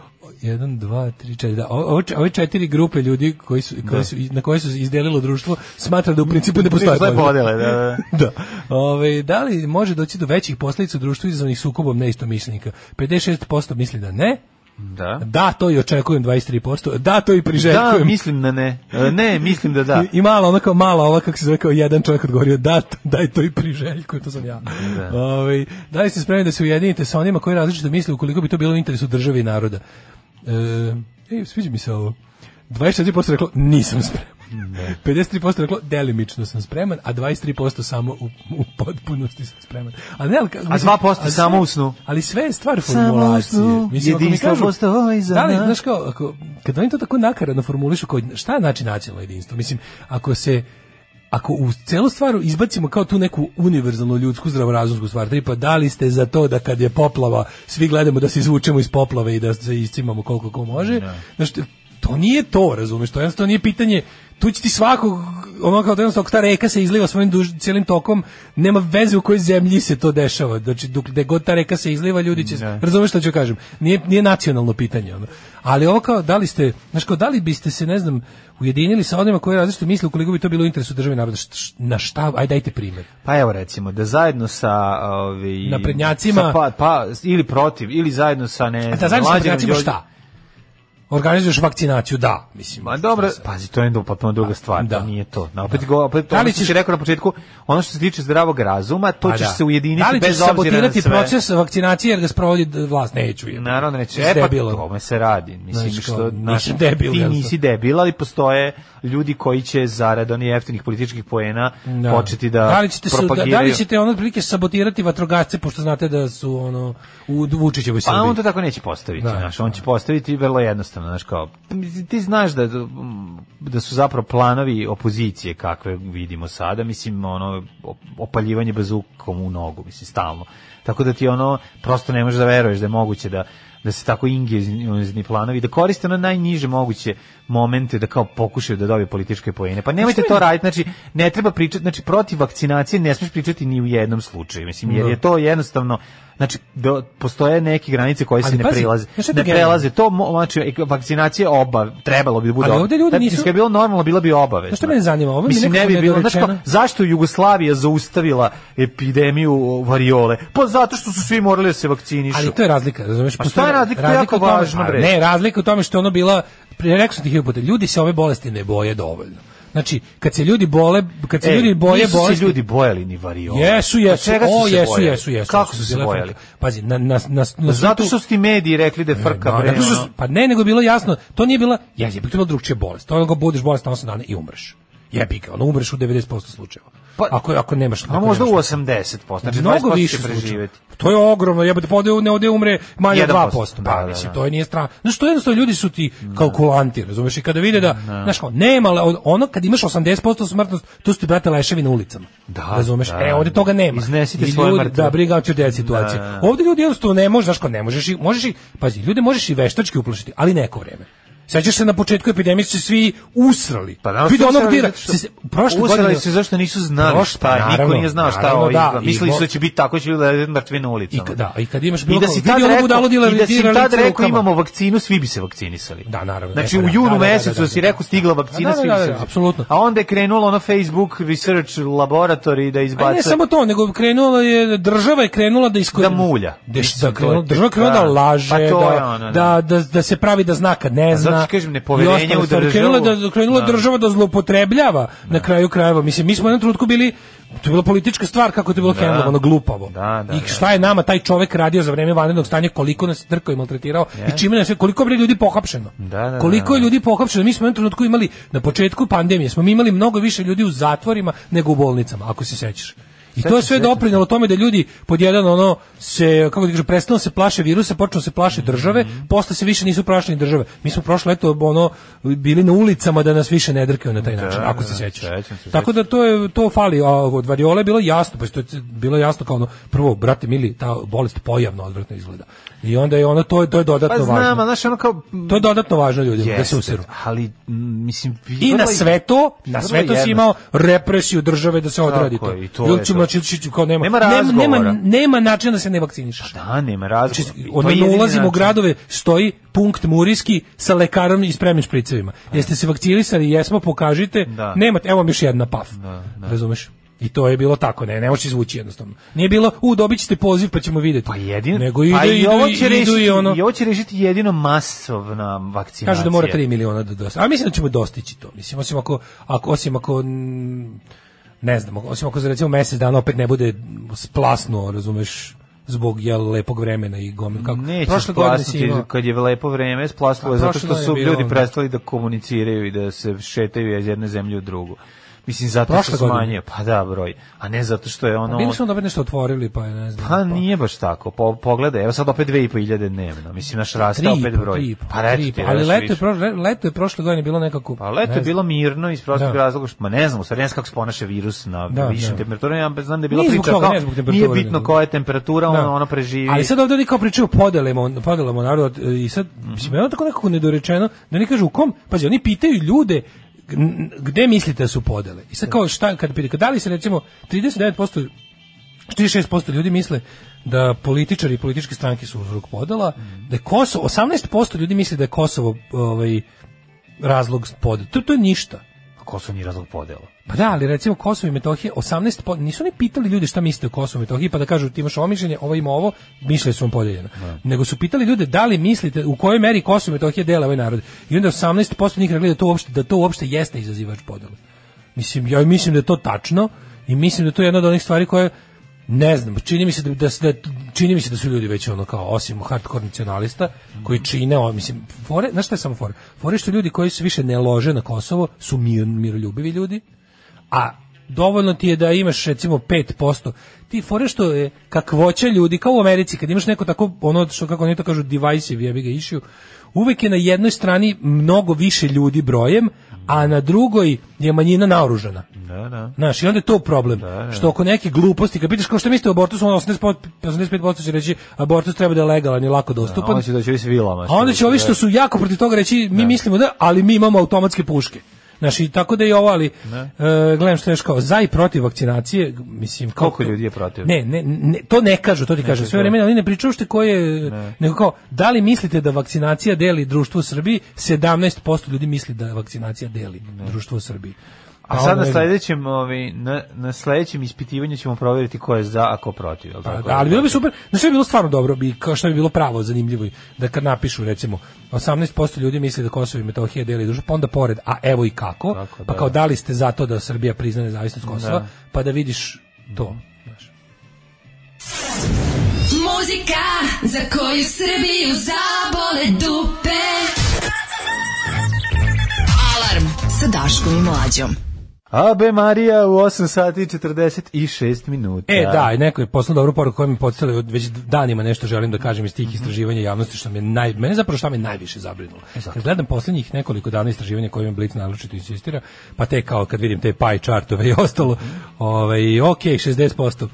G: 1 2 3 4 da. o- ovo č- Ove četiri grupe ljudi koji su,
F: Da.
G: koji su na koje su izdelilo društvo smatra da u principu ne postoje
F: Postoje podele, da, da, da.
G: da. Ove, da li može doći do većih posledica u društvu izazvanih sukobom neistomišljenika? 56% misli da ne,
F: Da.
G: Da, to i očekujem 23%. Da, to i priželjkujem.
F: Da, mislim da ne. E, Ne, mislim da da.
G: I, I malo, ona kao mala, ova kako se zove, kao jedan čovjek odgovorio, da, t- daj to i priželjkujem, to sam ja.
F: Da.
G: Ovaj, da li ste spremni da se ujedinite sa onima koji različito misle ukoliko bi to bilo u interesu države i naroda? E, ej, sviđa mi se ovo. 24% reklo, nisam spreman.
F: Da.
G: 53% reklo, delimično sam spreman, a 23% samo u, u potpunosti sam spreman. A, ne, ali, ka- mislim,
F: 2%
G: ali
F: samo
G: sve-
F: u snu.
G: Ali sve je stvar
F: Samo u
G: formulacije.
F: snu,
G: Mislim, ako mi
F: jedinstvo
G: kažu,
F: postoji ovaj za
G: da li,
F: nas.
G: znaš kao, ako, kad oni to tako nakaradno formulišu, kao, šta znači nacionalno jedinstvo? Mislim, ako se ako u celu stvaru izbacimo kao tu neku univerzalnu ljudsku zdravorazumsku stvar, tipa da li ste za to da kad je poplava, svi gledamo da se izvučemo iz poplave i da se iscimamo koliko ko može,
F: Da.
G: znaš, to nije to, razumeš, to jednostavno nije pitanje, tu će ti svakog, ono kao da jednostavno ako ta reka se izliva svojim duž, cijelim tokom, nema veze u kojoj zemlji se to dešava, znači dok, gde god ta reka se izliva, ljudi će,
F: Da.
G: razumeš što ću kažem, nije, nije nacionalno pitanje, ono. Ali ovo kao, da li ste, znaš kao, da li biste se, ne znam, ujedinili sa onima koji različito misle ukoliko bi to bilo u interesu države i naroda? Št- š- Na šta? Aj dajte primjer.
F: Pa evo recimo da zajedno sa ovi
G: Naprednjacima.
F: sa pa, pa ili protiv ili zajedno sa ne
G: A da
F: znam,
G: zajedno sa
F: Mlađanom
G: Bošnjacima
F: Đorđe-
G: šta? Organizuješ vakcinaciju, da, mislim.
F: Ma dobro, pazi, to je onda potpuno druga stvar,
G: da.
F: da. nije to. Na opet go, opet
G: Da li
F: ono što
G: ćeš-
F: si rekao na početku, ono što se tiče zdravog razuma, to
G: Pa
F: ćeš
G: da.
F: se ujediniti
G: Da li ćeš
F: bez obzira na
G: sabotirati
F: sve.
G: proces vakcinacije jer ga sprovodi d- vlast? Neću. jebote.
F: Naravno neće,
G: Jesi
F: e pa
G: debilan.
F: tome se radi. Mislim,
G: Znači, kao,
F: što,
G: nisi
F: znaš,
G: debil,
F: Ti
G: jednostavno.
F: nisi debil, ali postoje ljudi koji će zarad onih jeftinih političkih poena
G: Da.
F: početi da,
G: da li ćete su, da,
F: propagiraju.
G: da li ćete ono otprilike sabotirati vatrogasce pošto znate da su ono u Vučićevoj Srbiji.
F: Pa on to tako neće postaviti,
G: Da.
F: znaš, on će postaviti vrlo jednostavno, znaš, kao, ti znaš da, da su zapravo planovi opozicije kakve vidimo sada, mislim, ono, opaljivanje bazukom u nogu, mislim, stalno. Tako da ti ono, prosto ne možeš da veruješ da je moguće da da se tako ingenizni planovi, da koriste ono najniže moguće momente da kao pokušaju da dobiju političke pojene. Pa nemojte to raditi, znači ne treba pričati, znači protiv vakcinacije ne smiješ pričati ni u jednom slučaju, mislim, jer
G: Da.
F: je to jednostavno, znači do, postoje neke granice koje se
G: Ali
F: ne
G: Pa pazi,
F: prelaze.
G: znaš šta je
F: Ne
G: to genijalno?
F: prelaze, to mo- znači ek- vakcinacija oba, trebalo bi da bude
G: Ali
F: oba-
G: ovdje ljudi
F: Da, mislim,
G: nisu-
F: Kad je bilo normalno, bila bi obaveza.
G: Znaš šta mene zanima? Ovo mi
F: Mislim, ne
G: nekako
F: bi bilo, znači,
G: nedorečeno.
F: zašto je Jugoslavija zaustavila epidemiju variole? Pa zato što su svi morali da se vakcinišu.
G: Ali to je razlika, razumeš?
F: Pa šta je razlika? To je jako
G: u tome-
F: važno,
G: A
F: bre.
G: Ne, razlika u tome što je ono bila, prije rekao sam ti hiljadu puta, ljudi se ove bolesti ne boje dovoljno. Znači, kad se ljudi bole, kad se
F: Ej,
G: ljudi boje
F: E, nisu se
G: bolesti,
F: ljudi bojali ni variole.
G: Jesu,
F: Pa
G: jesu,
F: čega su
G: o,
F: se
G: jesu,
F: bojali?
G: jesu, jesu.
F: Kako su se
G: bile
F: bojali?
G: frka. Pazi, na, na, na, na
F: Zato
G: svetu-
F: što su ti mediji rekli da je frka,
G: Da,
F: bre,
G: zato što su-
F: ono.
G: pa ne, nego je bilo jasno, to nije bila, ja je bilo drugčija bolest. To je ono kao budeš bolest na 8 dana i umreš. Jebi ga, ono umreš u 90% slučajeva.
F: Pa-
G: ako ako nemaš,
F: Pa
G: ako
F: možda u
G: nemaš-
F: 80%, znači
G: mnogo
F: 20%
G: više
F: će
G: slučajeva.
F: preživeti.
G: To je ogromno, jebote, pa ovde ne ovde umre manje od
F: 1%,
G: 2%.
F: da,
G: Pa,
F: da,
G: mislim,
F: da.
G: to je nije strano. Znaš, to jednostavno ljudi su ti kalkulanti, razumeš? I kada vide da, znaš, kao, nema, le- ono kad imaš 80% smrtnost, tu su ti, brate, leševi na ulicama.
F: Da,
G: razumeš?
F: da.
G: e, ovde toga nema.
F: Iznesite
G: I
F: svoje
G: ljudi-
F: mrtve.
G: Da, briga hoće djeci situacije.
F: Da, da, da.
G: Ovde ljudi jednostavno ne možeš, znaš, kao, ne možeš, i- možeš i, pazi, ljude možeš i veštački uplašiti, ali neko vreme. Sećaš se na početku epidemije su se svi usrali.
F: Pa naravno,
G: Vidi
F: su
G: onog
F: usrali
G: dira.
F: zato što-
G: se- se- Prošle
F: usrali
G: godine
F: su zašto nisu znali
G: Prošle-
F: šta je,
G: naravno,
F: niko nije znao šta
G: naravno,
F: ovo
G: da,
F: izgleda.
G: i
F: Mislili su
G: mo-
F: da će biti tako, će ljudi mrtvi na
G: I,
F: ulicama.
G: ka- da, i kad imaš
F: I
G: bilo
F: da
G: ko-
F: si
G: vidi
F: tad
G: ono
F: rekao,
G: budalo dila-
F: i da si
G: dira
F: tad
G: lice
F: rekao
G: rukama.
F: imamo vakcinu, svi bi se vakcinisali.
G: Da, naravno,
F: Znači
G: e,
F: u
G: pa da, da,
F: junu
G: da, da,
F: mesecu
G: da,
F: si
G: da.
F: rekla stigla
G: A
F: vakcina,
G: da,
F: svi bi se
G: da, da,
F: vakcinisali.
G: apsolutno.
F: A onda je krenulo ono Facebook Research Laboratory da
G: A ne
F: izbaca
G: samo to, nego krenula je država je krenula da iskor...
F: Da mulja.
G: Deš, da
F: Mislim,
G: krenula,
F: to je-
G: država je krenula da
F: da.
G: laže,
F: Pa to je
G: da,
F: ono, da.
G: da, da, da se pravi da zna kad ne
F: A zato
G: zna.
F: ti kažem, nepoverenje
G: i ostale
F: u
G: stvari.
F: državu.
G: Krenula, da, krenula
F: Da.
G: država da zloupotrebljava na kraju krajeva. Mislim, mi smo u jednom trenutku bili to je bila politička stvar kako je to bilo da. handlovano glupavo.
F: Da, da,
G: I
F: da.
G: šta je nama taj čovek radio za vreme vanrednog stanja, koliko nas je trkao i maltretirao i čime nas je, koliko je ljudi pohapšeno.
F: Da, da,
G: koliko
F: da,
G: je
F: da.
G: ljudi pohapšeno. Mi smo u jednom trenutku imali na početku pandemije, smo mi imali mnogo više ljudi u zatvorima nego u bolnicama, ako se sećaš. I to je sve doprinelo tome da ljudi pod jedan ono se kako ti kažem prestano se plaše virusa, počelo se plaše države,
F: Mhm.
G: posle se više nisu plašili države. Mi smo prošlo leto ono bili na ulicama da nas više ne drkaju na taj način, ako se
F: da,
G: sećaš.
F: sećam se,
G: Tako da to je to fali, a od variole je bilo jasno, pa što je bilo jasno kao ono prvo brate mili ta bolest pojavno odvratno izgleda. I onda je ono to je to je dodatno
F: Pa znam, a
G: važno.
F: znaš, ono kao...
G: To je dodatno važno ljudima da
F: Jeste,
G: se useru.
F: Ali, m, mislim...
G: I
F: vrlo
G: na
F: je-
G: sve to, na
F: vrlo
G: sve to si
F: jednostavno.
G: imao represiju države da se odradi to.
F: Tako je, i to
G: Ljudi
F: je
G: će
F: to.
G: mlači- će- će- kao nema,
F: Nema
G: nema, nema,
F: razgovora.
G: nema načina da se ne vakcinišeš.
F: Da, nema razgovora.
G: Znači,
F: To je
G: odmah
F: jedini
G: ulazimo u
F: način.
G: gradove, stoji punkt Murijski sa lekarom i spremnim špricevima. Jeste se vakcinisali, jesmo, pokažite,
F: Da.
G: nemate, evo vam još jedna paf. Razumeš? I to je bilo tako, ne, ne možeš izvući jednostavno. Nije bilo, u, dobit ćete poziv pa ćemo vidjeti.
F: Pa jedino,
G: Nego ide,
F: pa i
G: ide,
F: ovo
G: ide,
F: će rešiti,
G: i ono.
F: i ovo će rešiti jedino masovna vakcinacija.
G: Kažu da mora 3 miliona da dostići. A mislim da ćemo dostići to. Mislim, osim ako, ako, osim ako mm, ne znam, osim ako za recimo mesec dana opet ne bude splasno, razumeš, zbog jel, lepog vremena i gomil. Kako?
F: Neće
G: Prošle godine si
F: splasnuti,
G: imao-
F: kad je lepo vreme, splasnulo je
G: A
F: zato
G: prošle
F: što su
G: godine je
F: ljudi
G: bilo, da.
F: prestali da komuniciraju i da se šetaju iz jedne zemlje u drugu. Mislim, zato
G: Prošle
F: što
G: godine? Pa
F: smanjuje, pa da, broj, a ne zato što je ono...
G: Bili su onda opet nešto otvorili, pa je, ne znam.
F: Pa nije baš tako, po, pogledaj, evo sad opet 2.500 dnevno, mislim, naš
G: Tri
F: rasta
G: i
F: opet
G: po,
F: broj.
G: tri i po,
F: pa reći
G: tri i
F: ti,
G: po. ali
F: još
G: leto je,
F: više.
G: prošle, leto je prošle godine bilo nekako...
F: Pa leto
G: ne
F: je
G: znam.
F: bilo mirno iz prostog
G: Da.
F: razloga što, ma ne znam, u stvari ne znam kako se ponaša virus na
G: Da,
F: višim
G: da.
F: temperaturama, ja znam da je bila
G: Nije zbog
F: priča
G: toga,
F: kao,
G: ne zbog
F: nije
G: temperature,
F: bitno
G: nego-
F: koja je temperatura,
G: Da.
F: ono, ono preživi.
G: Ali sad ovde oni kao pričaju podelimo, podelimo narod e, i sad mislim, ono tako nekako nedorečeno, da oni kažu u kom, pazi, oni pitaju ljude n- gde mislite da su podele. I sad kao šta, kad pita, da li se recimo 39%, 36% ljudi misle da političari i političke stranke su uzrok podela, da je Kosovo, 18% ljudi misli da je Kosovo ovaj, razlog podela. To, to je ništa.
F: Ko su ni razlog podela?
G: Pa da, ali recimo Kosovo i Metohija, 18 po- nisu ni pitali ljudi šta misle o Kosovo i Metohiji, pa da kažu ti imaš ovo mišljenje, ovo ima ovo, mišljenje su vam podeljena. Nego su pitali ljude da li mislite u kojoj meri Kosovo i Metohija dele ovaj narod. I onda 18% njih rekli da to uopšte, da to uopšte jeste izazivač podela. Mislim, ja mislim da je to tačno i mislim da je to jedna od onih stvari koje ne znam, čini mi se da, da, da čini mi se da su ljudi već ono kao osim hardcore nacionalista koji čine o, mislim fore, znaš šta je samo fore? Fore što ljudi koji se više ne lože na Kosovo su mir, miroljubivi ljudi, a dovoljno ti je da imaš recimo 5%. Ti fore što je kakvoća ljudi, kao u Americi, kad imaš neko tako, ono što kako oni to kažu, divisive, jebi ga issue, uvek je na jednoj strani mnogo više ljudi brojem, a na drugoj je manjina naoružana.
F: Da, da.
G: Znaš, i onda je to problem. Što oko neke gluposti, kad pitaš kao što mislite o abortusu, ono 80%, 85% će reći abortus treba da je legalan i lako
F: A
G: dostupan.
F: onda će doći ovi s vilama.
G: pa- A onda će ovi
F: da.
G: što su jako protiv toga reći, mi mislimo da, ali mi imamo automatske puške. Znaš, i tako da je ovo, ali e, gledam što je kao, za i protiv vakcinacije, mislim... kao
F: Koliko
G: to-
F: ljudi je protiv? da.
G: Ne, ne, ne, to ne kažu, to ti kažu sve vreme, ali ne pričaju što koje, nego kao, da li mislite da vakcinacija deli društvo u Srbiji? 17% ljudi misli da vakcinacija deli društvo u Srbiji.
F: Da. A
G: Pa
F: sad na
G: onda-
F: sledećem, ovaj, na, na sledećem ispitivanju ćemo provjeriti ko je za, a ko protiv. jel
G: Pa,
F: tako?
G: da, ali bilo bi super, znaš što bi bilo stvarno dobro, bi, kao što bi bilo pravo, zanimljivo, da kad napišu recimo 18% ljudi misli da Kosovo i Metohija deli društvo, pa onda pored, a evo i kako,
F: Kako,
G: pa
F: da.
G: kao da li ste za to da Srbija prizna nezavisnost Kosova, pa da vidiš
F: Mhm.
G: to. znaš.
E: Muzika za koju Srbiju zabole dupe. Alarm sa Daškom i Mlađom.
F: Abe Marija u 8 sati i 46 minuta.
G: E, da, i neko je poslao dobru poruku koja mi podcela od već danima nešto želim da kažem iz tih istraživanja javnosti što me naj mene zapravo šta me najviše zabrinulo. Kad gledam poslednjih nekoliko dana istraživanja kojima Blitz naročito insistira, pa te kao kad vidim te pie chartove i ostalo, ovaj ok, 60%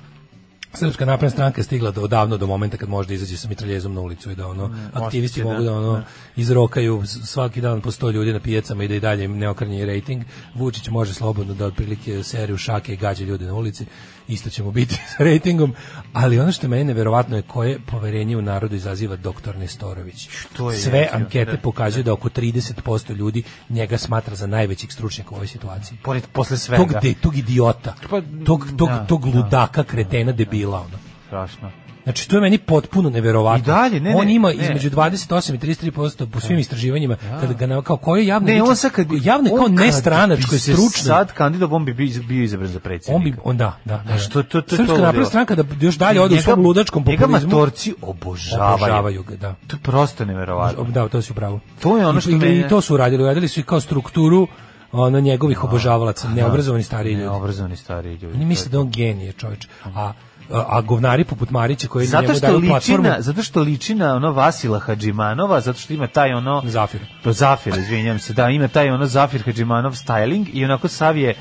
G: Srpska napredna stranka je stigla do odavno do momenta kad može da izađe sa mitraljezom na ulicu i da ono aktivisti mogu da ono izrokaju s- svaki dan po 100 ljudi na pijacama i da i dalje im ne okrnji rating. Vučić može slobodno da otprilike seriju šake i gađa ljude na ulici. Isto će mu biti sa ratingom, ali ono što je meni neverovatno je koje poverenje u narodu izaziva doktor Nestorović.
F: je
G: Sve
F: jezivo,
G: ankete pokazuju da oko 30% ljudi njega smatra za najvećeg stručnjaka u ovoj situaciji
F: Pored, posle svega.
G: tog, de, tog idiota,
F: Pa,
G: tog, tog,
F: da,
G: tog ludaka, kretena, debila. Ono.
F: Strašno.
G: Znači, to je meni potpuno neverovatno.
F: I dalje, ne,
G: on
F: ne,
G: ima
F: ne. Da.
G: između 28 i 33% po svim istraživanjima, kada ga na- kao koje javno
F: Ne,
G: liči-
F: on sad kad...
G: javno kao
F: on kad
G: nestranačko
F: bi
G: i
F: se
G: stručno.
F: Sad kandidat, on bi bio iz- bio izabran za predsjednika.
G: on bi on da, da. da.
F: Znaš, to- to- to-
G: Srpska
F: to
G: napredna
F: ludilo.
G: stranka da još dalje ode u
F: Njega-
G: svom ludačkom populizmu.
F: Njega matorci obožavaju.
G: obožavaju ga, da.
F: To je prosto neverovatno.
G: Da, to si upravo.
F: To je ono što
G: I,
F: mene-
G: i to su uradili, uradili su i kao strukturu ono
F: Da.
G: njegovih obožavalaca, neobrazovani stariji ljudi.
F: Neobrazovani stariji ljudi.
G: Oni misle da je on genije, čovječ. A, a, a govnari poput Marića koji
F: Zato
G: njemu
F: što,
G: daju
F: liči
G: platformu...
F: na, zato što liči na ono Vasila Hadžimanova, zato što ima taj ono...
G: Zafir.
F: To Zafir, izvinjam se, da, ima taj ono Zafir Hadžimanov styling i onako sav je,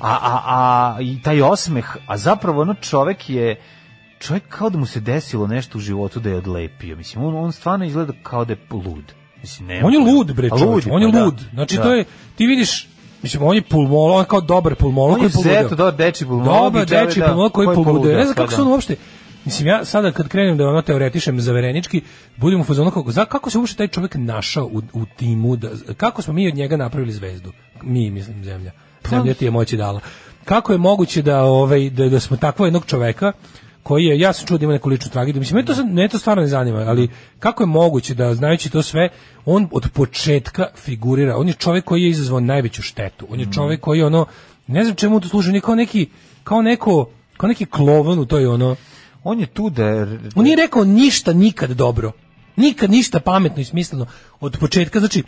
F: a, a, a, i taj osmeh, a zapravo ono čovek je, čovek kao da mu se desilo nešto u životu da je odlepio, mislim, on, on stvarno izgleda kao da je lud. Mislim, nema
G: E, On je
F: pojma.
G: lud, bre,
F: A
G: čovječ.
F: je,
G: On je
F: pa da.
G: lud. Znači,
F: Da.
G: to je... Ti vidiš... Mislim, on je pulmolo, on je kao dobar pulmolog
F: On je
G: koji poludeo.
F: zeto, dobar dečiji pulmolog
G: Dobar
F: i čovjek,
G: dečiji
F: da,
G: pulmolog koji
F: koji
G: poludeo.
F: poludeo,
G: Ne znam
F: pa
G: kako
F: da.
G: se on uopšte... Mislim, ja sada kad krenem da ono teoretišem zaverenički, budem u fazonu kako, za, kako se uopšte taj čovjek našao u, u
F: Pa-
G: timu, da, kako smo mi od njega napravili zvezdu? Mi, mislim, zemlja. Zemlja ti je moći dala. kako je moguće da ovaj da, da smo takvog jednog čoveka koji je ja se čuo da ima neku ličnu tragediju. Mislim mene to sad- mene to stvarno ne zanima, ali kako je moguće da znajući to sve on od početka figurira. On je čovjek koji je izazvao najveću štetu.
F: Mm.
G: On je čovjek koji je ono ne znam čemu to služi, on je kao neki kao neko kao neki klovan u toj ono
F: On je tu da...
G: on nije rekao ništa nikad dobro. Nikad ništa pametno i smisleno od početka. Znači,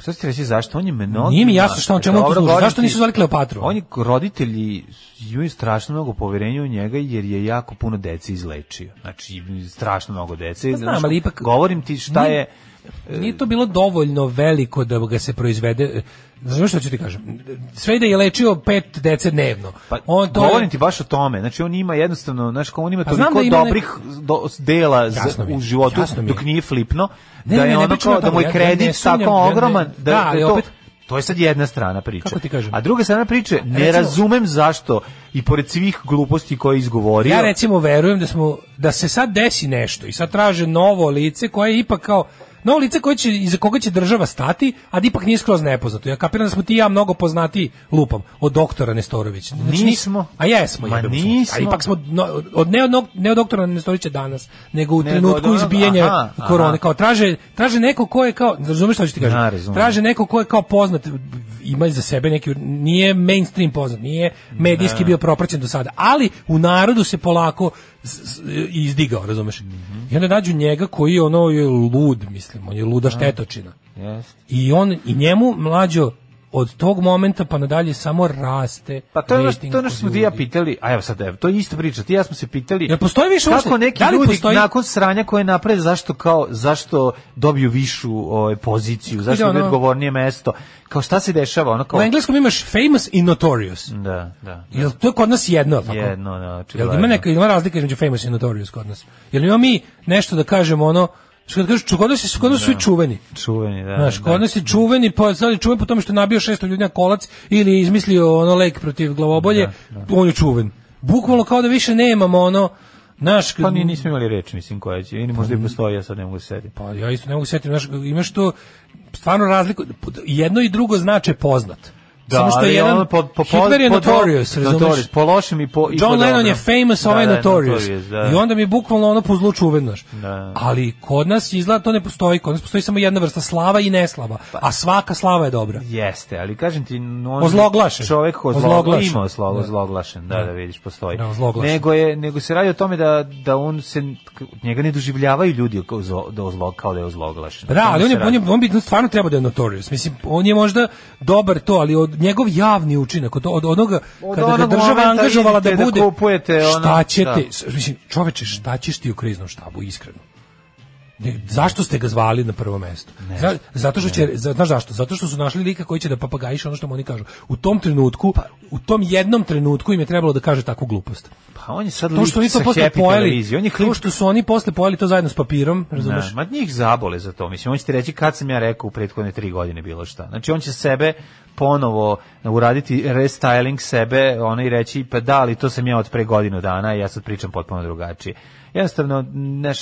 F: Šta ste reći zašto? On je mnogo...
G: Nije mi jasno šta on čemu on tu služi. Zašto nisu zvali Kleopatru?
F: On da. je, roditelji imaju strašno mnogo poverenja u njega jer je jako puno dece izlečio. Znači, strašno mnogo dece.
G: Pa znam,
F: Znaš,
G: ali ipak-
F: Govorim ti šta
G: Nije-
F: je...
G: nije to bilo dovoljno veliko da ga se proizvede. Znaš što ću ti kažem? Sve da je lečio pet dece dnevno.
F: Pa,
G: on to je-
F: govorim ti baš o tome. Znači, on ima jednostavno, znaš, kao on ima
G: Pa znam
F: toliko
G: da ima
F: dobrih do, dela za-
G: Jasno mi je,
F: u životu,
G: jasno mi je.
F: dok nije flipno,
G: Ne,
F: da je
G: ne, ne, ne
F: ono
G: pričam
F: kao
G: o
F: da
G: tome,
F: mu je
G: ja- ja
F: kredit
G: ne sumnjam,
F: tako
G: ja ne-
F: ogroman, da,
G: da, ali
F: to,
G: opet-
F: to je sad jedna strana priče.
G: Kako ti kažem?
F: A druga strana priče, ne
G: Recimo-
F: razumem zašto i pored svih gluposti koje je izgovorio,
G: Ja recimo verujem da smo da se sad desi nešto i sad traže novo lice koje je ipak kao novo lice koje će iza koga će država stati, a da ipak nije skroz nepoznato. Ja kapiram da smo ti i ja mnogo poznati lupam od doktora Nestorovića. Znači,
F: Nismo.
G: A jesmo.
F: Ma
G: jebem se.
F: nismo.
G: A ipak smo no- od ne od, nog- ne od doktora Nestorovića danas, nego u
F: Nego od
G: trenutku
F: onog-
G: izbijanja
F: aha,
G: korone.
F: aha.
G: Kao traže traže neko ko je kao razumeš šta ću ti kažem?
F: Da, razumem.
G: traže neko ko je kao poznat ima za sebe neki nije mainstream poznat, nije medijski
F: Da.
G: bio propraćen do sada, ali u narodu se polako s- s- izdigao, razumeš?
F: Mhm.
G: I onda nađu njega koji je ono je lud, mislim, on je luda
F: Da.
G: štetočina.
F: Jeste.
G: I on i njemu mlađo od tog momenta pa nadalje samo raste.
F: Pa to je ono što,
G: rating
F: to je ono što
G: kod
F: smo ti i ja
G: ljudi.
F: pitali, a evo sad, evo, to je isto priča, ti i ja smo se pitali
G: Jel postoji više
F: kako
G: uopšte?
F: neki
G: Da li
F: ljudi
G: postoji-
F: nakon sranja koje naprave, zašto kao, zašto dobiju višu ovaj, poziciju, zašto
G: Ide
F: dobiju
G: ono-
F: odgovornije mesto, kao šta se dešava, ono kao...
G: U engleskom imaš famous i notorious.
F: Da, da.
G: Jel to je kod nas jedno, jel tako?
F: Jedno, da,
G: Jel
F: očigledno.
G: ima neka ima razlika između famous i notorious kod nas? Jel imamo mi nešto da kažemo ono što kad kažeš kod nas su kod nas svi čuveni.
F: Čuveni, da.
G: Znaš,
F: da.
G: kod nas je čuveni, pa sad je čuven po tome što je nabio 600 ljudi na kolac ili je izmislio ono lek protiv glavobolje,
F: Da,
G: on je čuven. Bukvalno kao da više nemamo ono, znaš,
F: Pa
G: kad-
F: ni, nismo imali reč, mislim, koja će, ili možda i postoji, ja sad ne mogu da se setiti.
G: pa ja isto ne mogu setiti, znaš, imaš to stvarno razliku, jedno i drugo znače poznat. Samo što je
F: Da, ali
G: jedan,
F: ono po- po- po-
G: Hitler je
F: po-
G: notorious, razumeš?
F: Notorious, po lošem i po... i po
G: John Lennon
F: dobrom.
G: je famous,
F: Da,
G: ovaj
F: da,
G: je notorious.
F: da.
G: I onda mi je bukvalno ono po zlu čuven, znaš.
F: Da.
G: Ali kod nas izgleda to ne postoji, kod nas postoji samo jedna vrsta slava i neslava,
F: Pa.
G: a svaka slava je dobra.
F: Jeste, ali kažem ti... n- On
G: Ozloglašen.
F: Čovek ko
G: Ozloglašen.
F: ozloglašen. Ima ozlog,
G: Da.
F: ozloglašen, da, da vidiš, postoji.
G: Da, ozloglašen.
F: Nego, je, nego se radi o tome da, da on se, njega ne doživljavaju ljudi kao, zo- da ozlog, kao da je ozloglašen.
G: Pa Da, ali on, je,
F: Se
G: on,
F: radi.
G: je, on bi stvarno trebao da je notorious. Mislim, on je možda dobar to, ali od njegov javni učinak, od, od onoga
F: Od
G: kada ga
F: onog
G: država
F: momenta
G: angažovala da
F: idete da
G: bude,
F: kupujete ono,
G: šta ćete,
F: da.
G: s- mislim, čoveče, šta ćeš ti u kriznom štabu, iskreno? Ne, zašto ste ga zvali na prvo mesto? Za- zato što će, za- znaš zašto? Zato što su našli lika koji će da papagajiše ono što mu oni kažu. U tom trenutku, u tom jednom trenutku im je trebalo da kaže takvu glupost.
F: Pa on je sad
G: To
F: lik
G: što oni
F: sa
G: to posle
F: Happy
G: pojeli,
F: televizije. On je klip
G: to što su oni posle pojeli to zajedno s papirom, razumeš?
F: Da, ma njih zabole za to. Mislim, on će ti reći kad sam ja rekao u prethodne tri godine bilo šta. Znači, on će sebe ponovo uraditi restyling sebe ono i reći, pa da, ali to sam ja od pre godinu dana i ja sad pričam potpuno drugačije. Jednostavno, naš,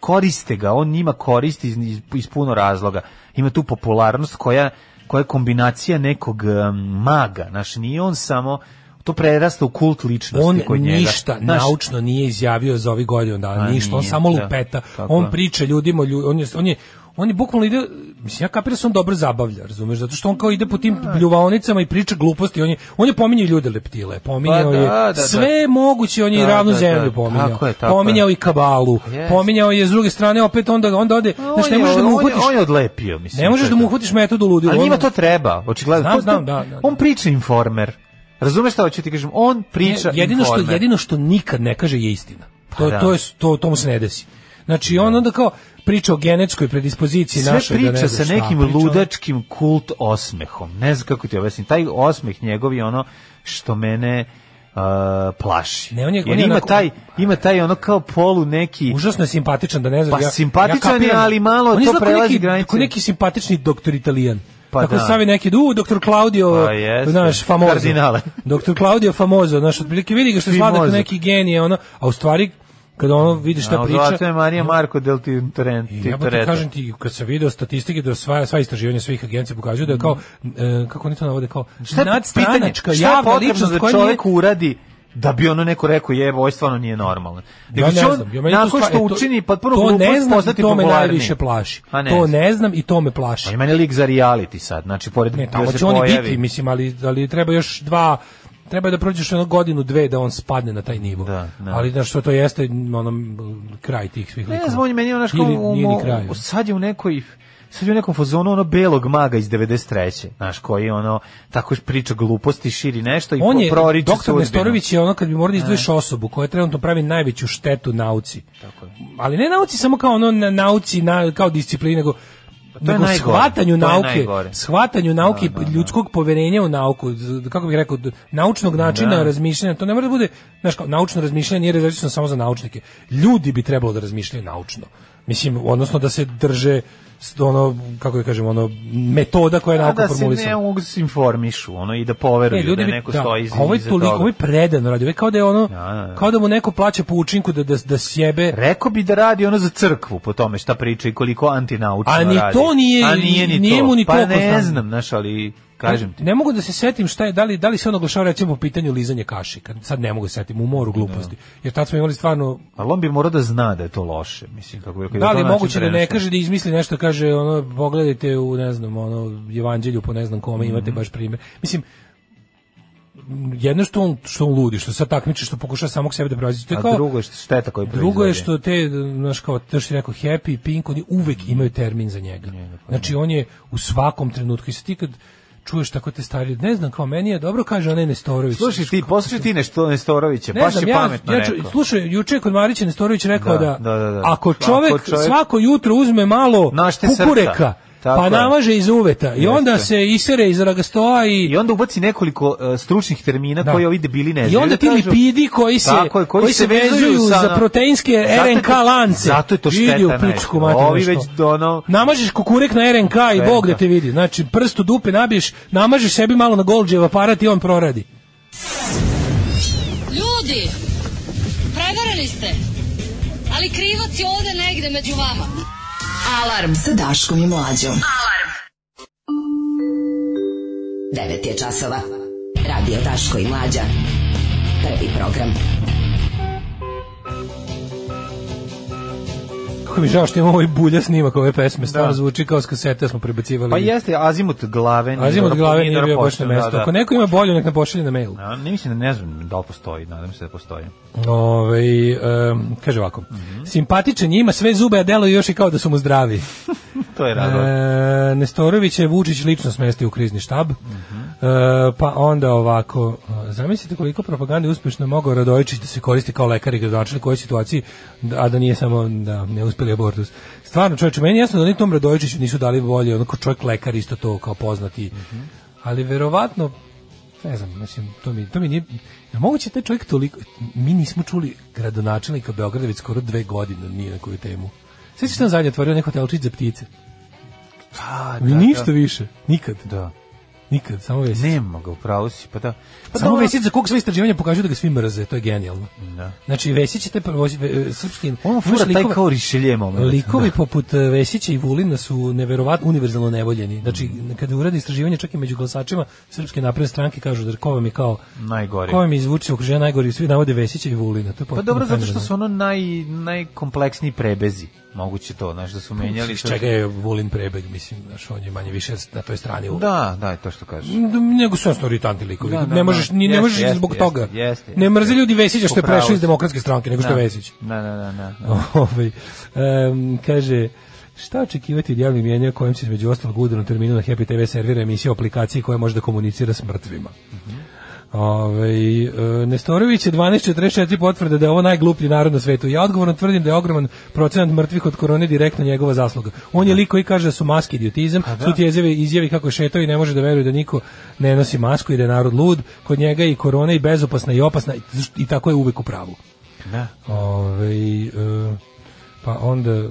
F: koriste ga, on njima koristi iz, iz, iz puno razloga. Ima tu popularnost koja, koja je kombinacija nekog em, maga. Znaš, nije on samo to prerasta u kult ličnosti
G: on
F: kod njega.
G: ništa
F: Znaš,
G: naučno nije izjavio za ovih godinu dana,
F: A,
G: ništa, on
F: nije,
G: samo
F: da.
G: lupeta,
F: Tako
G: on
F: je.
G: priča ljudima, lju- on je, on je on je bukvalno ide, mislim ja kapiram da se on dobro zabavlja, razumeš, zato što on kao ide po tim
F: Da.
G: pljuvaonicama i priča gluposti, on je, on je pominjao ljude leptile, pominjao
F: Pa
G: je
F: da, da, da.
G: sve moguće, on je i
F: Da,
G: ravnu
F: da, da.
G: zemlju pominjao,
F: Tako je, tako
G: pominjao
F: je.
G: i kabalu,
F: jest.
G: pominjao je s druge strane, opet onda, onda ode,
F: on
G: znači ne
F: je-
G: možeš da mu
F: on je-
G: uhvatiš,
F: On je odlepio, mislim.
G: ne možeš
F: to je
G: da mu
F: to.
G: uhvatiš metodu ludilu.
F: Ali njima
G: ono-
F: to treba, očigledno.
G: Znam,
F: To- to-
G: znam, da, da, da.
F: On priča informer. Razumeš šta hoću ti kažem? On priča
G: Ne, jedino što
F: informer.
G: jedino što nikad ne kaže je istina. To
F: da.
G: to je to to mu se ne desi. Znači on onda kao priča o genetskoj predispoziciji
F: Sve
G: našoj da
F: priča
G: ne
F: sa
G: znam šta
F: nekim
G: priča.
F: ludačkim kult osmehom. Ne znam kako ti objasnim. Taj osmeh njegov je ono što mene uh, plaši.
G: Ne, on je-
F: Jer
G: on je
F: ima,
G: onako-
F: taj, ima taj ono kao polu neki...
G: Užasno je simpatičan, da ne znam.
F: Pa simpatičan je, ali malo
G: on
F: to
G: izgleda ko
F: prelazi
G: neki,
F: granice.
G: ko neki simpatični doktor Italijan. Pa
F: Pa
G: Tako
F: da.
G: stavi neki, u, doktor Claudio,
F: Pa jeste,
G: znaš, famozo.
F: kardinale.
G: doktor Claudio famozo, znaš, otprilike vidi ga što
F: Svi
G: svada kao
F: mozak.
G: neki genije, ono, a u stvari Kad ono vidiš šta priča.
F: Zato je Marija Marko del ti
G: I
F: Torrenti.
G: ja pa ti kažem ti, kad sam video statistike da sva, sva istraživanja svih agencija pokazuju da je kao, e, kako oni to navode, kao
F: Šta je pitanje?
G: nadstranačka
F: Šta je
G: javna
F: potrebno
G: ličnost
F: da
G: koja
F: čovjek uradi da bi ono neko rekao je, ovo stvarno nije normalno.
G: Ja
F: Nego će
G: ne
F: on,
G: znam. Ja meni to
F: nakon
G: stvar-
F: što
G: e, to-
F: učini potpuno
G: to ne
F: glupost,
G: znam,
F: postati
G: to me
F: popularniji.
G: najviše plaši.
F: A ne
G: to
F: znam.
G: ne znam i to me plaši.
F: On je meni lik za reality sad, znači pored
G: Ne,
F: da
G: tamo
F: se
G: će oni
F: pojavi.
G: biti, mislim, ali, ali treba još dva treba da prođeš jedno godinu, dve da on spadne na taj nivo.
F: Da, da.
G: Ali znaš što to jeste ono, kraj tih svih
F: Ne
G: likova.
F: znam, on je meni ono što...
G: Ili- nije ni kraj.
F: Sad je u nekoj sad je u nekom fazonu ono belog maga iz 93. Znaš, koji ono tako priča gluposti, širi nešto i
G: on je,
F: proriče
G: doktor
F: sudbinu.
G: Nestorović je ono kad bi morao da izdvojiš osobu koja trenutno pravi najveću štetu nauci. Ali ne nauci samo kao ono na, nauci, na, kao disciplini, nego
F: Pa to je
G: nego
F: najgore,
G: shvatanju
F: to je
G: nauke,
F: najgore. Da,
G: shvatanju nauke i ljudskog poverenja u nauku, z- kako bih rekao, d- naučnog
F: Da.
G: načina razmišljanja, to ne mora da bude, znaš, kao, naučno razmišljanje nije rezervisano samo za naučnike. Ljudi bi trebalo da razmišljaju naučno. Mislim, odnosno da se drže s- ono, kako da kažem, ono, metoda koja je
F: A
G: nauka
F: da se
G: formulisana.
F: ne mogu da se informišu, ono, i da poveruju
G: Ne, ljudi
F: da
G: bi-
F: neko
G: da,
F: stoji iza,
G: a Ovo je
F: iza
G: toliko,
F: toga.
G: ovo je predano radi, ovo je kao da je ono,
F: da, da.
G: kao da mu neko plaća po učinku da, da, da sjebe,
F: Rekao bi da radi ono za crkvu po tome šta priča i koliko antinaučno
G: A
F: radi.
G: ni to nije-
F: A nije ni
G: nije
F: to.
G: mu ni
F: pa
G: toliko
F: ne
G: znam.
F: znam, znaš, ali kažem ti.
G: Ne mogu da se setim šta je, da li, da li se on oglašava recimo po pitanju lizanja kaši, kad sad ne mogu da se setim, u moru gluposti, jer tad smo imali stvarno
F: Ali on bi morao da zna da je to loše, mislim kako bi
G: Da li je moguće da ne kaže da izmisli nešto, kaže ono pogledajte u ne znam, ono Evanđelju po ne znam kome imate
F: Mhm.
G: baš primjer. Mislim jedno što on što on ludi, što se takmiči, što pokušava samog sebe da prevaziđe. To je
F: A
G: kao
F: drugo je što- šteta koju proizvodi.
G: Drugo je što te, znaš kao, to što je rekao Happy i Pink, oni uvek imaju termin za njega.
F: pa
G: Znači, on je u svakom trenutku. I sad ti kad čuješ tako te stari, ne znam, kao meni je dobro, kaže onaj Nestorović. Znači,
F: Slušaj ti, poslušaj ti nešto Nestorovića,
G: Ne
F: baš
G: znam,
F: je
G: ja,
F: pametno
G: ja,
F: rekao.
G: ču- Slušaj, juče je kod Marića Nestorović rekao
F: Da,
G: da,
F: da, da, da.
G: ako
F: Ako
G: čovek,
F: čovek-
G: svako jutro uzme malo
F: Našte
G: kukureka,
F: srca. Tako
G: pa
F: je.
G: namaže iz uveta i onda
F: Jeste.
G: se isere iz ragastoa i...
F: I onda ubaci nekoliko e, stručnih termina
G: Da.
F: koje ovi debili ne znaju.
G: I onda ti
F: Kažu-
G: lipidi koji se,
F: Tako je,
G: koji, se vezuju
F: sa-
G: za proteinske
F: Zato je to-
G: RNK lance.
F: Zato je to šteta.
G: Vidi u
F: najveća.
G: pičku, mate,
F: Ovi
G: nešto.
F: već ono...
G: Namažeš kukurek na RNK i
F: Sve,
G: Bog da
F: da.
G: te vidi. Znači, prst u dupe nabiješ, namažeš sebi malo na Golđev aparat i on proradi.
K: Ljudi, prevarili ste. Ali krivac je ovde negde među vama.
J: Alarm sa Daškom i Mlađom. Alarm. 9 je časova. Radio Daško i Mlađa. Prvi program.
G: Kako mi žao što imamo ovaj bulja snimak ove pesme, stvarno zvuči kao s kasete da smo prebacivali.
F: Da. Pa jeste, azimut glave. nije
G: Azim od
F: dobro-
G: glave nije
F: dobro
G: bio baš na
F: pošten, da,
G: mesto.
F: da.
G: Ako neko ima bolju, nek nam pošalje na mail.
F: Ja, ne mislim da ne znam da li postoji, nadam se da postoji.
G: Ove, Ovaj, em, kaže ovako.
F: Mhm.
G: Simpatičan je, ima sve zube, a deluje još i kao da su mu zdravi.
F: To je razlog.
G: E, Nestorović je Vučić lično smestio u krizni štab. E, pa onda ovako, e, zamislite koliko propagande uspješno mogao Radojičić da se koristi kao lekar i gradonačelnik u kojoj situaciji, da- a da nije samo da ne uspeli abortus. Stvarno, čovječe, meni je jasno da oni tom Radojičiću nisu dali volje, onako čovjek lekar isto to kao poznati. Ali verovatno ne znam, mislim, to mi, to mi nije... Jel moguće taj čovjek toliko... Mi nismo čuli gradonačelnika Beograda već skoro dve godine, nije na koju temu. Sve što nam zadnje otvorio neko hotelčić za ptice.
F: Pa,
G: Mi ništa više. Nikad.
F: Da.
G: Nikad, samo vesic.
F: Nema ga, upravo si, pa da. Pa
G: samo
F: dobro.
G: vesic za kog sve istraživanja pokažu da ga svi mrze, to je genijalno.
F: Da.
G: Znači, Vesić je te prvo, ve- srpski...
F: On
G: imaš
F: fura taj
G: likove-
F: kao rišelje moment. da,
G: Likovi poput e, Vesića i Vulina su neverovatno univerzalno nevoljeni. Znači, kada uradi istraživanje čak i među glasačima Srpske napredne stranke kažu da ko vam je kao
F: Najgori.
G: Ko vam je izvuče okruženja najgori, svi navode Vesića i Vulina. To je
F: Pa
G: potpuno da.
F: dobro, zato što
G: fenomenalno.
F: su ono naj, najkompleksniji prebezi. Moguće to, znaš, da su menjali.
G: Iz čega je Vulin prebeg, mislim, znaš, on je manje više na toj strani. u-
F: Da, da, je to što kažeš.
G: nego su jednostavno iritanti likovi.
F: Da, da,
G: ne možeš, ni,
F: da.
G: ne možeš
F: Jeste,
G: zbog
F: jeste,
G: toga.
F: jeste, jeste.
G: ne mrze ljudi Vesića što je
F: Upravo
G: prešao iz
F: si.
G: demokratske stranke, nego što je Vesić.
F: Da, da, da, da.
G: Ovaj, em, kaže, šta očekivati od javnih mjenja kojem se između ostalog udano terminu na Happy TV servira emisija o aplikaciji koja može da komunicira s mrtvima? Ovaj, e, Nestorović je 12.44 potvrde da je ovo najgluplji narod na svetu. Ja odgovorno tvrdim da je ogroman procenat mrtvih od korone direktno njegova zasluga. On je lik koji kaže da su maske idiotizam, su ti izjave, izjavi kako šetao i ne može da veruje da niko ne nosi masku i da je narod lud, kod njega je i korona i bezopasna i opasna i, i tako je uvek u pravu.
F: Da.
G: Ovaj, e, pa onda e,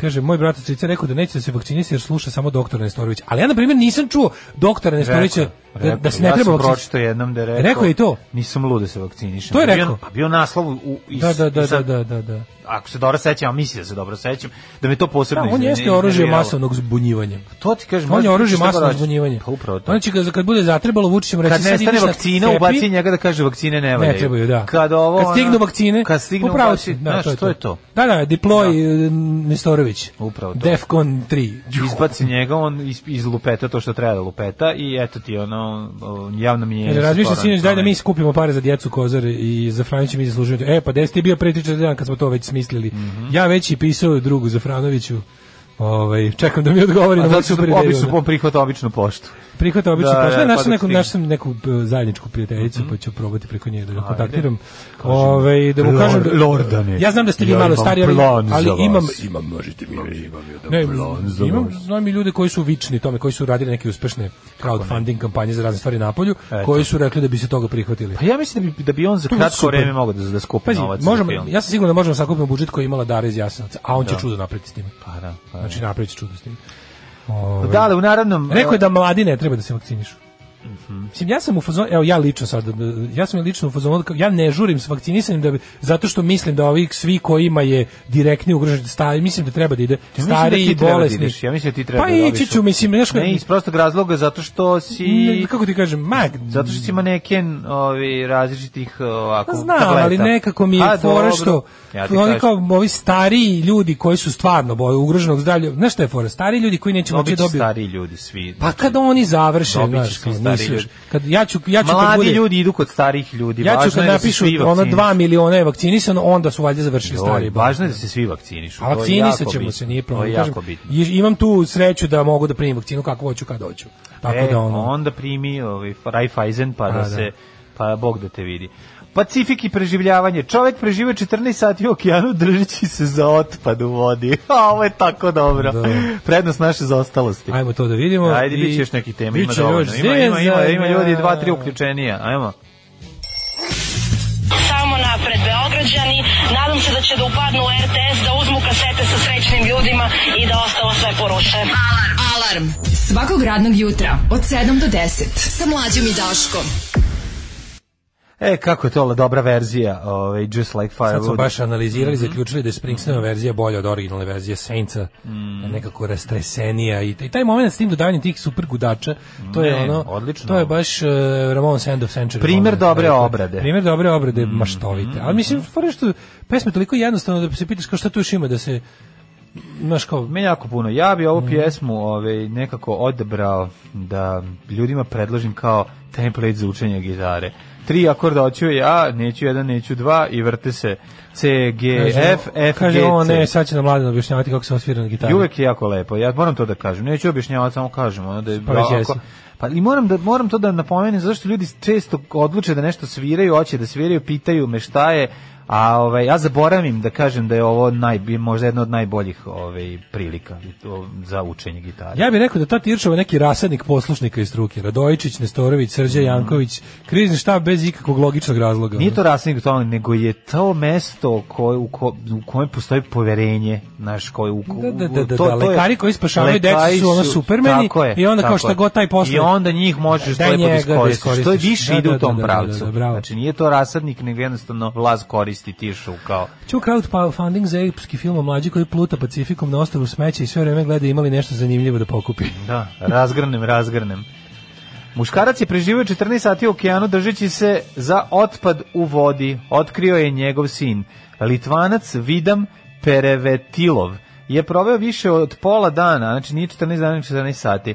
G: kaže moj brat od strica je rekao da neće da se vakcinisati jer sluša samo doktora Nestorovića. Ali ja na primjer nisam čuo doktora Nestorovića
F: Rekao
G: Da, da se ne
F: ja
G: treba
F: sam
G: vakcin-
F: pročito jednom da je rekao.
G: Rekao je i to.
F: Nisam lud da se vakcinišem.
G: To je
F: Bio-
G: rekao.
F: Pa bio naslov u... Is,
G: Da, da, da,
F: i
G: da,
F: sad,
G: da, da, da.
F: Ako se dobro sećam, a mislim da se dobro sećam, da me to posebno
G: Da, on
F: izne-
G: jeste oružje
F: iznerviralo.
G: masovnog zbunjivanja.
F: To ti kažem.
G: On je
F: možda
G: oružje Znači,
F: šta god
G: masovnog
F: hoćeš.
G: zbunjivanja.
F: Pa upravo to.
G: Onda će ga, kad bude zatrebalo, Vučić će mu reći...
F: Kad
G: "Sad
F: nestane
G: ideš na
F: vakcina,
G: tepi."
F: ubaci njega da kaže vakcine ne valjaju.
G: Ne trebaju, da.
F: Kad ovo...
G: Kad stignu
F: ono-
G: vakcine,
F: Kad stignu
G: upravo
F: ubaci,
G: si,
F: znaš, to je to.
G: Da, da, diploj da. Nestorović.
F: Upravo to.
G: Defcon 3.
F: izbaci njega, on iz, iz lupeta to što treba da lupeta i eto ti ono o, javno mi je...
G: Jer razmišlja sinoć daj da mi skupimo pare za djecu Kozar i za Franića mi zaslužujemo. E, pa gde ste bio pre 3-4 dana kad smo to već smislili?
F: Mhm.
G: Ja već i pisao drugu za Franoviću. Ovaj, čekam da mi odgovori
F: A
G: na
F: zato
G: moj
F: što
G: super ideju. da.
F: obično prihvata običnu poštu.
G: Prihvata obično
F: Da,
G: da,
F: da,
G: pošta.
F: pa
G: Našao
F: dok
G: sam neku,
F: stigne. Mhm.
G: našao sam neku e, zajedničku prijateljicu, pa ću probati preko nje da ga kontaktiram.
F: Kažem,
G: Ovaj da mu kažem
F: Lord-
G: da,
F: Lordane,
G: Ja znam da ste vi
F: ja
G: malo
F: imam
G: stariji, ali,
F: plan
G: ali
F: za vas.
G: imam imam možete mi ne, imam, znam i ljude koji su vični tome, koji su radili neke uspešne crowdfunding kampanje za razne stvari na polju,
F: Eto.
G: koji su rekli da bi se toga prihvatili.
F: Pa ja mislim da bi, da bi on za
G: To je
F: kratko
G: super.
F: vreme mogao da, da skupi
G: Pazi,
F: novac
G: možemo,
F: za film.
G: ja sam siguran da možemo sakupiti budžet koji je imala Dara iz Jasenovca, a on će čudo napraviti s tim.
F: Pa da, pa da.
G: Znači napravit će čudo s tim. Ovaj.
F: da, ali u naravnom...
G: Rekao je da mladi ne treba da se vakcinišu.
F: Mhm.
G: Mislim, ja sam u fazonu, evo ja lično sad, ja sam lično u fazonu, kao, ja ne žurim s vakcinisanjem da bi, zato što mislim da ovih svi kojima je direktni ugrožen stari, mislim da treba da ide
F: Ja mislim da
G: stari
F: ti
G: i
F: treba da
G: bolesni.
F: ideš, ja mislim da ti treba
G: pa
F: da
G: ići
F: dobiš
G: ću,
F: u-
G: mislim, znaš
F: Ne, iz prostog razloga zato što si...
G: i... kako ti kažem, ma,
F: Zato što si maneken ovi, različitih eh, ovako,
G: Pa Znam,
F: tableta.
G: ali nekako mi je
F: A,
G: fora
F: Pa dobro.
G: što
F: Ja ti
G: oni
F: kažem.
G: kao ovi stariji ljudi koji su stvarno boju ugroženog zdravlja, znaš šta je fora? Stari ljudi koji neće moći
F: Dobit će
G: dobiti.
F: stariji ljudi svi.
G: Pa kad oni završe,
F: Dobit će
G: znaš,
F: svi
G: kao,
F: stariji
G: misliš,
F: ljudi.
G: kad ja ću ja ću kad
F: Mladi
G: bude,
F: ljudi idu kod starih ljudi.
G: ja ću
F: važno
G: kad
F: je da se
G: napišu
F: svi
G: ono
F: vakcinišu.
G: 2 miliona je vakcinisano, onda su valjda završili
F: Joj,
G: stari.
F: Važno je da se svi vakcinišu. to
G: A
F: je jako
G: vakcinisat ćemo
F: bitno.
G: se, nije
F: To
G: problem.
F: je
G: Kažem,
F: jako bitno.
G: i- imam tu sreću da mogu da primim vakcinu kako hoću, kad hoću. Tako
F: E,
G: da ono,
F: onda primi ovaj Raiffeisen pa
G: A,
F: da,
G: da.
F: se pa Bog da te vidi. Pacifik i preživljavanje. Čovek prežive 14 sati u okeanu držeći se za otpad u vodi. A ovo je tako dobro.
G: Da.
F: Prednost naše zaostalosti.
G: ajmo to da vidimo.
F: Ajde,
G: i-
F: bit će još neki tema, ima
G: bit će
F: dovoljno.
G: još
F: Ima, ima, ima, ima ljudi
G: zezanja.
F: dva, tri uključenija. Ajmo.
C: Samo napred Beograđani, nadam se da će da upadnu u RTS, da uzmu kasete sa srećnim ljudima i da ostalo sve poruše.
E: Alarm. Alarm. Svakog radnog jutra od 7 do 10 sa mlađom i Daškom.
F: E, kako je to dobra verzija, ovaj, Just Like
G: Sad su
F: Firewood.
G: baš analizirali,
F: Mhm.
G: zaključili da je Springsteenova verzija bolja od originalne verzije Saintsa,
F: Mhm.
G: nekako rastresenija i, taj- i taj moment s tim dodavanjem tih super gudača, to je
F: Ne,
G: ono,
F: odlično.
G: to je baš uh, Ramon Sand of Century.
F: Primer
G: Ono,
F: dobre
G: rekao je.
F: obrade. Mhm,
G: Primer dobre obrade maštovite. Ali mislim, fora je što pesma je toliko jednostavna da se pitaš kao šta tu još ima da se, znaš kao,
F: Meni jako puno. Ja bi
G: Mhm.
F: ovu pjesmu ovaj, nekako odebrao da ljudima predložim kao template za učenje gitare. Tri akorda hoću ja, neću jedan, neću dva i vrte se C, G,
G: kaže,
F: F, F,
G: kaže,
F: G,
G: o ne,
F: C.
G: sad će nam mladen objašnjavati kako se on svira na
F: I
G: gitaru.
F: uvek je jako lepo. Ja moram to da kažem. Neću objašnjavati, samo kažem. Ono da je,
G: Pa već jesi.
F: ako- pa i moram, da, moram to da napomenem, zašto ljudi često odluče da nešto sviraju, hoće da sviraju, pitaju me šta je, a ovaj, ja zaboravim da kažem da je ovo naj, možda jedna od najboljih ovaj, prilika o, za učenje gitare.
G: Ja bih rekao da ta Tiršova neki rasadnik poslušnika iz struke. Radojičić, Nestorović, Srđan Janković, krizni štab bez ikakvog logičnog razloga.
F: Mhm. Nije to rasnik tome, nego je to mesto koje, u, ko, u kojem postoji poverenje, znaš, koje u ko-
G: Da, da, da,
F: to-
G: da, da,
F: to je-
G: lekari koji spašavaju decu
F: lekari
G: su ono supermeni
F: tako je,
G: i onda kao
F: tako
G: šta
F: je.
G: god taj posle-
F: I onda njih možeš
G: Daj
F: lepo da
G: njega da
F: iskoristiš. To je
G: iskoristiš.
F: više
G: Da,
F: ide
G: da,
F: u tom
G: da, da, da,
F: pravcu.
G: da, bravo.
F: Znači nije to rasadnik, nego jednostavno vlast koristi tišu kao...
G: Ču crowdfunding Pa- za epski film o mlađi koji pluta Pacifikom na ostavu smeća i sve vreme gleda imali nešto zanimljivo da pokupi.
F: Da, razgrnem, razgrnem. Muškarac je preživio 14 sati u okeanu držeći se za otpad u vodi. Otkrio je njegov sin. Litvanac Vidam Perevetilov je proveo više od pola dana, znači nije 14 dana, nego 14 sati.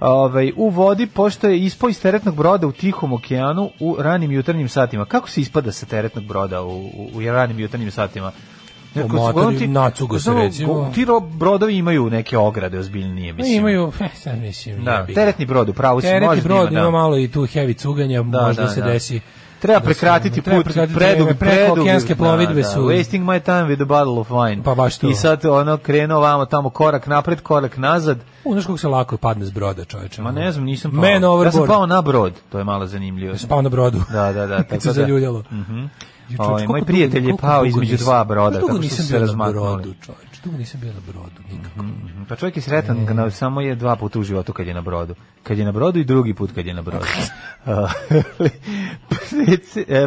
F: Ovaj, u vodi, pošto je ispao iz teretnog broda u Tihom okeanu u ranim jutarnjim satima. Kako se ispada sa teretnog broda u, u, u ranim jutarnjim satima? Nekako su-
G: Omatori,
F: uglavnom
G: nacugo se,
F: samo,
G: recimo.
F: Ti ro- brodovi imaju neke ograde ozbiljnije,
G: No,
F: mislim.
G: imaju, eh, sad mislim,
F: Da,
G: jebi ga.
F: teretni brod, u pravu si,
G: Teretni
F: može da
G: brod
F: ima, da.
G: ima malo i tu heavy cuganja, možda
F: da,
G: se
F: da.
G: desi.
F: Treba
G: da se-
F: prekratiti
G: treba
F: put,
G: prekratiti
F: predug,
G: vreme, preko
F: predug, da,
G: okeanske plovidbe su.
F: Wasting my time with a bottle of wine.
G: Pa baš to.
F: I sad ono krenuo vamo tamo korak napred, korak nazad.
G: U, znaš kako se lako padne s broda, čoveče.
F: Ma ne znam, nisam pao.
G: Man
F: ja sam
G: overboard.
F: pao na brod, to je malo zanimljivo.
G: Ja sam pao na brodu.
F: Da, da, da.
G: Kad se
F: tako da.
G: zaljuljalo.
F: Mhm. Ovaj, moj prijatelj je pao između dva broda,
G: tako
F: tako što su
G: nisam
F: se
G: bio na brodu,
F: razmaknuli.
G: čoveč. Dugo nisam bio na brodu, nikako.
F: Pa čovjek je sretan, kad samo je dva puta u životu kad je na brodu. Kad je na brodu i drugi put kad je na brodu. A,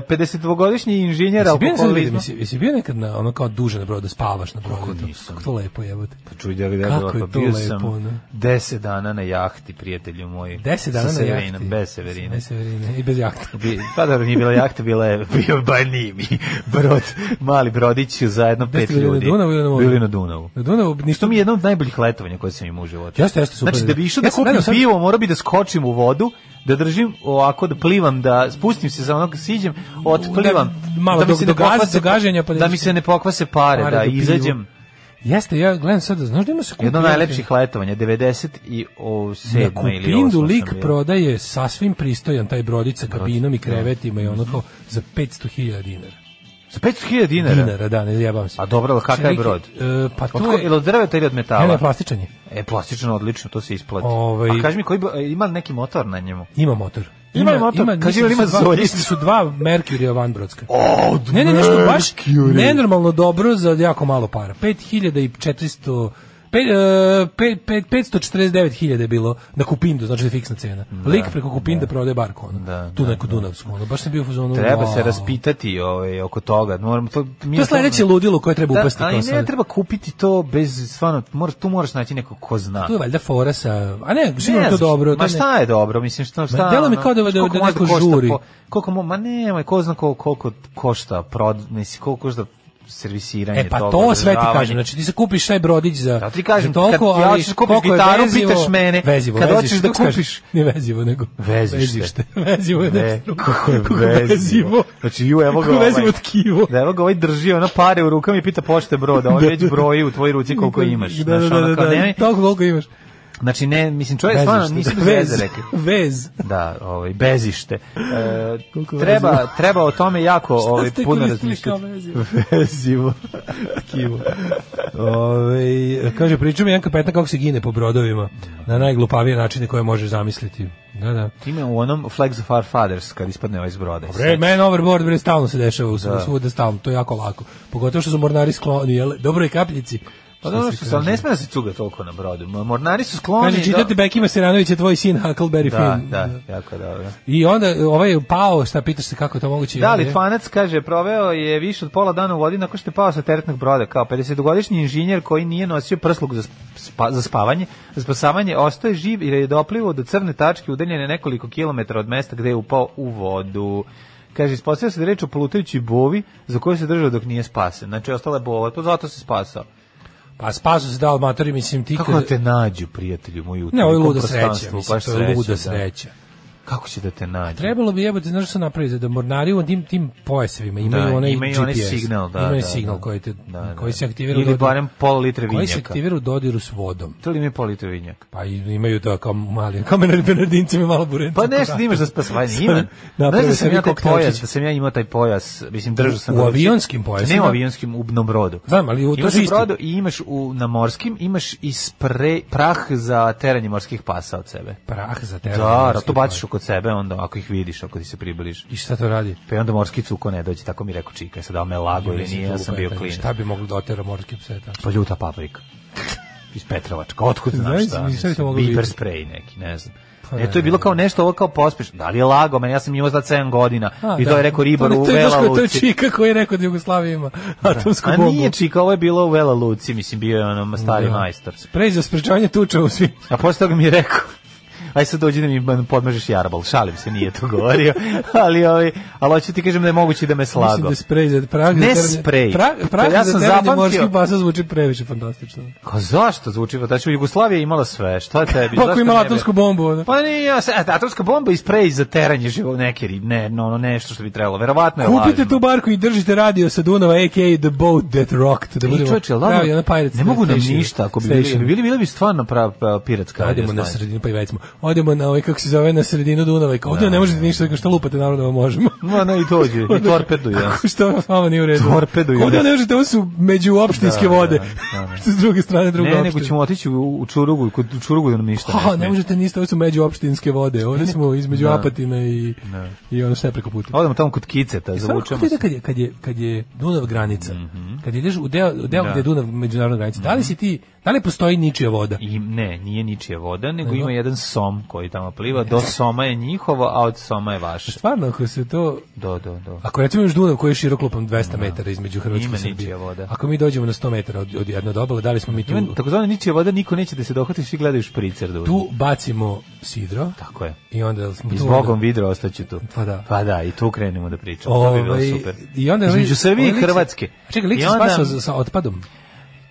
F: 52-godišnji e, inženjer
G: Jesi bio, sad, vidim,
F: alkoholizma.
G: jesi, jesi bio nekad na, ono kao duže na brodu, spavaš na brodu? Kako nisam. Kako to lepo jebote.
F: Pa čuj da li da
G: Kako
F: pa
G: je to
F: bio
G: lepo,
F: sam
G: ne?
F: 10 dana na jahti, prijatelju moj.
G: 10 dana
F: sa
G: na
F: Severinom,
G: jahti.
F: Bez Severine.
G: Bez Severine i bez jahte.
F: Bi- Pa dobro, nije bila jahta, bila je bio banimi. Brod, mali brodić zajedno
G: Gde ste
F: pet
G: bili, na
F: ljudi.
G: Dunavu ili na moru?
F: Bili na Dunavu.
G: Na Dunavu,
F: Ništa mi je jedno od najboljih letovanja koje sam imao u životu.
G: Jeste, jeste, super.
F: Znači, da bi išao
G: Ja
F: da
G: sam
F: kupim
G: gledao sad-
F: pivo, morao bi da skočim u vodu, da držim ovako, da plivam, da spustim se za onog siđem, otplivam.
G: Da- malo do- do gaza- do gaženja, pa da-
F: da mi se ne pokvase pare,
G: Pare
F: da
G: do pivu.
F: izađem.
G: Jeste, ja gledam sad, znaš da ima se
F: Jedno od
G: kupio-
F: najlepših letovanja, 90 i o 7
G: Na
F: ili 8.
G: Kupindu lik prodaje sasvim pristojan taj brodić sa kabinom i
F: da.
G: krevetima i ono kao za 500.000 dinara.
F: Za 500.000 dinara?
G: Dinara, da, ne jebam se.
F: A dobro, ali kakav je
G: Čekaj,
F: brod?
G: e, pa
F: Od
G: to
F: ko-
G: je...
F: Ili od drveta ili od metala?
G: Ne, ne, plastičan je.
F: E, plastično, odlično, to se isplati.
G: Ovaj-
F: A kaži mi, koji, bo- e, ima li neki motor na njemu?
G: Ima motor.
F: Ima motor? Kaži,
G: mislim da
F: ima
G: su dva-
F: zoljić?
G: mislim su dva Mercuryja vanbrodska. ne, ne, nešto baš
F: Mercury.
G: nenormalno dobro za jako malo para. 5400 Pe, e, pe, pe, 549.000 je bilo na Kupindu, znači da je fiksna cena. Lik
F: da.
G: preko Kupinda prodaje barko, ono. tu neku Dunavsku, ono. Baš sam bio u fazonu.
F: Treba se
G: wow.
F: raspitati ovaj, oko toga. Moram, to, mi
G: To je sledeće ludilo koje treba
F: Da,
G: upasti.
F: ali
G: kao
F: ne
G: sad.
F: treba kupiti to bez, stvarno, mora, tu moraš naći nekog ko zna.
G: Tu je valjda fora sa... A ne, Pa sigurno
F: Ne
G: je to
F: znam,
G: dobro. to
F: Ma
G: ne-
F: šta je dobro, mislim šta šta.
G: delo mi
F: ono,
G: kao da- da- da
F: koliko može
G: neko
F: košta
G: žuri.
F: po- Koliko mo, ma nemoj, ko zna koliko, koliko košta prod, mislim koliko košta servisiranje
G: E pa
F: toga,
G: to sve ti
F: održavanje.
G: kažem, znači ti se kupiš taj brodić za
F: Ja ti kažem,
G: za toliko,
F: kad ja
G: ali
F: hoćeš da kupim
G: koliko je
F: gitaru,
G: vezivo-
F: pitaš mene.
G: Vezivo,
F: Kad
G: vezište,
F: hoćeš da
G: kako kažeš?
F: kupiš-
G: Ne vezivo nego
F: Vezište.
G: vezište. Vezivo je
F: Ne,
G: nešto.
F: kako je vezivo. Znači, ju, evo ga
G: Kako
F: ovaj.
G: vezivo tkivo.
F: Da evo ga ovaj drži, ona pare u rukama i pita pošte broda, on već broji u tvojoj ruci koliko imaš.
G: Da, da,
F: znaš,
G: da,
F: ono
G: da,
F: kao,
G: da,
F: nemoj-
G: toliko koliko imaš.
F: Znači, ne, mislim, čovjek stvarno nisi
G: Vezište,
F: bez
G: da.
F: veze
G: Vez.
F: rekli.
G: Vez.
F: Da, ovaj bezište. E,
G: Koliko je
F: treba,
G: vezivo?
F: treba o tome jako ovaj
G: ste
F: puno
G: koristili kao
F: razmišljati. Vezivo.
G: Kivo. Ove, Ovaj, kaže, priča mi jedan kapetan kako se gine po brodovima na najglupavije načine koje možeš zamisliti. Da, da.
F: Ima u onom Flags of Our Fathers kad ispadne ovaj zbroda.
G: Bre, man overboard, bre, stalno se dešava u da. svuda stalno, to je jako lako. Pogotovo što su mornari skloni, jel? Dobro je kapljici.
F: Pa
G: Što
F: dobro
G: se
F: što sam,
G: kaže.
F: ne sme da se cuga toliko na brodu. Ma, Mornari su skloni...
G: Kaže, čitate Bekima Seranović je tvoj sin Huckleberry
F: Da,
G: Finn.
F: da, jako dobro.
G: I onda e, ovaj je pao, šta pitaš se kako je to moguće?
F: Da,
G: On je-
F: Litvanac kaže, proveo je više od pola dana u vodi nakon što je pao sa teretnog broda. Kao 50-godišnji inženjer koji nije nosio prsluk za, spa, za spavanje, za spasavanje, ostaje živ jer je doplivao do crne tačke udaljene nekoliko kilometara od mesta gde je upao u vodu. Kaže, ispostavio se da je reč o plutajućoj bovi za koju se držao dok nije spasen. Znači, ostala je bova, to zato se spasao.
G: Pa spasu se da matori, mislim, ti...
F: Kako da
G: kad-
F: te nađu, prijatelju moju? u
G: Ne, ovo je
F: tolikom
G: luda sreća,
F: prostranstvu?
G: mislim,
F: Baš
G: to je luda
F: da.
G: sreća.
F: Kako će da te nađu?
G: Trebalo bi jebote, znaš što su napravili, da mornari u tim, tim pojasevima imaju
F: Da,
G: onaj
F: imaju
G: GPS.
F: onaj signal, da,
G: imaju
F: da,
G: signal
F: da.
G: koji, te,
F: Da, da,
G: koji se
F: da.
G: aktivira... u
F: Ili
G: dodiru-
F: barem pola litre
G: Koji se
F: vinjaka.
G: aktivira u dodiru s vodom.
F: To li mi je pola litre vinjaka?
G: Pa i- imaju to kao mali, kao Bernardinci mi malo burenci.
F: Pa nešto da imaš za spasavanje, ima. Znaš
G: Napravio
F: da sam
G: sebi
F: ja taj
G: koktelčić.
F: pojas, da sam ja imao taj pojas, mislim držao sam
G: U
F: ga
G: avionskim pojasima?
F: Ne u avionskim, u na brodu.
G: Znam, ali u- to
F: imaš
G: su
F: u
G: isti.
F: brodu i imaš u, na morskim, imaš i spre, prah za teranje morskih pasa od sebe.
G: Prah za tebe.
F: Da, da, to baciš oko sebe, onda ako ih vidiš, ako ti se približiš.
G: I šta to radi?
F: Pa i onda morski cuko ne dođe, tako mi je rekao čika, sad da li me lago ili
G: Mislim,
F: nije, ja sam bio
G: lupetanje.
F: klinac.
G: Šta bi mogli da otera morske pse tako?
F: Pa ljuta paprika. Iz Petrovačka, otkud
G: Znaš,
F: znaš šta?
G: mislim, šta bi to moglo
F: Biper
G: biti?
F: sprej neki, ne znam.
G: Pa
F: ne, to je
G: ne,
F: bilo
G: ne.
F: kao nešto, ovo kao pospešno. Da li je lago, meni ja sam imao za 7 godina
G: A,
F: i to
G: da.
F: je rekao ribar
G: To ne-
F: u
G: to je baš
F: Vela
G: kao To je
F: Luci.
G: Čika koji je rekao da Jugoslavija ima atomsku
F: A
G: bombu.
F: nije čika, ovo je bilo u Vela Luci, mislim, bio je ono stari
G: Da.
F: majstor.
G: Prej za sprečavanje tuča u svim.
F: A posle toga mi je rekao, aj sad dođi da mi podmažeš jarbol. Šalim se, nije to govorio, ali, ali, ali hoću ti kažem da je moguće da me
G: Mislim da
F: slago.
G: je sprej za prag.
F: Ne
G: za teranje-
F: sprej.
G: Prag, prag
F: To ja
G: za
F: sam
G: teranje
F: zapamtio.
G: morskih pasa zvuči previše fantastično.
F: Kao zašto zvuči? Znači, Jugoslavija je imala sve, šta je tebi?
G: Pa ako
F: zašto
G: imala
F: ne bi-
G: atomsku bombu, ono.
F: Pa nije, ja se- et, atomska bomba i sprej za teranje živog neke rib, ne, no, ono nešto što bi trebalo, verovatno je
G: Kupite
F: E, lažno.
G: tu barku i držite radio sa Dunava, a.k.a. The Boat That Rocked. Da
F: I
G: budemo
F: čoveče, ladno,
G: pravi, ono Pirates
F: ne mogu nam
G: Station.
F: ništa, ako bi da bili,
G: Station.
F: bili, bili bi stvarno pra, pra, piratska radio
G: Ajdemo na
F: stanje.
G: sredinu pa i vecimo. odemo na ovaj, kako se zove, na sredinu Dunava i kao, ovdje
F: Da,
G: ne možete ništa, kao što lupate, naravno da vam možemo.
F: Ma ne, i dođe, i torpeduju.
G: Kako što s vama nije u redu.
F: Torpeduju,
G: Kao, Ovdje
F: ne.
G: ne možete, ovo su međuopštinske
F: Da, da,
G: vode.
F: da, da.
G: Što s druge strane, druga
F: Ne, nego
G: opština.
F: ćemo otići u, u Čurugu, kod u Čurugu nam ništa.
G: Ha, ne
F: smije.
G: možete ništa, ovo su međuopštinske vode. Ovdje smo između
F: Da.
G: Apatina i,
F: Da.
G: i ono sve preko puta.
F: Odemo tamo kod Kiceta,
G: I stvarno,
F: zavučemo
G: kako ti
F: Da se. Mhm.
G: ide kad je, kad je, kad je Dunav granica, kad ideš u deo, u
F: Da.
G: deo
F: Mhm.
G: gde je Dunav međunarodna granica, da li si ti, da li postoji ničija voda?
F: I ne, nije ničija voda, nego
G: Nego?
F: ima jedan som koji tamo pliva. Do soma je njihovo, a od soma je vaše.
G: Stvarno, ako se to...
F: Do, do, do.
G: Ako recimo imaš Dunav koji je širok lupom 200 metara između Hrvatske
F: Da. Ima
G: i Srbije,
F: ničija voda.
G: ako mi dođemo na 100 metara od, od jednog obale, da li smo mi tu...
F: Ima takozvana ničija voda, niko neće da se dohvati, svi gledaju špricer do
G: Tu bacimo sidro
F: Tako je.
G: i onda... smo
F: I
G: tu
F: s Bogom vidro ostaću tu.
G: Pa da.
F: Pa da, i tu krenemo da pričamo. to bi bilo
G: Ovaj,
F: super.
G: I onda
F: Između Srbije i
G: ovaj lik se-
F: Hrvatske.
G: Čekaj, lik
F: I
G: se
F: onda-
G: spasao za- sa otpadom.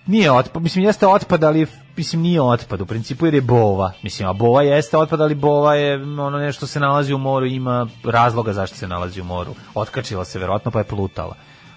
F: Nije otpad, mislim jeste otpad, ali mislim nije otpad u principu jer je bova. Mislim, a bova jeste otpad, ali bova je m, ono nešto se nalazi u moru, ima razloga zašto se nalazi u moru. Otkačila se verovatno pa je plutala.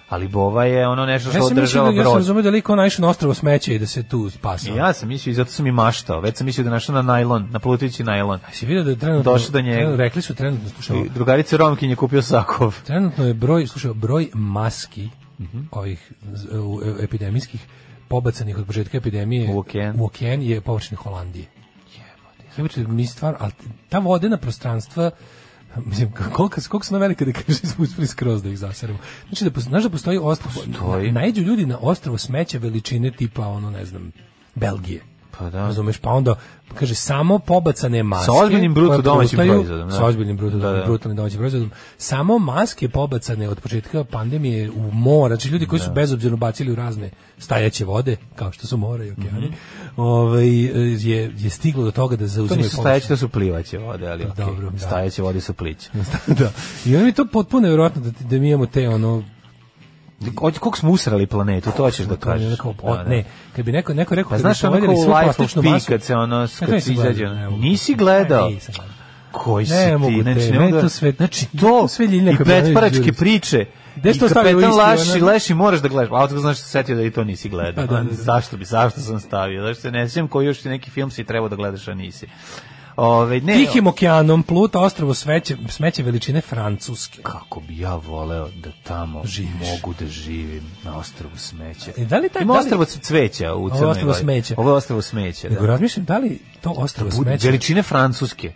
F: Ali bova je ono nešto
G: Ja
F: što
G: sam mislio,
F: održava
G: da- ja sam
F: brod.
G: razumio da je lik on naišao na ostrovo smeće i da se tu spasao.
F: I ja sam mislio i zato sam i maštao. Već sam mislio da je našao na najlon, na plutajući najlon.
G: Si vidio da je trenutno...
F: Došli do njega.
G: trenutno- Rekli su trenutno, slušaj, ovo,
F: I Drugarice Romkin je kupio sakov.
G: Trenutno je broj, slušaj, broj maski
F: Mhm.
G: ovih z- u- e- epidemijskih pobacanih od početka epidemije
F: U okean.
G: u okean je površine Holandije. Jebote, mi stvar, ali ta vodena prostranstva Mislim, k- koliko, koliko su na velike da kaže smo uspeli skroz da ih zaseremo. Znači, da, pos- znaš da postoji ostrovo,
F: Postoji.
G: Na, naiđu ljudi na ostrovo smeća veličine tipa, ono, ne znam, Belgije.
F: Pa da.
G: Razumeš, pa onda, kaže, samo pobacane maske.
F: ozbiljnim bruto
G: koje
F: domaćim
G: plutaju-
F: proizvodom, da.
G: Sa ozbiljnim bruto,
F: Da, da.
G: brutalnim domaćim proizvodom. Samo maske pobacane od početka pandemije u more, znači ljudi koji
F: Da.
G: su bezobzirno bacili u razne stajaće vode, kao što su more i okeani, ovaj, je, je stiglo do toga da
F: Mhm. To
G: zauzimaju
F: nisu stajeće, to su plivaće vode, ali okej.
G: Dobro, da.
F: Stajeće vode su pliće.
G: površine. da. I onda mi je to potpuno nevjerojatno da, da mi imamo te ono
F: Ođe, koliko smo usrali planetu, to ćeš da
G: kao,
F: kažeš.
G: kao,
F: Da,
G: o,
F: da.
G: ne, kad bi neko, neko rekao
F: Pa
G: kad
F: znaš
G: bismo
F: ono kao
G: vadili
F: u
G: svu
F: Life of
G: plastičnu
F: Pi
G: masu-
F: kad se ono,
G: Ja to
F: kad se
G: nisam
F: izađe.
G: gledao, ne
F: ono,
G: mogu.
F: Nisi
G: Ne,
F: gledao?
G: nisam gledao.
F: Koji si
G: Ne
F: ti?
G: mogu
F: znači,
G: te,
F: ne
G: meni
F: mogu da-
G: to sve-
F: znači to,
G: to sve Ljiljana
F: i
G: Kapetanović
F: petparačke
G: Đurić.
F: priče,
G: Gde
F: i
G: si to stavio u
F: kapetan
G: isti,
F: Laši,
G: ono?
F: Leši moraš da gledaš. A otko znaš se setio da i to nisi gledao.
G: Pa da, da,
F: Onda
G: da.
F: Zašto bi, zašto sam stavio? Zašto se ne sjećam koji još ti neki film si trebao da gledaš, a nisi. Ove, ne,
G: Tihim okeanom pluta ostrovo sveće, smeće veličine Francuske.
F: kako bi ja voleo da tamo
G: Živiš.
F: mogu da živim na ostrvu smeća.
G: E, da li taj-
F: Ima
G: da li-
F: ostrvo cveća u
G: Ovo je
F: Crnoj
G: ostrvo
F: Gori.
G: smeća.
F: Ovo je ostrvo smeća, da.
G: Nego razmišljam da li
F: Znači,
G: to ostrovo
F: Budu
G: smeće...
F: Veličine francuske.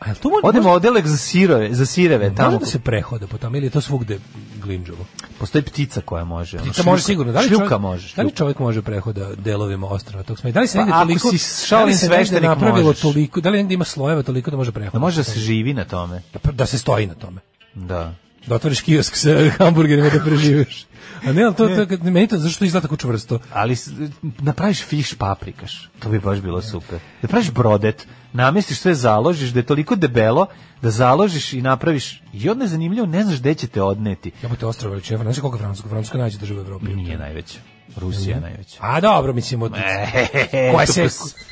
G: A jel to mo-
F: Odemo
G: Da može-
F: odelek za sirove, za sireve
G: Može
F: tamo.
G: da se prehoda po tome ili je to svugde glinđovo?
F: Postoji ptica koja može. ono,
G: Ptica može
F: Pa šljuka-
G: sigurno. Da li
F: šljuka
G: čovjek,
F: može.
G: Da li
F: šljuka.
G: čovjek može prehoda delovima ostrava tog smeća? Da li se
F: Pa
G: negde
F: ako
G: toliko...
F: si šalin
G: da li se negde
F: sveštenik,
G: napravilo
F: možeš.
G: toliko... Da li negde ima slojeva toliko da može prehoda?
F: Da može da se živi na tome.
G: Da- Da se stoji na tome.
F: Da.
G: Da otvoriš kiosk sa hamburgerima da preživiš. A ne, ali to, to, kad- meni to, zašto izgleda tako čvrsto?
F: Ali s- napraviš fiš paprikaš. To bi baš bilo super. Napraviš brodet, namestiš sve, založiš da je toliko debelo da založiš i napraviš i odne zanimljivo, ne znaš gde će te odneti.
G: Ja te ostrava veličine, Francuske, koliko je Francuska? Francuska najveća država u Evropi.
F: Nije najveća. Rusija je najveća.
G: A dobro, mislim,
F: Pa,
G: od...
F: e,
G: koja se,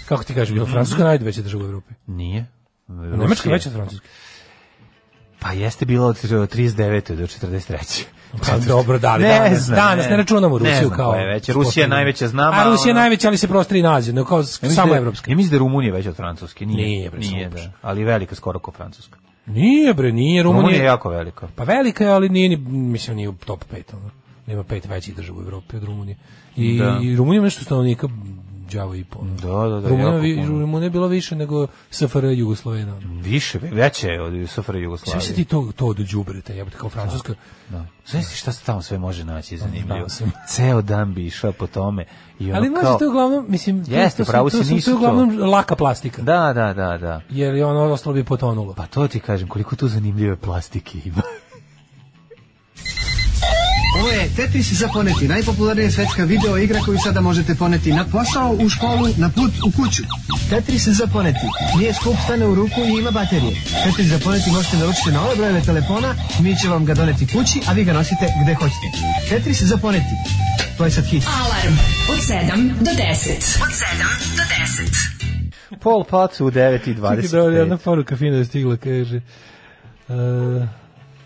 G: kako ti kažem, je li Francuska najveća država u Evropi?
F: Nije.
G: A Nemačka je veća od Francuske.
F: Pa jeste bila od 39. do 43.
G: Pa dobro, da li
F: Ne
G: danas,
F: znam,
G: danas
F: ne.
G: ne
F: Ne
G: računamo Rusiju
F: znam
G: kao...
F: koja je veća. Rusija je najveća, znam,
G: A
F: a
G: Rusija je
F: ono-
G: najveća, ali se prostri na Aziju, no kao s-
F: mislim
G: samo
F: da-
G: evropska.
F: Ja mislim da je Rumunija veća od Francuske. Nije,
G: Nije, bre,
F: nije
G: samo
F: da. Ali velika skoro kao Francuska.
G: Nije bre, nije
F: Rumunija je
G: Rumunija.
F: jako velika.
G: Pa velika je, ali nije, ni- mislim, nije u top 5. Ono. Nema pet većih država u Evropi od Rumunije. I,
F: Da.
G: i Rumunija ima nešto stanovnika đavo i pol.
F: Da, da, da,
G: Rumunija,
F: jako
G: vi,
F: puno.
G: Rumunija je bilo više nego SFR Jugoslovena. ono.
F: Više, veća je od SFRJ Jugoslavije.
G: Sve se ti to, to od đubreta, jebote, kao Francuska.
F: Da. Znaš ti šta se tamo sve može naći zanimljivo?
G: Znao sam.
F: Ceo dan bi išao po tome. I ono
G: da, Ali znaš,
F: kao...
G: to je uglavnom, mislim, to-
F: Jeste,
G: to, su-
F: pravo
G: to
F: si,
G: su- to je
F: nisu to.
G: uglavnom laka plastika.
F: Da, da, da, da.
G: Jer je ono ostalo bi potonulo.
F: Pa to ti kažem, koliko tu zanimljive plastike ima.
L: Ovo je Tetris za poneti, najpopularnija svetska video igra koju sada možete poneti na posao, u školu, na put, u kuću. Tetris za poneti. Nije skup, stane u ruku i ima baterije. Tetris za poneti možete naručiti na ove brojeve telefona, mi će vam ga doneti kući, a vi ga nosite gde hoćete. Tetris za poneti. To je sad hit.
E: Alarm od 7 do 10. Od 7 do 10.
F: Pol pat u 9 i
G: Čekaj, da,
F: 25.
G: jedna poruka fina je stigla, kaže... Uh, e,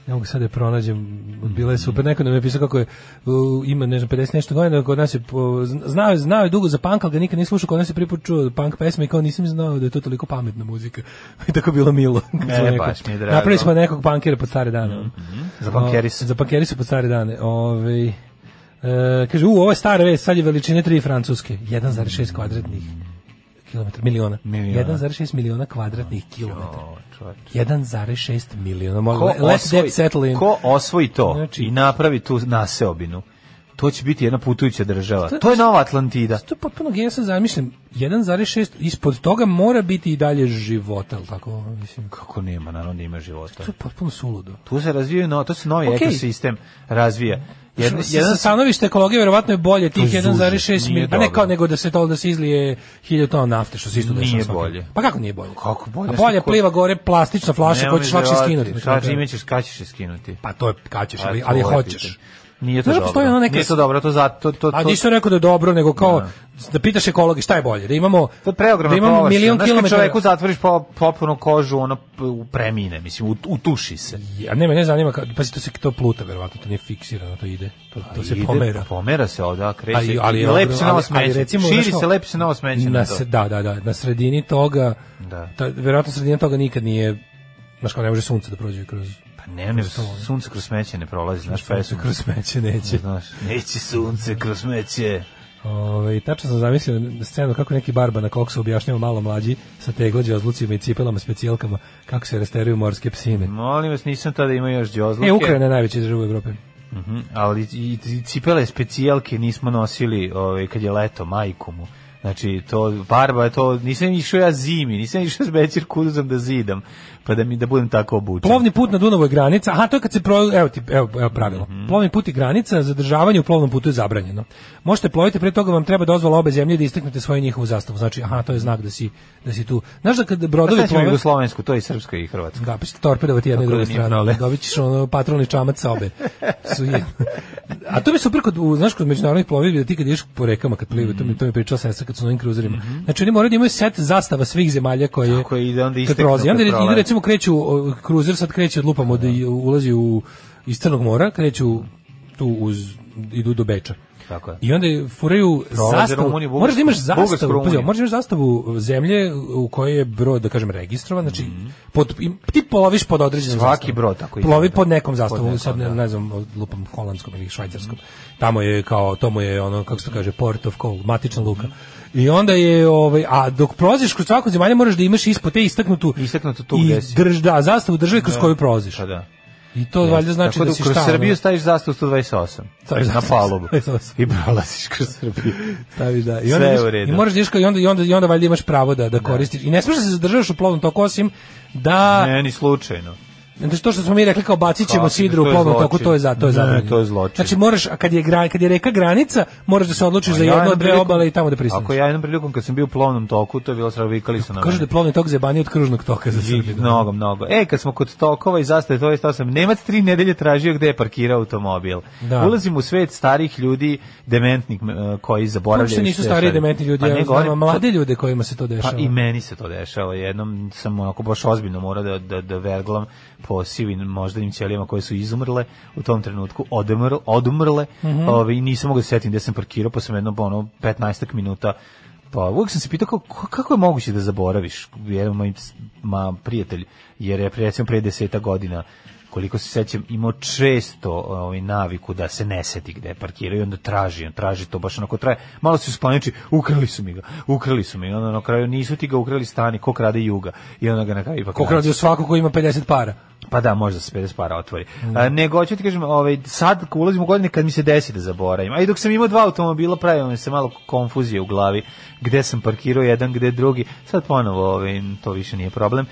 G: Ne mogu sad da je pronađem, bila je super, neko nam je pisao kako je, u, ima, ne znam, 50 nešto godina, kod nas je, po- zna- znao, je- znao je dugo za punk, ali ga nikad nije slušao, kod nas je prvi put čuo punk pesme i kao nisam znao da je to toliko pametna muzika. I tako je bilo milo. Kad
F: E,
G: smo neko-
F: baš mi je drago. Mm,
G: Napravili smo nekog punkira pod stare dane.
F: Za punkjeri su.
G: O, da. Za punkjeri su pod stare dane. Ove, e, kaže, u, ovo je stara vest, sad je veličine tri francuske, 1,6 kvadratnih kilometara, miliona.
F: Miliona.
G: 1,6 miliona kvadratnih kilometara. 1,6 miliona.
F: Ko
G: Molim, Let's
F: osvoji,
G: get settle in. Znači-
F: ko osvoji to i napravi tu naseobinu, to će biti jedna putujuća država. To je nova Atlantida.
G: To je potpuno genijalno, ja sad zamišljam, 1,6, ispod toga mora biti i dalje života, ali tako, mislim.
F: Kako nema, naravno da ima života.
G: To je potpuno suludo.
F: Tu se razvijaju, no, to se novi
G: Okej.
F: ekosistem razvija. Jedan,
G: Jedan, sa,
F: jedan
G: sa stanovišta ekologije verovatno je bolje
F: To
G: tih
F: je
G: 1,6
F: užas, nije
G: miliona, pa ne
F: dobro.
G: kao nego da se to da se izlije 1000 tona nafte, što se isto dešava.
F: Nije
G: svaki-
F: bolje.
G: Pa kako nije bolje?
F: Kako bolje?
G: A bolje
F: Što-
G: pliva gore plastična flaša koju ćeš
F: Nemoj
G: lakše
F: da
G: skinuti.
F: vratiš.
G: na kraju
F: Šta čime
G: krajeva.
F: ćeš, kada ćeš skinuti?
G: Pa to je kad ćeš,
F: A
G: ali,
F: to
G: ali
F: je
G: hoćeš.
F: pitanje. Nije to
G: Znaš da
F: dobro.
G: postoji ono neka-
F: Nije to dobro, to za to to to.
G: A nisu rekao da je dobro, nego kao da pitaš ekologe šta je bolje, da imamo
F: To je preogromna
G: da imamo
F: površina.
G: milion
F: Znaš, kad
G: kilometara.
F: čoveku zatvoriš po, popunu kožu, ono p- u- premine, mislim, ut- utuši se.
G: Ja ne, me ne zanima, pa to se to pluta verovatno, to nije fiksirano, to ide. To, to se
F: Ide,
G: pomera.
F: Pomera se ovdje, kreće.
G: Ali- ali
F: I
G: je
F: lepi
G: ogrom-
F: se novo
G: ali- ali
F: smeće.
G: recimo,
F: Širi
G: znaš kao-
F: se, lepi se novo smeće.
G: na
F: Na to.
G: se, da, da, da, na sredini toga,
F: Da.
G: ta, verovatno sredina toga nikad nije, znaš kao ne može sunce da prođe kroz...
F: Pa ne, ne,
G: kroz to, ono.
F: sunce kroz smeće ne prolazi, znaš,
G: Sunce
F: pesmu.
G: kroz smeće neće.
F: Znaš, neće sunce kroz smeće.
G: Ove, Ovaj, tačno sam zamislio scenu kako neki barba na koksu objašnjava malo mlađi sa teglađe, ozlucima i cipelama, specijalkama, kako se rasteruju morske psine.
F: Molim vas, nisam tada imao još djozluke.
G: E, Ukrajina je najveća država u Evropi.
F: Mhm, ali i, i cipele specijalke nismo nosili ovaj, kad je leto, majku mu. Znači, to, barba je to, nisam išao ja zimi, nisam išao s večer kuduzom da zidam, pa da mi da budem tako obučen.
G: Plovni put na Dunavu je granica. Aha, to je kad se pro... evo ti evo, evo pravilo. Plovni put i granica, zadržavanje u plovnom putu je zabranjeno. Možete ploviti, pre toga vam treba dozvola obe zemlje da istaknete svoju i njihovu zastavu. Znači, aha, to je znak da si da si tu. Znaš da kad
F: Pa
G: brodovi
F: sad ćemo
G: plove,
F: Jugoslovensku, to je i srpsko i hrvatsko.
G: da pa ćete torpedovati jedne i
F: Ako
G: druge
F: da nije
G: strane.
F: prole.
G: Dobit ćeš ono patrolni čamac sa obe. Su je- A to mi je super kod, u- znaš, kod međunarodnih plovidbi da ti kad ideš po rekama kad plive, to mi to mi je pričala sestra kad su na ovim kruzerima. Znači oni moraju da imaju set zastava svih zemalja koje
F: Mhm. Tako je, i da onda
G: kad
F: isteknu.
G: prolazi.
F: kad
G: Onda ide, ide
F: prolazi.
G: recimo kreću, o, kruzer sad kreće od lupamo da i ulazi u, iz Crnog mora, kreću tu uz, idu do Beča.
F: Tako je.
G: I onda furaju
F: Prolaze
G: zastavu.
F: Rumuniju, Bugarsku-
G: moraš da imaš
F: Bugarsku
G: zastavu, pazi,
F: Rumuniju.
G: moraš da imaš zastavu zemlje u kojoj je brod, da kažem, registrovan, znači pod, im- ti ploviš pod određenom
F: Svaki
G: zastavom.
F: brod tako ide,
G: Plovi
F: da.
G: pod nekom zastavom,
F: Pod nekom,
G: sad ne,
F: da.
G: ne znam, lupam holandskom ili švajcarskom. Tamo je kao, to mu je ono, kako se to kaže, port of call, matična luka. I onda je, ovaj, a dok prolaziš kroz svaku zemalju moraš da imaš ispod te istaknutu,
F: Istaknuto tu
G: i
F: gdje si.
G: drž, da, zastavu države kroz koju prolaziš.
F: Pa da.
G: I to valjda znači
F: Tako
G: da
F: da
G: si
F: kroz
G: šta, ono,
F: Srbiju staviš zastavu 128.
G: Staviš
F: na
G: zastavu
F: palubu.
G: 128.
F: I prolaziš kroz Srbiju.
G: Staviš da. I
F: Sve
G: onda
F: je
G: ideš-
F: u redu.
G: I možeš da ideš kao- i onda i onda i onda valjda imaš pravo da da koristiš. I ne smeš da se zadržavaš u plovnom toku osim da
F: Ne, ni slučajno.
G: znači to što smo mi rekli kao bacit ćemo
F: Kako,
G: sidru u
F: to je
G: plovnom
F: zločin.
G: toku, to je za to
F: Ne,
G: je zabranjeno.
F: to je zločin.
G: Znači moraš a kad je gra, kad je reka granica, moraš da se odlučiš za
F: Ja
G: jednu
F: jednom
G: od dve
F: prilikom-
G: obale i tamo da pristaneš.
F: Ako ja jednom prilikom kad sam bio u plovnom toku, to je bilo sravo vikali su na
G: Kažu da
F: mene.
G: je plovni tok zebaniji od kružnog toka za
F: I
G: Srbiju. da.
F: Mnogo, mnogo. E, kad smo kod tokova i zastave, to je stao sam. Nemac tri nedelje tražio gde je parkirao automobil.
G: Da.
F: Ulazim u svet starih ljudi, dementnih e, koji zaboravljaju.
G: Uopšte nisu
F: sve
G: stari
F: šta-
G: dementni ljudi,
F: Pa ne,
G: ja
F: govorim-
G: znam, mlade ljude kojima se to dešava.
F: Pa i meni se to dešava. Jednom sam onako baš ozbiljno morao da, da, da verglam po sivim moždanim ćelijama koje su izumrle u tom trenutku, odumrle, odumrle ovaj, i nisam mogao da se setim gde sam parkirao, pa sam jedno ono, 15 minuta Pa uvijek sam se pitao kako, kako je moguće da zaboraviš, jedan moj ma, prijatelj, jer je recimo pre deseta godina koliko se sećam, imao često ovaj, naviku da se ne seti gde je parkirao i onda traži, on traži to baš onako traje. Malo se uspaniči, ukrali su mi ga, ukrali su mi. I onda na kraju nisu ti ga ukrali stani, ko krade juga. I onda ga na kraju ipak
G: Ko
F: nađe.
G: krađe svako ko ima 50 para.
F: Pa da, možda se 50 para otvori. A, nego, hoću ti kažem, ovaj, sad ko ulazim u godine kad mi se desi da zaboravim. A i dok sam imao dva automobila, pravio mi se malo konfuzije u glavi. Gde sam parkirao jedan, gde drugi. Sad ponovo, ovaj, to više nije problem.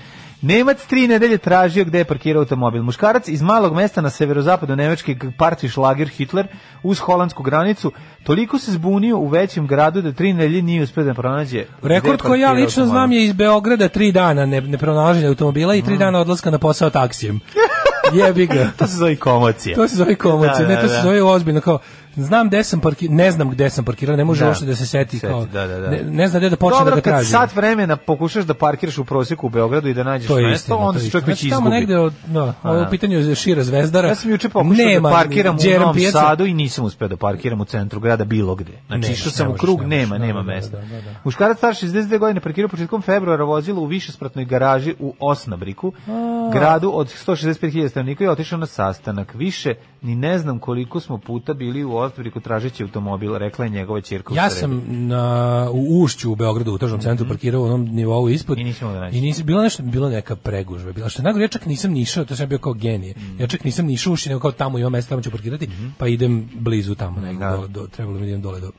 F: Nemac tri nedelje tražio gde je parkirao automobil. Muškarac iz malog mesta na severozapadu Nemačke partije Schlager Hitler uz holandsku granicu toliko se zbunio u većem gradu da tri nedelje nije uspio da pronađe. gde je
G: Rekord koji ja
F: parkirao
G: lično
F: automobil.
G: znam je iz Beograda tri dana ne, nepronalaženja automobila i tri dana odlaska na posao taksijem. Jebi ga.
F: Mm. To se zove komocija.
G: To se zove komocija,
F: Da,
G: ne,
F: da,
G: to se
F: da.
G: zove ozbiljno kao znam gde sam parki, ne znam gde sam parkirao, ne može
F: Da.
G: uopšte da se seti,
F: Seti,
G: kao,
F: da, da, da.
G: Ne, ne zna gde da počne
F: Dobro,
G: da ga
F: kad
G: traži.
F: sat vremena pokušaš da parkiraš u proseku u Beogradu i da nađeš
G: To je
F: mesto,
G: istina,
F: onda
G: to je
F: se čovjek
G: istina.
F: već
G: Znači, tamo
F: izgubi.
G: negde od- da, ovo je
F: Da.
G: pitanje je šira zvezdara.
F: Ja sam juče pokušao
G: Nema
F: da parkiram u
G: Đeren
F: Novom
G: Pijaca.
F: Sadu i nisam uspeo da parkiram u centru grada bilo gde. Znači,
G: Nemaš,
F: išao
G: ne
F: sam u
G: možeš,
F: krug,
G: ne možeš,
F: nema,
G: da,
F: nema
G: da, da,
F: mesta.
G: da, da.
F: Muškarac star 62 godine parkirao početkom februara vozilo u višespratnoj garaži u Osnabriku,
G: A.
F: gradu od 165.000 stanovnika i otišao na sastanak. Više ni ne znam koliko smo puta bili u Osnabriku tražeći automobil, rekla je njegova ćerka u
G: Ja
F: sredu.
G: sam na, u Ušću u Beogradu, u tržnom centru, parkirao u onom nivou ispod. Mhm. I nisam da I bilo nešto, bilo neka pregužva. Bila što je najgore, ja čak nisam nišao, to sam bio kao genije. Ja čak nisam nišao ušće, nego kao tamo ima mesta, tamo ću parkirati, pa idem blizu tamo. negde, do, do, trebalo mi da idem dole do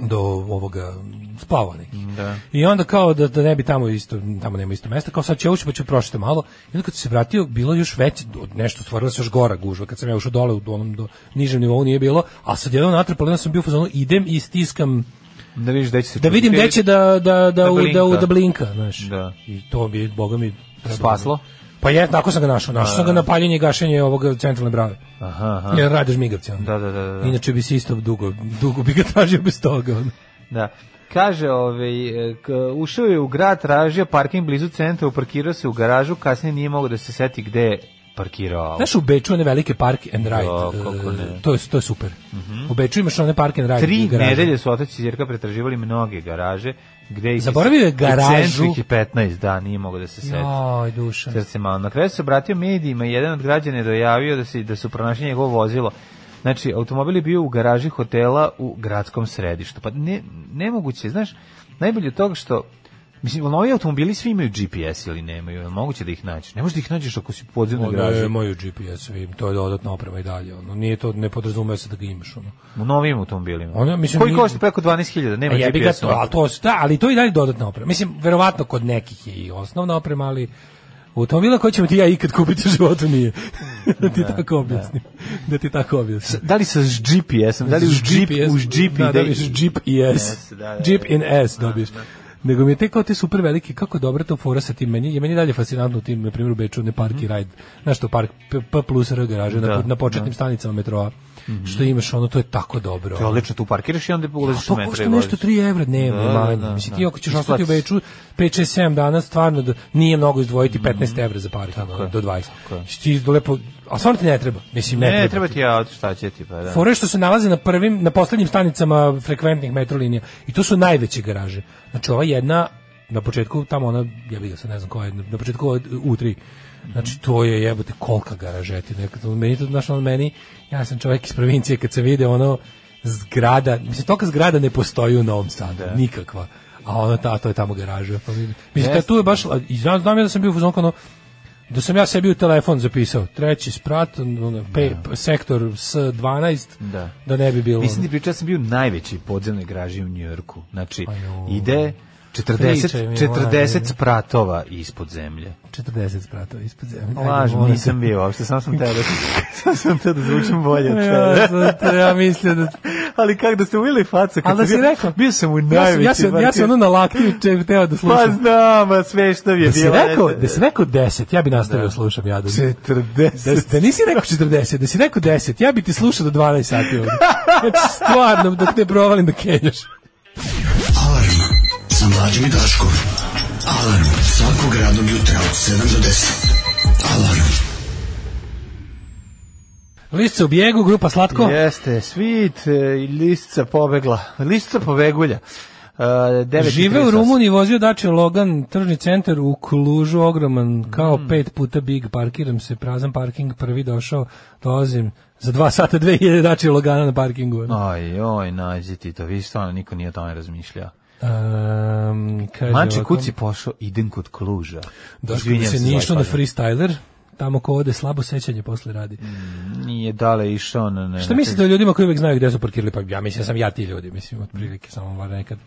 G: do ovoga splava neki.
F: Da.
G: I onda kao da, da ne bi tamo isto tamo nema isto mesta, kao sad će ući pa ću prošiti malo. I onda kad sam se vratio, bilo je još veće od nešto stvorila se još gora gužva. Kad sam ja ušao dole u onom do nižem nivou nije bilo, a sad jedan natrpalo, onda sam bio u fazonu idem i stiskam
F: Da vidiš gde će se
G: da vidim
F: čuti.
G: gde će da da da u- da u- da blinka, znaš.
F: Da.
G: I to bi boga mi trebalo.
F: Spaslo?
G: Pa je, tako sam ga našao. Našao sam ga na paljenje i gašenje ovoga centralne brave.
F: Aha, aha.
G: Jer radiš migavce. ono.
F: Da, da, da, da, da.
G: Inače bi se isto dugo, dugo bi ga tražio bez toga. ono.
F: Da. Kaže, ovaj, e, k- ušao je u grad, tražio parking blizu centra, uparkirao se u garažu, kasnije nije mogao da se seti gde je parkirao auto.
G: Znaš u Beču one velike park and ride?
F: Jo, kako ne. Mhm.
G: e, to, je, to je super. U Beču imaš one park and ride.
F: Tri
G: garaže.
F: nedelje su otac i Jerka pretraživali mnoge garaže, gde ih
G: Zaboravio je
F: u
G: garažu.
F: centru ih je 15 dana, nije mogao da se seti.
G: Joj, duša.
F: Srce malo. Na kraju se obratio medijima, i jedan od građana je dojavio da, se, da su pronašli njegovo vozilo. Znači, automobil je bio u garaži hotela u gradskom središtu. Pa ne, nemoguće, znaš, najbolje od toga što Mislim, jel ovi automobili svi imaju GPS ili nemaju, jel moguće da ih nađeš? Ne možeš da ih nađeš ako si u podzemnoj
G: One
F: garaži.
G: imaju GPS, im, to je dodatna oprema i dalje. Ono. Nije to, ne podrazumeva se da ga imaš. Ono.
F: U novim automobilima.
G: Ono, mislim,
F: Koji
G: nije-
F: košta preko 12.000, nema
G: A jebi ga
F: GPS-a.
G: to, ali to, su- da, ali to je i dalje dodatna oprema. Mislim, verovatno kod nekih je i osnovna oprema, ali u automobila koji ćemo ti ja ikad kupiti u životu nije. da ti tako objasnim. Da. ti tako objasnim.
F: Da li sa GPS-om, da li uz Jeep, uz Jeep
G: da,
F: ide-
G: dobiješ Jeep i S.
F: Yes, da, da,
G: Jeep
F: da.
G: in S dobiješ. Nego mi je te kao te super velike, kako je dobra to fora sa tim, meni, je meni dalje fascinantno u tim, na primjer u Beču, ne park i ride, znaš to, park P, P plus R garaže, na,
F: Mhm. Da, Mhm.
G: na početnim
F: da.
G: stanicama metroa, što imaš, ono, to je tako dobro.
F: To je odlično, tu parkiraš i onda ulaziš u
G: Pa
F: metro.
G: košta
F: i
G: nešto
F: voziš.
G: 3 evra dnevno
F: Da, da,
G: manje.
F: da,
G: Mislim,
F: da.
G: ti ako ćeš ostati u
F: Isplati se.
G: Beču 5, 6, 7 dana, stvarno da nije mnogo izdvojiti 15 evra za parking ono,
F: Mhm. je,
G: do 20. Ti do lepo, a stvarno ti ne treba. Mislim, ne,
F: Ne,
G: treba.
F: treba ti ja, auto, šta će ti, pa da.
G: Fore što se nalaze na prvim, na poslednjim stanicama frekventnih metrolinija. I to su najveće garaže. Znači ova jedna na početku tamo ona ja bih se ne znam koja je na početku od U3. Znači to je jebote kolka garažeti nekad meni to znaš ono meni ja sam čovjek iz provincije kad se vide ono zgrada mislim toka zgrada ne postoji u Novom Sadu
F: Da.
G: nikakva a ono ta to je tamo garaža pa mi- mislim da
F: Jeste.
G: tu je baš i znam, znam ja da sam bio u fazonu kao ono, da sam ja sebi u telefon zapisao treći sprat ono, pe, p- sektor S12
F: Da.
G: da ne bi bilo
F: Mislim ti pričao, ja sam bio u najvećoj podzemnoj graži u Njujorku. Znači, ide
G: Pa Pričaj
F: 40,
G: mi, moram
F: 40
G: da-
F: spratova ispod zemlje.
G: 40 sprata ispod zemlje.
F: Laž, nisam bio uopšte, sam sam teo da, sam sam teo da zvučim bolje od
G: Ja sam to-
F: tebe.
G: ja mislio da-
F: Ali kako da ste uvili faca, kad
G: Ali da si
F: bio-
G: rekao-
F: bio sam u
G: Ja sam,
F: najvećoj
G: ja sam, ja sam
F: parkir-
G: ono na laktiju če teo
F: Pa
G: da slušam.
F: znam, a sve što bi je
G: Da si
F: bilo.
G: rekao,
F: eto.
G: da si rekao 10, ja bi nastavio da. slušam ja. Da,
F: 40.
G: Da, da nisi rekao 40, da si rekao 10, ja bi ti slušao do 12 sati ovdje. Znači, stvarno, dok ne provalim da kenjaš.
H: Alarm sa mlađom i Daškom. Alarm svakog radnog jutra od 7 do 10. Alarm.
G: List se u bijegu, grupa Slatko.
F: Jeste, svit e, i listica pobegla. Listica pobegulja. E, 9 i
G: Žive u
F: 38.
G: Rumuniji, vozio dače Logan, tržni centar u Klužu, ogroman, kao pet puta big, parkiram se, prazan parking, prvi došao, dolazim, za dva sata 2000 dače Logana na parkingu.
F: Aj, oj, nađi ti to, vidiš stvarno, niko nije o tome razmišljao.
G: Um, kaže
F: Manči
G: ovako,
F: kuci pošao, idem kod Kluža.
G: Daško mi
F: Izvinjam
G: Da, se
F: za ovaj
G: nije išlo na
F: zapadnje.
G: freestyler, tamo ko ode slabo sećanje posle radi.
F: Mm, Nije dale išao na... na
G: Šta mislite o ljudima koji uvek znaju gde su parkirali? Pa ja mislim da sam ja ti ljudi, mislim, otprilike samo var nekad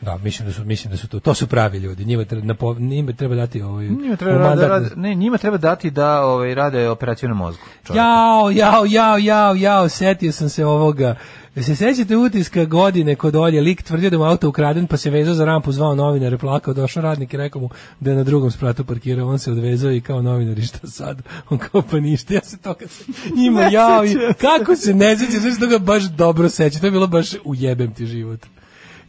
G: Da, mislim da su mislim da su to to su pravi ljudi. Njima treba na po- njima treba dati ovaj
F: Njima treba,
G: u
F: da,
G: mandat-
F: rade- ne, njima treba dati da ovaj, rade operaciju na mozgu. čovjeku.
G: Jao, jao, jao, jao, jao, setio sam se ovoga. Jel Se sećate utiska godine kod Olje, lik tvrdio da mu je auto ukraden, pa se vezao za rampu, zvao novinare, plakao, došao radnik i rekao mu da je na drugom spratu parkirao, on se odvezao i kao novinar, i šta sad? On kao pa ništa, ja se to kad se njima
M: Ne
G: jao, i,
M: sećam se.
G: kako se ne sećam, znači toga baš dobro sećam, to je bilo baš ujebem ti život.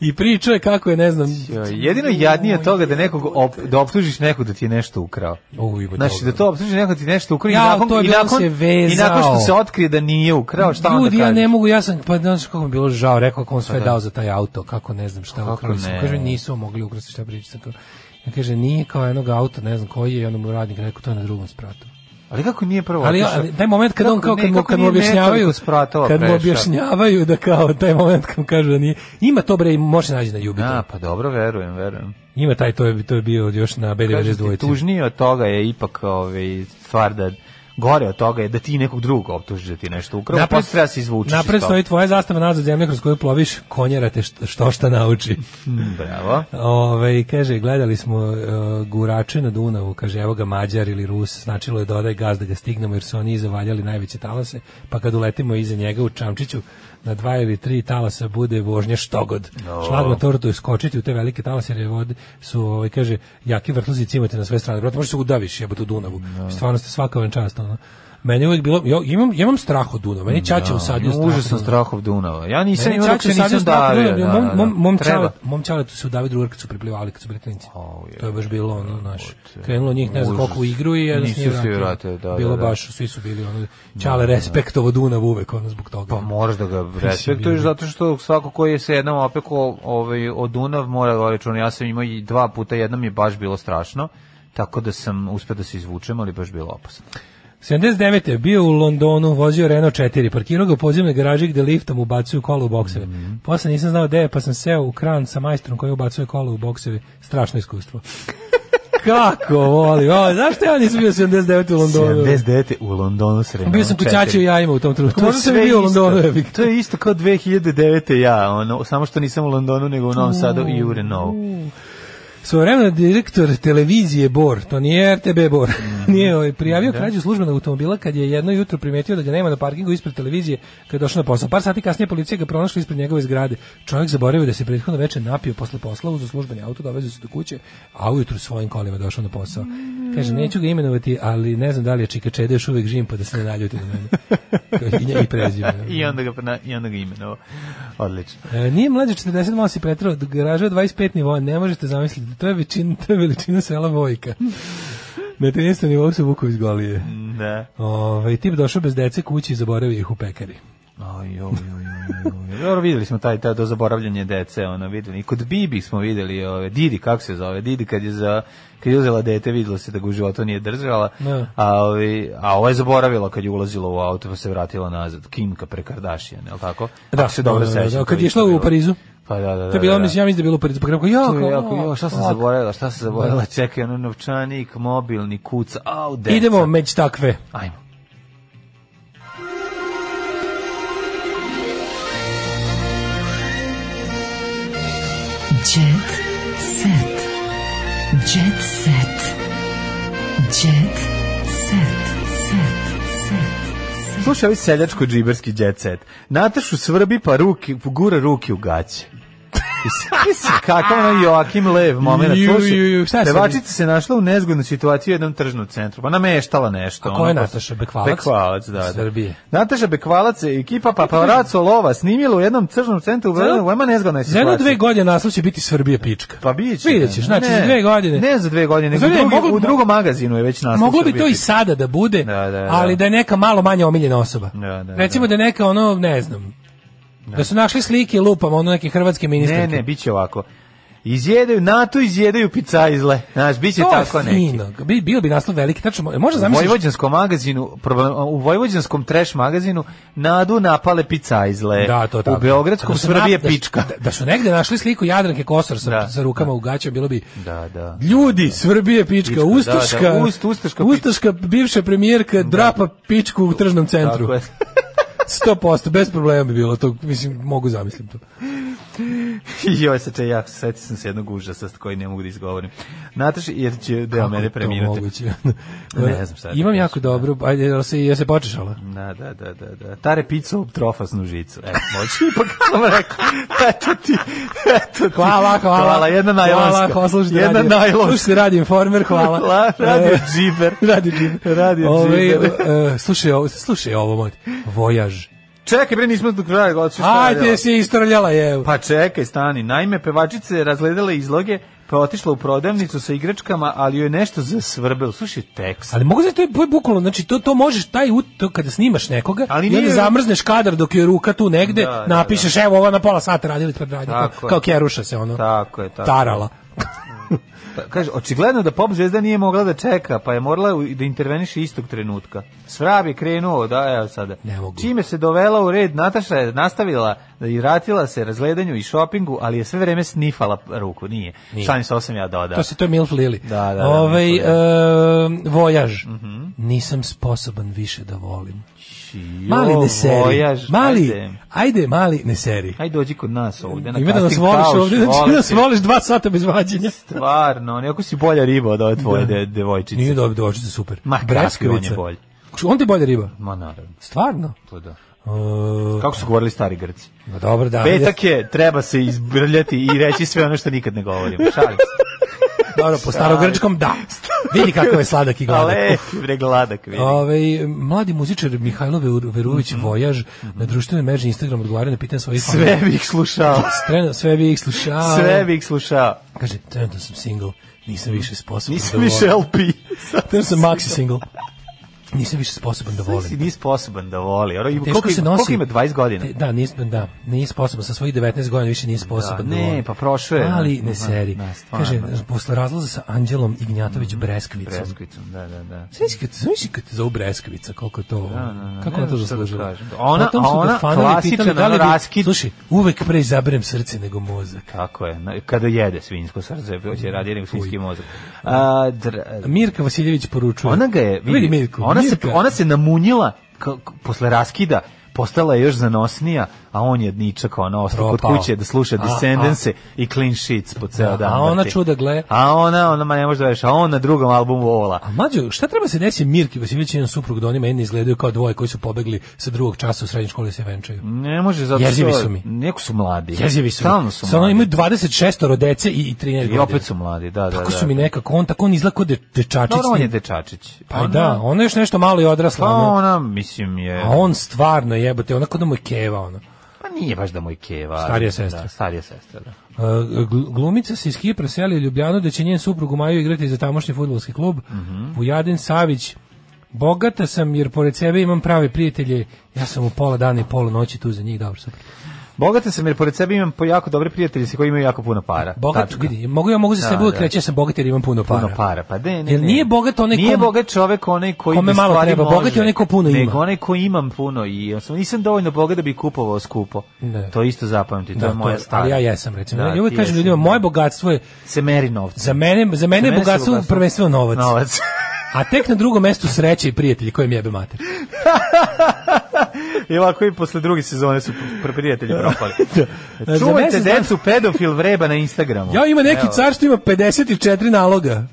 G: I pričao je kako je, ne znam...
F: Jedino jadnije od toga da nekog op- da optužiš nekog da ti je nešto ukrao.
G: U, ima
F: Znači da
G: toga.
F: to optužiš nekog da ti je nešto ukrao
G: Ja,
F: i nakon,
G: to je
F: i
G: bilo
F: nakon,
G: se
F: i nakon što
G: vezao.
F: se otkrije da nije ukrao, šta onda
G: Ljudi,
F: kažeš?
G: ja ne mogu, ja sam, pa znaš kako mi je bilo žao, rekao kako on sve
F: Pa da. Pa
G: dao za taj auto, kako ne znam šta ukrali su.
F: ne?
G: Kaže, nisu mogli ukrasti šta pričati. Sam kao- Ja kaže, nije kao jednog auta, ne znam koji je, i onda mu radnik rekao, to je na drugom spratu.
F: Ali kako nije prvo
G: Ali,
F: Pa otišao?
G: ali taj moment kad on
F: Kako
G: kao
F: ne-
G: kad mu,
F: kako
G: kad mu
F: nije nekoliko
G: objašnjavaju
F: spratova
G: kad mu
F: prešao?
G: objašnjavaju da kao taj moment kad mu kažu da nije ima to bre i može naći na Jubitu.
F: A, pa dobro, verujem, verujem.
G: Ima taj to je to je bio još na
F: Kažem ti,
G: B92.
F: Tužnije od toga je ipak ovaj, stvar da gore od toga je da ti nekog drugog optužiš da ti je nešto ukrao, pa treba se izvučiti.
G: Napred stoji tvoja zastava nazad zemlja kroz koju ploviš, konjera te što, što šta nauči.
F: Bravo.
G: Ove, kaže, gledali smo e, gurače na Dunavu, kaže, evo ga Mađar ili Rus, značilo je dodaj gaz da ga stignemo jer su oni zavaljali najveće talase, pa kad uletimo iza njega u Čamčiću, na dva ili tri talasa bude vožnja štogod.
F: O.
G: Šlag motoru to skočiti u te velike talase jer je vode su, ovaj, kaže, jaki vrtlozi cimate na sve strane. Brate, možeš se udaviš jebate u Dunavu. Stvarno ste svaka vam čast, ono. Meni je uvijek bilo, ja imam, ja imam strah od Dunava, meni Čače u sadnju strah.
F: Užasan
G: od Dunava.
F: strah od Dunava. Ja nisam
G: Meni
F: imao dok
G: čače
F: se
G: sad
F: nisam
G: još tako
F: davio.
G: dobro,
F: da, da,
G: Mom, mom, mom,
F: treba. Oh,
G: čale, mom čaletu se udavio drugar kad su priplivali, kad su bili klinici. to je baš bilo ono, znaš, krenulo njih ne znam
F: Užas.
G: koliko u igru i jedno
F: Nisu se vratili, da, da,
G: Bilo
F: da.
G: baš, svi su bili ono,
F: Da,
G: čale
F: da.
G: respektovo Dunav uvek, ono, zbog toga. Pa
F: moraš da ga Respektuješ zato što svako koji je se jednom opeko ovaj, od Dunav mora da račun. Ja sam imao i dva puta, jednom je baš bilo strašno, tako da sam uspio da se izvučem, ali baš bilo opasno.
G: 79. je bio u Londonu, vozio Renault 4, parkirao ga u podzemnoj garaži gde liftom ubacuju kola u bokseve.
F: Mhm.
G: Posle nisam znao gde je, pa sam seo u kran sa majstrom koji ubacuje kola u bokseve. Strašno iskustvo. Kako volim. O, zašto ja nisam bio 79. u Londonu?
F: 79. u Londonu sredno.
G: Bio sam kućačio jajima u tom trenutku. Možda sam i bio u Londonu. jebi ga.
F: To je isto kao 2009. ja, ono, samo što nisam u Londonu, nego u
G: Mm.
F: Novom Sadu i u Renovu.
G: Svojevremeno direktor televizije Bor, to nije RTB Bor, nije ovaj, prijavio krađu službenog automobila kad je jedno jutro primetio da ga nema na parkingu ispred televizije kad je došao na posao. Par sati kasnije policija ga pronašla ispred njegove zgrade. Čovjek zaboravio da se prethodno večer napio posle posla, uzeo službeni auto, dovezao se do kuće, a ujutru svojim kolima došao na posao. Kaže, neću ga imenovati, ali ne znam da li je Čika Čede još uvijek živim pa da se ne naljuti na mene. Kao, I nje- i prezime.
F: I onda ga, prena- I onda ga imenovao. Odlično.
G: E, nije mlađe 40 malo si pretrao, garaža je 25 nivoa, ne možete zamisliti, to je, većina, to je veličina sela Vojka. Na 13. nivou se vuku iz golije.
F: Da.
G: Ovaj tip došao bez dece kući i zaboravio ih u pekari.
F: Aj, oj, oj, oj, oj. Dobro, videli smo taj, taj do zaboravljanje dece, ono, videli. I kod Bibi smo videli, ove, Didi, kako se zove, Didi kad je, za, kad je uzela dete, videlo se da ga u životu nije držala,
G: Da.
F: a, ovi, a ovo je zaboravila kad je ulazila u auto pa se vratila nazad, Kimka pre Kardashian, je li tako? Ako se dobro
G: da, da, da,
F: sećam,
G: kad
F: to
G: je išla
F: isto
G: u
F: bilo.
G: Parizu.
F: Pa da, da, da.
G: to je bilo,
F: da, da.
G: mislim, ja mislim da je bilo u Parizu, pa kako,
F: To
G: jako,
F: je jako, jo, šta sam
G: ovako.
F: zaboravila, šta sam zaboravila,
G: Da.
F: čekaj, ono novčanik, mobilni, kuca, au, deca.
G: Idemo među takve.
F: Ajmo.
E: Jet set. Jet set. Jet set. Set. Set.
F: Slušaj ovaj seljačko džiberski jet set. Natašu svrbi pa ruki, gura ruki u gaće. I si kakav ono Joakim Lev moment.
G: Ju,
F: Slušaj,
G: ju, ju, šta je sad?
F: pevačica se našla u nezgodnu situaciju u jednom tržnom centru. Pa nameštala nešto.
G: A ko je
F: ono, pa-
G: Nataša Bekvalac?
F: Bekvalac, da. da.
G: Srbije.
F: Nataša Bekvalac i ekipa Paparazzo Lova snimila u jednom tržnom centru u Beogradu. Vojma nezgodna je
G: Za jedno
F: situacija.
G: dve godine naslov će biti Srbija pička.
F: Pa biće.
G: Vidjet ćeš, znači za dve godine.
F: Ne za dve godine, nego u,
G: Znači,
F: drugi,
G: moglo-
F: u drugom magazinu je već nastavio.
G: Moglo bi to i sada da bude, ali da je neka malo manje omiljena osoba.
F: Da, da,
G: Recimo da je neka ono, ne znam, da su našli slike lupama ono neke hrvatske ministarke.
F: Ne, ne, bit će ovako. Izjedaju, NATO izjedaju picajzle. Znaš, bit će
G: To je
F: tako neki.
G: fino. Bi, bio bi naslov veliki, tačno, e, mo- možda
F: U
G: zamisliš
F: vojvođanskom magazinu, problem- u vojvođanskom trash magazinu nadu napale picajzle.
G: Da, to tako.
F: U beogradskom
G: Da su
F: svrbi je
G: nap- da su-
F: pička.
G: Da, da su negde našli sliku Jadranke Kosor sa, sa rukama u gaćama, bilo bi
F: Da, da.
G: Ljudi, Srbije pička,
F: Pička, da,
G: Ustaška,
F: da, Ust- Ustaška pička.
G: Ustaška bivša premijerka drapa pičku u tržnom centru.
F: Tako je.
G: 100%, bez problema bi bilo to, mislim, mogu zamislim to.
F: Joj, sad ja setio sam se jednog užasa koji ne mogu da izgovorim. Nataš, jer će deo
G: Kako
F: mene
G: je to
F: premirati.
G: moguće?
F: ne znam sad.
G: Imam jako dobro, ajde, jel se, jel se počešala?
F: Da, da, da, da, da. Tare picu ob trofasnu žicu. Evo, moći ipak sam rekao. Eto ti, eto ti.
G: Hvala, hvala.
F: Hvala, da jedna najlonska.
G: Hvala, hvala, slušajte
F: jedna
G: radio.
F: najlonska.
G: Slušajte radio Informer, hvala.
F: da
G: E,
F: Hvala, E, radio džiber.
G: radio džiber.
F: Radio
G: Ove,
F: džiber.
G: e, slušaj ovo, slušaj ovo, moj. Vojaž.
F: Čekaj, bre, nismo do kraja gledali.
G: Ajde, si istrljala je.
F: Pa čekaj, stani. Naime, pevačica je razgledala izloge, pa je otišla u prodavnicu sa igračkama, ali joj je nešto zasvrbelo. Slušaj, tekst.
G: Ali mogu da to je to je bukvalno, znači to to možeš taj ut to kada snimaš nekoga
F: Ali
G: i
F: nije-
G: onda zamrzneš kadar dok je ruka tu negde,
F: Da, da,
G: napišeš evo ova na pola sata radila ispred radnika,
F: Tako
G: pa kao,
F: je.
G: kao keruša se ono.
F: Tako je, tako. je.
G: Tarala.
F: Pa, Kaže, očigledno da pop zvezda nije mogla da čeka, pa je morala u- da interveniše istog trenutka. Svrab je krenuo, da, evo sada.
G: Ne mogu.
F: Čime se dovela u red, Nataša je nastavila da i vratila se razgledanju i šopingu, ali je sve vreme snifala ruku, nije.
G: Nije.
F: Šalim se, osam ja dodao.
G: To se to je Milf Lili.
F: Da, da, da,
G: Ovaj
F: Milf Mhm.
G: e, vojaž. Nisam sposoban više da volim.
F: Jo,
G: Mali ne seri.
F: vojaž,
G: mali,
F: ajde.
G: ajde. mali ne seri.
F: Ajde dođi kod nas ovde. Na
G: Ima da nas
F: casting
G: voliš
F: couch,
G: ovdje, znači
F: voli
G: da nas
F: te.
G: voliš dva sata bez vađenja.
F: Stvarno, nekako si bolja riba od ove tvoje de, devojčice.
G: Da. Nije dobro, dođe super.
F: Ma, kakvi on je
G: Breskavica.
F: bolji.
G: On ti je bolje riba?
F: Ma, naravno.
G: Stvarno?
F: To da.
G: E,
F: Kako su govorili stari Grci?
G: No dobro, da.
F: Petak je, treba se izbrljati i reći sve ono što nikad ne govorimo. Šalim se.
G: Dobro, po starogrčkom da. Vidi kako je sladak i gladak.
F: Ale, bre, gladak, vidi.
G: Ovaj mladi muzičar Mihajlo Veru- Verujević Vojaž na društvenoj mreži Instagram odgovara na pitanje svojih
F: Mhm. Sve bih slušao.
G: Trenutno sve bi ih slušao.
F: Sve bih slušao.
G: Kaže, trenutno sam single, nisam više sposoban
F: Nisam
G: da
F: više
G: volim.
F: LP.
G: Trenutno sam maxi single. Nisam više sposoban da
F: Si
G: volim.
F: nis sposoban da voli. Ono, ima-
G: Teško
F: Koliko,
G: se
F: ima-
G: nosi.
F: koliko ima 20 godina?
G: Te- Da, nisam, da, nije sposoban, sa svojih 19 godina više nije sposoban da,
F: ne,
G: volim.
F: pa prošao je.
G: Ali
F: Da,
G: ne seri.
F: da, stvarno. Mhm,
G: Kaže, posle razlaza sa Anđelom Ignjatović Breskvicom.
F: Preskvicom, da, da, da.
G: Znaš kad, znaš kad te zovu Breskvica, koliko je to,
F: da,
G: kako
F: ne
G: ona to
F: znam šta da
G: zaslužila.
F: kažem. Ona-
G: Potom su
F: a
G: ga
F: ona
G: fanovi
F: klasičan,
G: pitali da li
F: ono,
G: bi-
F: raskid.
G: Slušaj, uvek pre izaberem srce nego mozak.
F: Tako je. Na- Kada jede svinjsko srce, hoće radi nego svinjski mozak. A, dr-
G: Mirka Vasiljević poručuje.
F: Ona ga je,
G: vidi
F: vidi,
G: Mirku,
F: ona, se,
G: Mirka.
F: ona se namunjila ka- k- posle raskida, postala je još zanosnija, a on je dničak, ona ostao kod
G: Propao.
F: kuće da sluša
G: A,
F: Descendence i Clean Sheets po ceo
G: Da,
F: dan.
G: a ona
F: brate.
G: čuda gle.
F: A ona, ona ma ne može da veš, a on na drugom albumu vola.
G: A mlađo, šta treba se desiti Mirki Vasiljević i njen suprug da oni meni izgledaju kao dvoje koji su pobegli sa drugog časa u srednjoj školi da se venčaju?
F: Ne može zato
G: Jezivi
F: što-
G: su mi.
F: Neko su mladi.
G: Jezivi su.
F: Stalno su
G: Sa ono
F: mladi.
G: imaju 26 dece i, i 13
F: I
G: godina.
F: opet su mladi, da, da,
G: Tako
F: da.
G: su mi nekako, on tako on izgleda kao de, dečačić.
F: Dobro, on je dečačić.
G: Pa da, ona je još nešto malo i odrasla.
F: Pa
G: ono.
F: ona, mislim, je...
G: A on stvarno jebote, onako da mu je keva ono.
F: Pa nije baš da mu je keva. ali-
G: Starija sestra.
F: Da, starija sestra, da.
G: E, gl- Glumica se iz Kipra seli u Ljubljanu da će njen suprug u maju igrati za tamošnji futbolski klub.
F: Mhm.
G: Vujadin Savić Bogata sam jer pored sebe imam prave prijatelje. Ja sam u pola dana i pola noći tu za njih, dobro super.
F: Bogata sam jer pored sebe imam po jako dobre prijatelje sa kojima imaju jako puno para.
G: Bogat,
F: Tačka.
G: vidi, mogu ja mogu za
F: Da,
G: sebe uvek
F: da.
G: reći ja sam bogat jer imam puno para.
F: puno para. Pa de, ne,
G: Jel
F: ne.
G: nije bogat onaj
F: Nije
G: kom-
F: bogat čovek onaj koji
G: kome
F: u
G: malo
F: stvari
G: treba,
F: može,
G: bogat je onaj ko puno ima.
F: Nego onaj ko imam puno i ja sam nisam dovoljno bogat da bi kupovao skupo.
G: Ne.
F: To isto zapamti, to
G: Da,
F: je moja
G: to-
F: stara. Da,
G: ali ja jesam recimo. ja uvek
F: ti
G: kažem
F: jesi.
G: ljudima moje bogatstvo je
F: se meri novce.
G: za mene za mene je
F: se
G: bogatstvo prvenstveno novac.
F: Novac.
G: A tek na drugom mestu sreća i prijatelji kojim jebe mater.
F: I ovako i posle druge sezone su pr- prijatelji propali.
G: Da. Za
F: Čuvajte
G: mesec dana-
F: decu pedofil vreba na Instagramu.
G: Ja ima neki
F: Evo,
G: car što ima 54 naloga.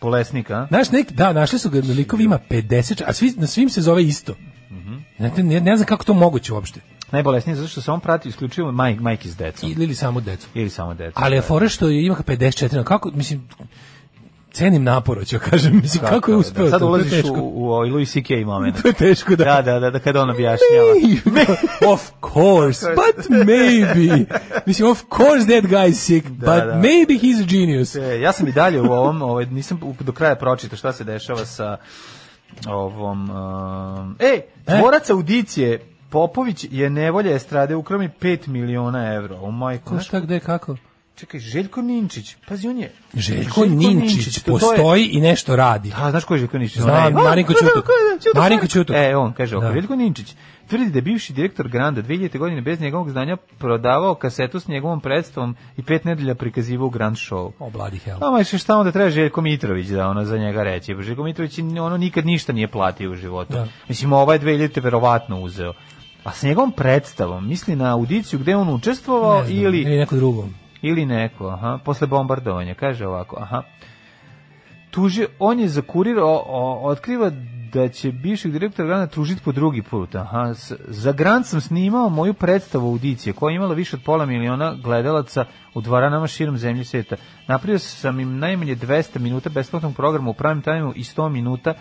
F: Polesnik, a?
G: Znaš, neki, da, našli su ga, likov ima 50, a svi, na svim se zove isto. Znate, ne, ne znam kako to moguće uopšte.
F: Najbolesniji je zato što se on prati isključivo majk, majki s decom.
G: Ili samo decu.
F: Ili samo deca.
G: Ali je fora što je- ima ga 54, kako, mislim, cenim napor, ću kažem, mislim, kako, je
F: je,
G: uspeo
F: da. Sad
G: to, to je
F: ulaziš u,
G: teško.
F: u ovaj Louis C.K. moment.
G: To je teško da...
F: Da, da, da, da kada on objašnjava.
G: of course, but maybe. Mislim, of course that guy is sick, but
F: da.
G: maybe he's a genius.
F: E, ja sam i dalje u ovom, ovaj, nisam u- do kraja pročitao šta se dešava sa ovom... Um, e, tvorac audicije Popović je nevolja estrade ukromi 5 miliona evra. O majko,
G: Ko
F: znaš,
G: šta, gde, kako?
F: čekaj, Željko Ninčić, pazi on je...
G: Željko Ninčić
F: to- to je-
G: postoji i nešto radi.
F: A, Da, znaš ko je Željko Ninčić?
G: Znam,
F: Onaj-
G: Marinko
F: Ko je-
G: Ćutuk.
F: ko je- Ćutuk,
G: Marinko
F: Marinko.
G: Ćutuk.
F: E, on kaže, ovako,
G: Da.
F: Željko Ninčić tvrdi da je bivši direktor Granda 2000. godine bez njegovog znanja prodavao kasetu s njegovom predstavom i pet nedelja prikazivao Grand Show.
G: O, bloody hell.
F: A ma še šta onda treba Željko Mitrović da ono za njega reći. Pa Željko Mitrović ono nikad ništa nije platio u životu.
G: Da.
F: Mislim, ovaj 2000 verovatno uzeo. A s njegovom predstavom, misli na audiciju gde je on učestvovao
G: Ne znam,
F: ili...
G: ili neko drugo.
F: Ili neko, aha, posle bombardovanja, kaže ovako, aha. Tuži, on je za kurir o- o- otkriva da će bivšeg direktora Grana tužiti po drugi put. Aha, s- za Grant sam snimao moju predstavu audicije koja je imala više od pola miliona gledalaca u dvoranama širom zemlje sveta. Napravio sam im najmanje 200 minuta besplatnog programa u pravim tajmu i 100 minuta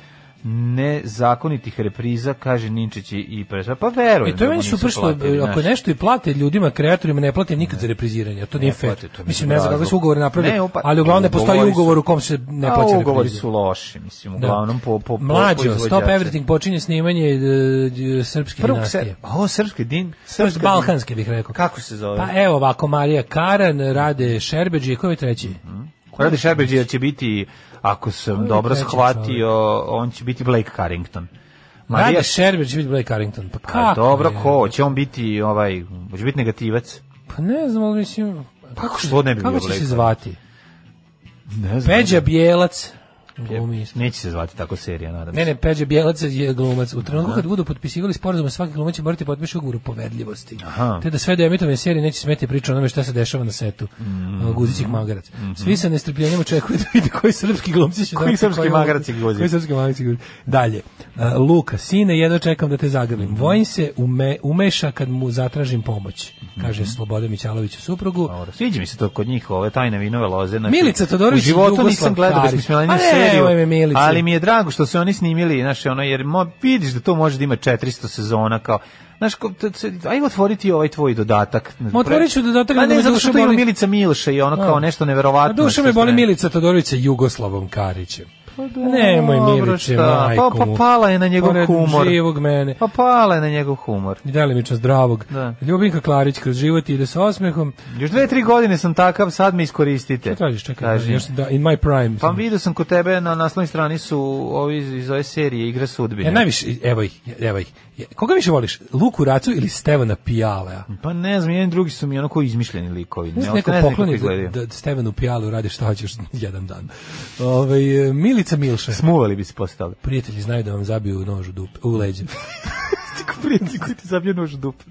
F: nezakonitih repriza, kaže Ninčić i- i Presa. Pa verujem.
G: I E, to
F: da
G: je
F: mu
G: meni
F: nisu
G: super što
F: platili,
G: ako
F: znaš.
G: nešto i plate ljudima, kreatorima, ne plate im nikad za repriziranje. To nije
F: Ne
G: fair.
F: plate, to je
G: Mislim, ne znam kako
F: razlog.
G: su ugovor napravili,
F: Ne, upa-
G: ali uglavnom ne postoji
F: ugovori su-
G: ugovor u kom se ne
F: A,
G: plaća repriziranje.
F: ugovori su loši, mislim, uglavnom po- po- po- po
G: Da. Mlađo, Stop
F: izvođače.
G: Everything počinje snimanje e, d- srpske
F: Prvog
G: dinastije.
F: se- a ovo srpski din,
G: To je
F: srpska
G: balkanski
F: din-
G: bih rekao.
F: Kako se zove?
G: Pa evo ovako, Marija Karan, Rade Šerbeđi, koji je treći?
F: Mhm. Radi Šeberđi da će biti, ako sam
G: je
F: dobro
G: pa- treći
F: shvatio, on će biti Blake Carrington.
G: Rade Šerbeđi će biti Blake Carrington. Pa
F: A,
G: kako?
F: dobro,
G: je?
F: ko? Će on biti, ovaj, će biti negativac?
G: Pa ne znam, ali mislim...
F: kako što ne bi
G: Kako
F: bio
G: će
F: Blake
G: se zvati?
F: Ne znam.
G: Peđa Bijelac. glumi isto.
F: Neće se zvati tako serija, nadam se.
G: Ne, ne, Peđa Bjelac je glumac. U trenutku kad budu potpisivali sporazum, svaki glumac će morati potpiši ugovor o povedljivosti.
F: Aha.
G: Te da sve deemitovane serije neće smeti priča o onome šta se dešava na setu. Mm. Guzićih magarac. Svi sa nestrpljenjem očekuju da vide koji srpski glumci će
F: Mhm. Koji
G: dobiti
F: srpski
G: koju
F: magarac
G: ulogu.
F: je Guzić?
G: Koji srpski magarac je Guzić. Dalje. A, Luka, sine, jedva čekam da te zagrlim.
F: Mhm.
G: Vojin se ume, umeša kad mu zatražim pomoć,
F: Mhm.
G: kaže Slobodan Mićalović u suprugu.
F: Dobro, Sviđa mi se to kod njih, ove tajne vinove loze. Znači,
G: Milica Todorović
F: U životu
G: Jugoslav
F: nisam gledao
G: Karić.
F: besmisleniju
G: Pa ne,
F: seriju,
G: ovo je Milica.
F: ali mi je drago što su oni snimili, znaš, ono, jer mo, vidiš da to može da ima 400 sezona, kao, znaš, ko, t, t, ajmo otvoriti ovaj tvoj dodatak.
G: Ma otvorit ću dodatak,
F: A
G: nego me
F: ne, zato
G: duša
F: što ima
G: boli.
F: Milica Milša i ono
G: A.
F: kao nešto
G: A
F: neverovatno.
G: duša
F: što
G: me boli
F: se-
G: Milica Todorović sa Jugoslavom Karićem.
F: Dobro,
G: Nemoj Miliće,
F: šta,
G: majko
F: pa, pa
G: mu.
F: pala je na njegov
G: Pored
F: humor.
G: živog mene.
F: Pa pala je na njegov humor.
G: I delimično zdravog.
F: Da.
G: Ljubinka Klarić kroz život ide sa osmehom.
F: Još dve, tri godine sam takav, sad me iskoristite.
G: Šta tražiš, čekaj,
F: Kaži.
G: još da, in my prime.
F: Pa
G: sam.
F: vidio sam kod tebe na naslovnoj strani su ovi iz, iz ove serije Igra sudbine.
G: Ja najviše, evo ih, evo ih. Ja- Koga više voliš, Luku Racu ili Stevana Pijalea?
F: Pa ne znam, jedan i drugi su mi onako izmišljeni likovi. Ne,
G: Ne, neko
F: ne znam kako
G: pokloni da,
F: izgledaju.
G: da Stevanu Pijalu radi šta hoćeš jedan dan. Ove, Milica Milša.
F: Smuvali bi se posle toga.
G: Prijatelji znaju da vam zabiju nož u, dupe, u leđe.
F: Tako prijatelji koji ti zabije nož u dupe.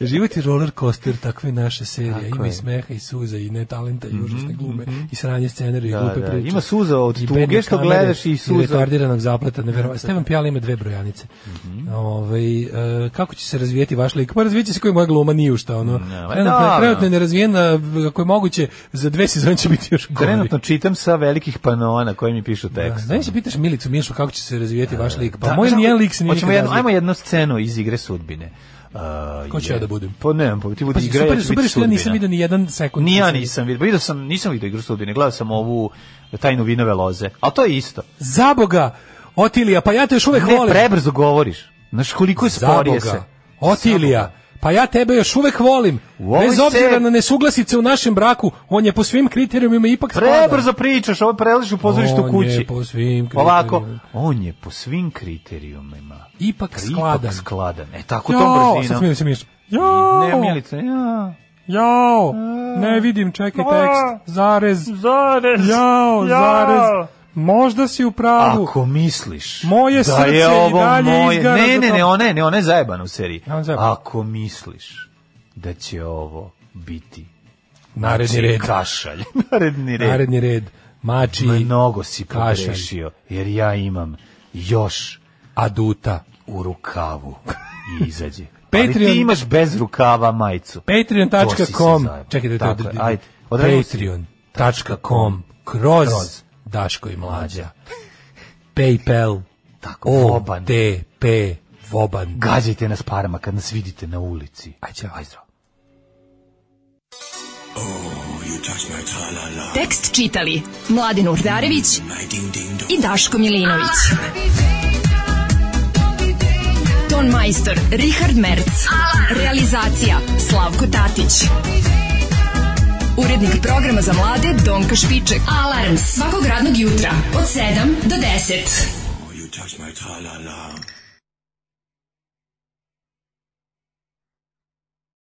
G: Život je roller coaster, takve naše serije.
F: Tako
G: Ima i
F: je. Mhm,
G: smeha i suza i netalenta i užasne glume i sranje scenarija i
F: Da,
G: glupe
F: da.
G: priče.
F: Ima suza od
G: I
F: tuge
G: bedne
F: što
G: kamere
F: gledaš i suza- Da,
G: I retardiranog zapleta. Nevjerovatno. Stevan Pijala ima dve brojanice.
F: Mhm.
G: Ovaj, e, kako će se razvijeti vaš lik? Pa razvijeće se koji moja gluma nije u šta. Ono.
F: ma
G: trenutno, je-
F: da,
G: trenutno je
F: da.
G: nerazvijena, v- ako je moguće, za dve sezone će biti još gori.
F: Trenutno čitam sa velikih panona na kojim mi pišu
G: Da,
F: tekst.
G: Znaš, pitaš Milicu Mišu kako će se razvijeti vaš lik. Pa
F: Da,
G: moj
F: znaš,
G: nije lik se nije
F: hoćemo
G: nikad
F: jednu,
G: razvio.
F: Ajmo jednu scenu iz Igre sudbine. Uh,
G: Ko ću ja da budem?
F: Pa ne, pa ti
G: Pa,
F: budi igra,
G: super,
F: ja
G: je,
F: ću
G: super, je
F: biti
G: što ja
F: sudbina.
G: nisam vidio ni jedan sekund.
F: Ni ja nisam vidio. Vidio sam, nisam vidio igru sudbine. Gledao sam ovu tajnu vinove loze. Ali to je isto.
G: Zaboga, Otilija, pa ja te još uvek
F: Ne,
G: volim.
F: prebrzo govoriš. Znaš koliko je sporije se.
G: Zaboga, Otilija, pa ja tebe još uvek volim.
F: U ovoj
G: Bez obzira
F: seriji-
G: na nesuglasice u našem braku, on je po svim kriterijumima ipak spada.
F: Prebrzo pričaš, ovo preliš u pozorištu
G: On
F: kući.
G: je po svim
F: Ovako,
G: kriterijumima.
F: on je po svim kriterijumima.
G: Ipak skladan.
F: Ipak skladan. E, tako
G: Jo,
F: tom
G: sad
F: brzinom.
G: smijem se Miša. Jo,
F: Ne, Milica, ja.
G: jo, ne vidim, čekaj tekst, zarez,
F: Zarez.
G: jao, zarez, možda si u pravu.
F: Ako misliš
G: Moje
F: da
G: srce i
F: je ovo
G: dalje
F: moje...
G: izgara
F: Ne,
G: za
F: ne,
G: to.
F: ne, ona je, ne, ona je zajebana u seriji.
G: Ja, ona je zajebana.
F: Ako misliš da će ovo biti
G: Naredni
F: čiji
G: red,
F: kašalj, naredni red,
G: naredni red, mači,
F: mnogo si
G: kašalj.
F: pogrešio, jer ja imam još
G: aduta.
F: u rukavu i izađe. Ali
G: Patreon-
F: ti imaš bez rukava majicu. To si se
G: patreon.com
F: zajebao.
G: čekajte da
F: Tako
G: da-
F: je,
G: da-
F: ajde. Odradimo se.
G: patreon.com kroz
F: Kroz.
G: Daško i Mlađa Paypal
F: Tako, voban.
G: OTP Voban
F: Gađajte nas parama kad nas vidite na ulici.
G: Ajde, ćao.
F: Aj zdravo.
E: Tekst čitali Mladin Urdarević i Daško Milinović. Ton majstor Richard Merc. Realizacija Slavko Tatić. Urednik programa za mlade Donka Špiček. Alarms svakog radnog jutra od 7 do 10.
H: You touch my tra-la-la.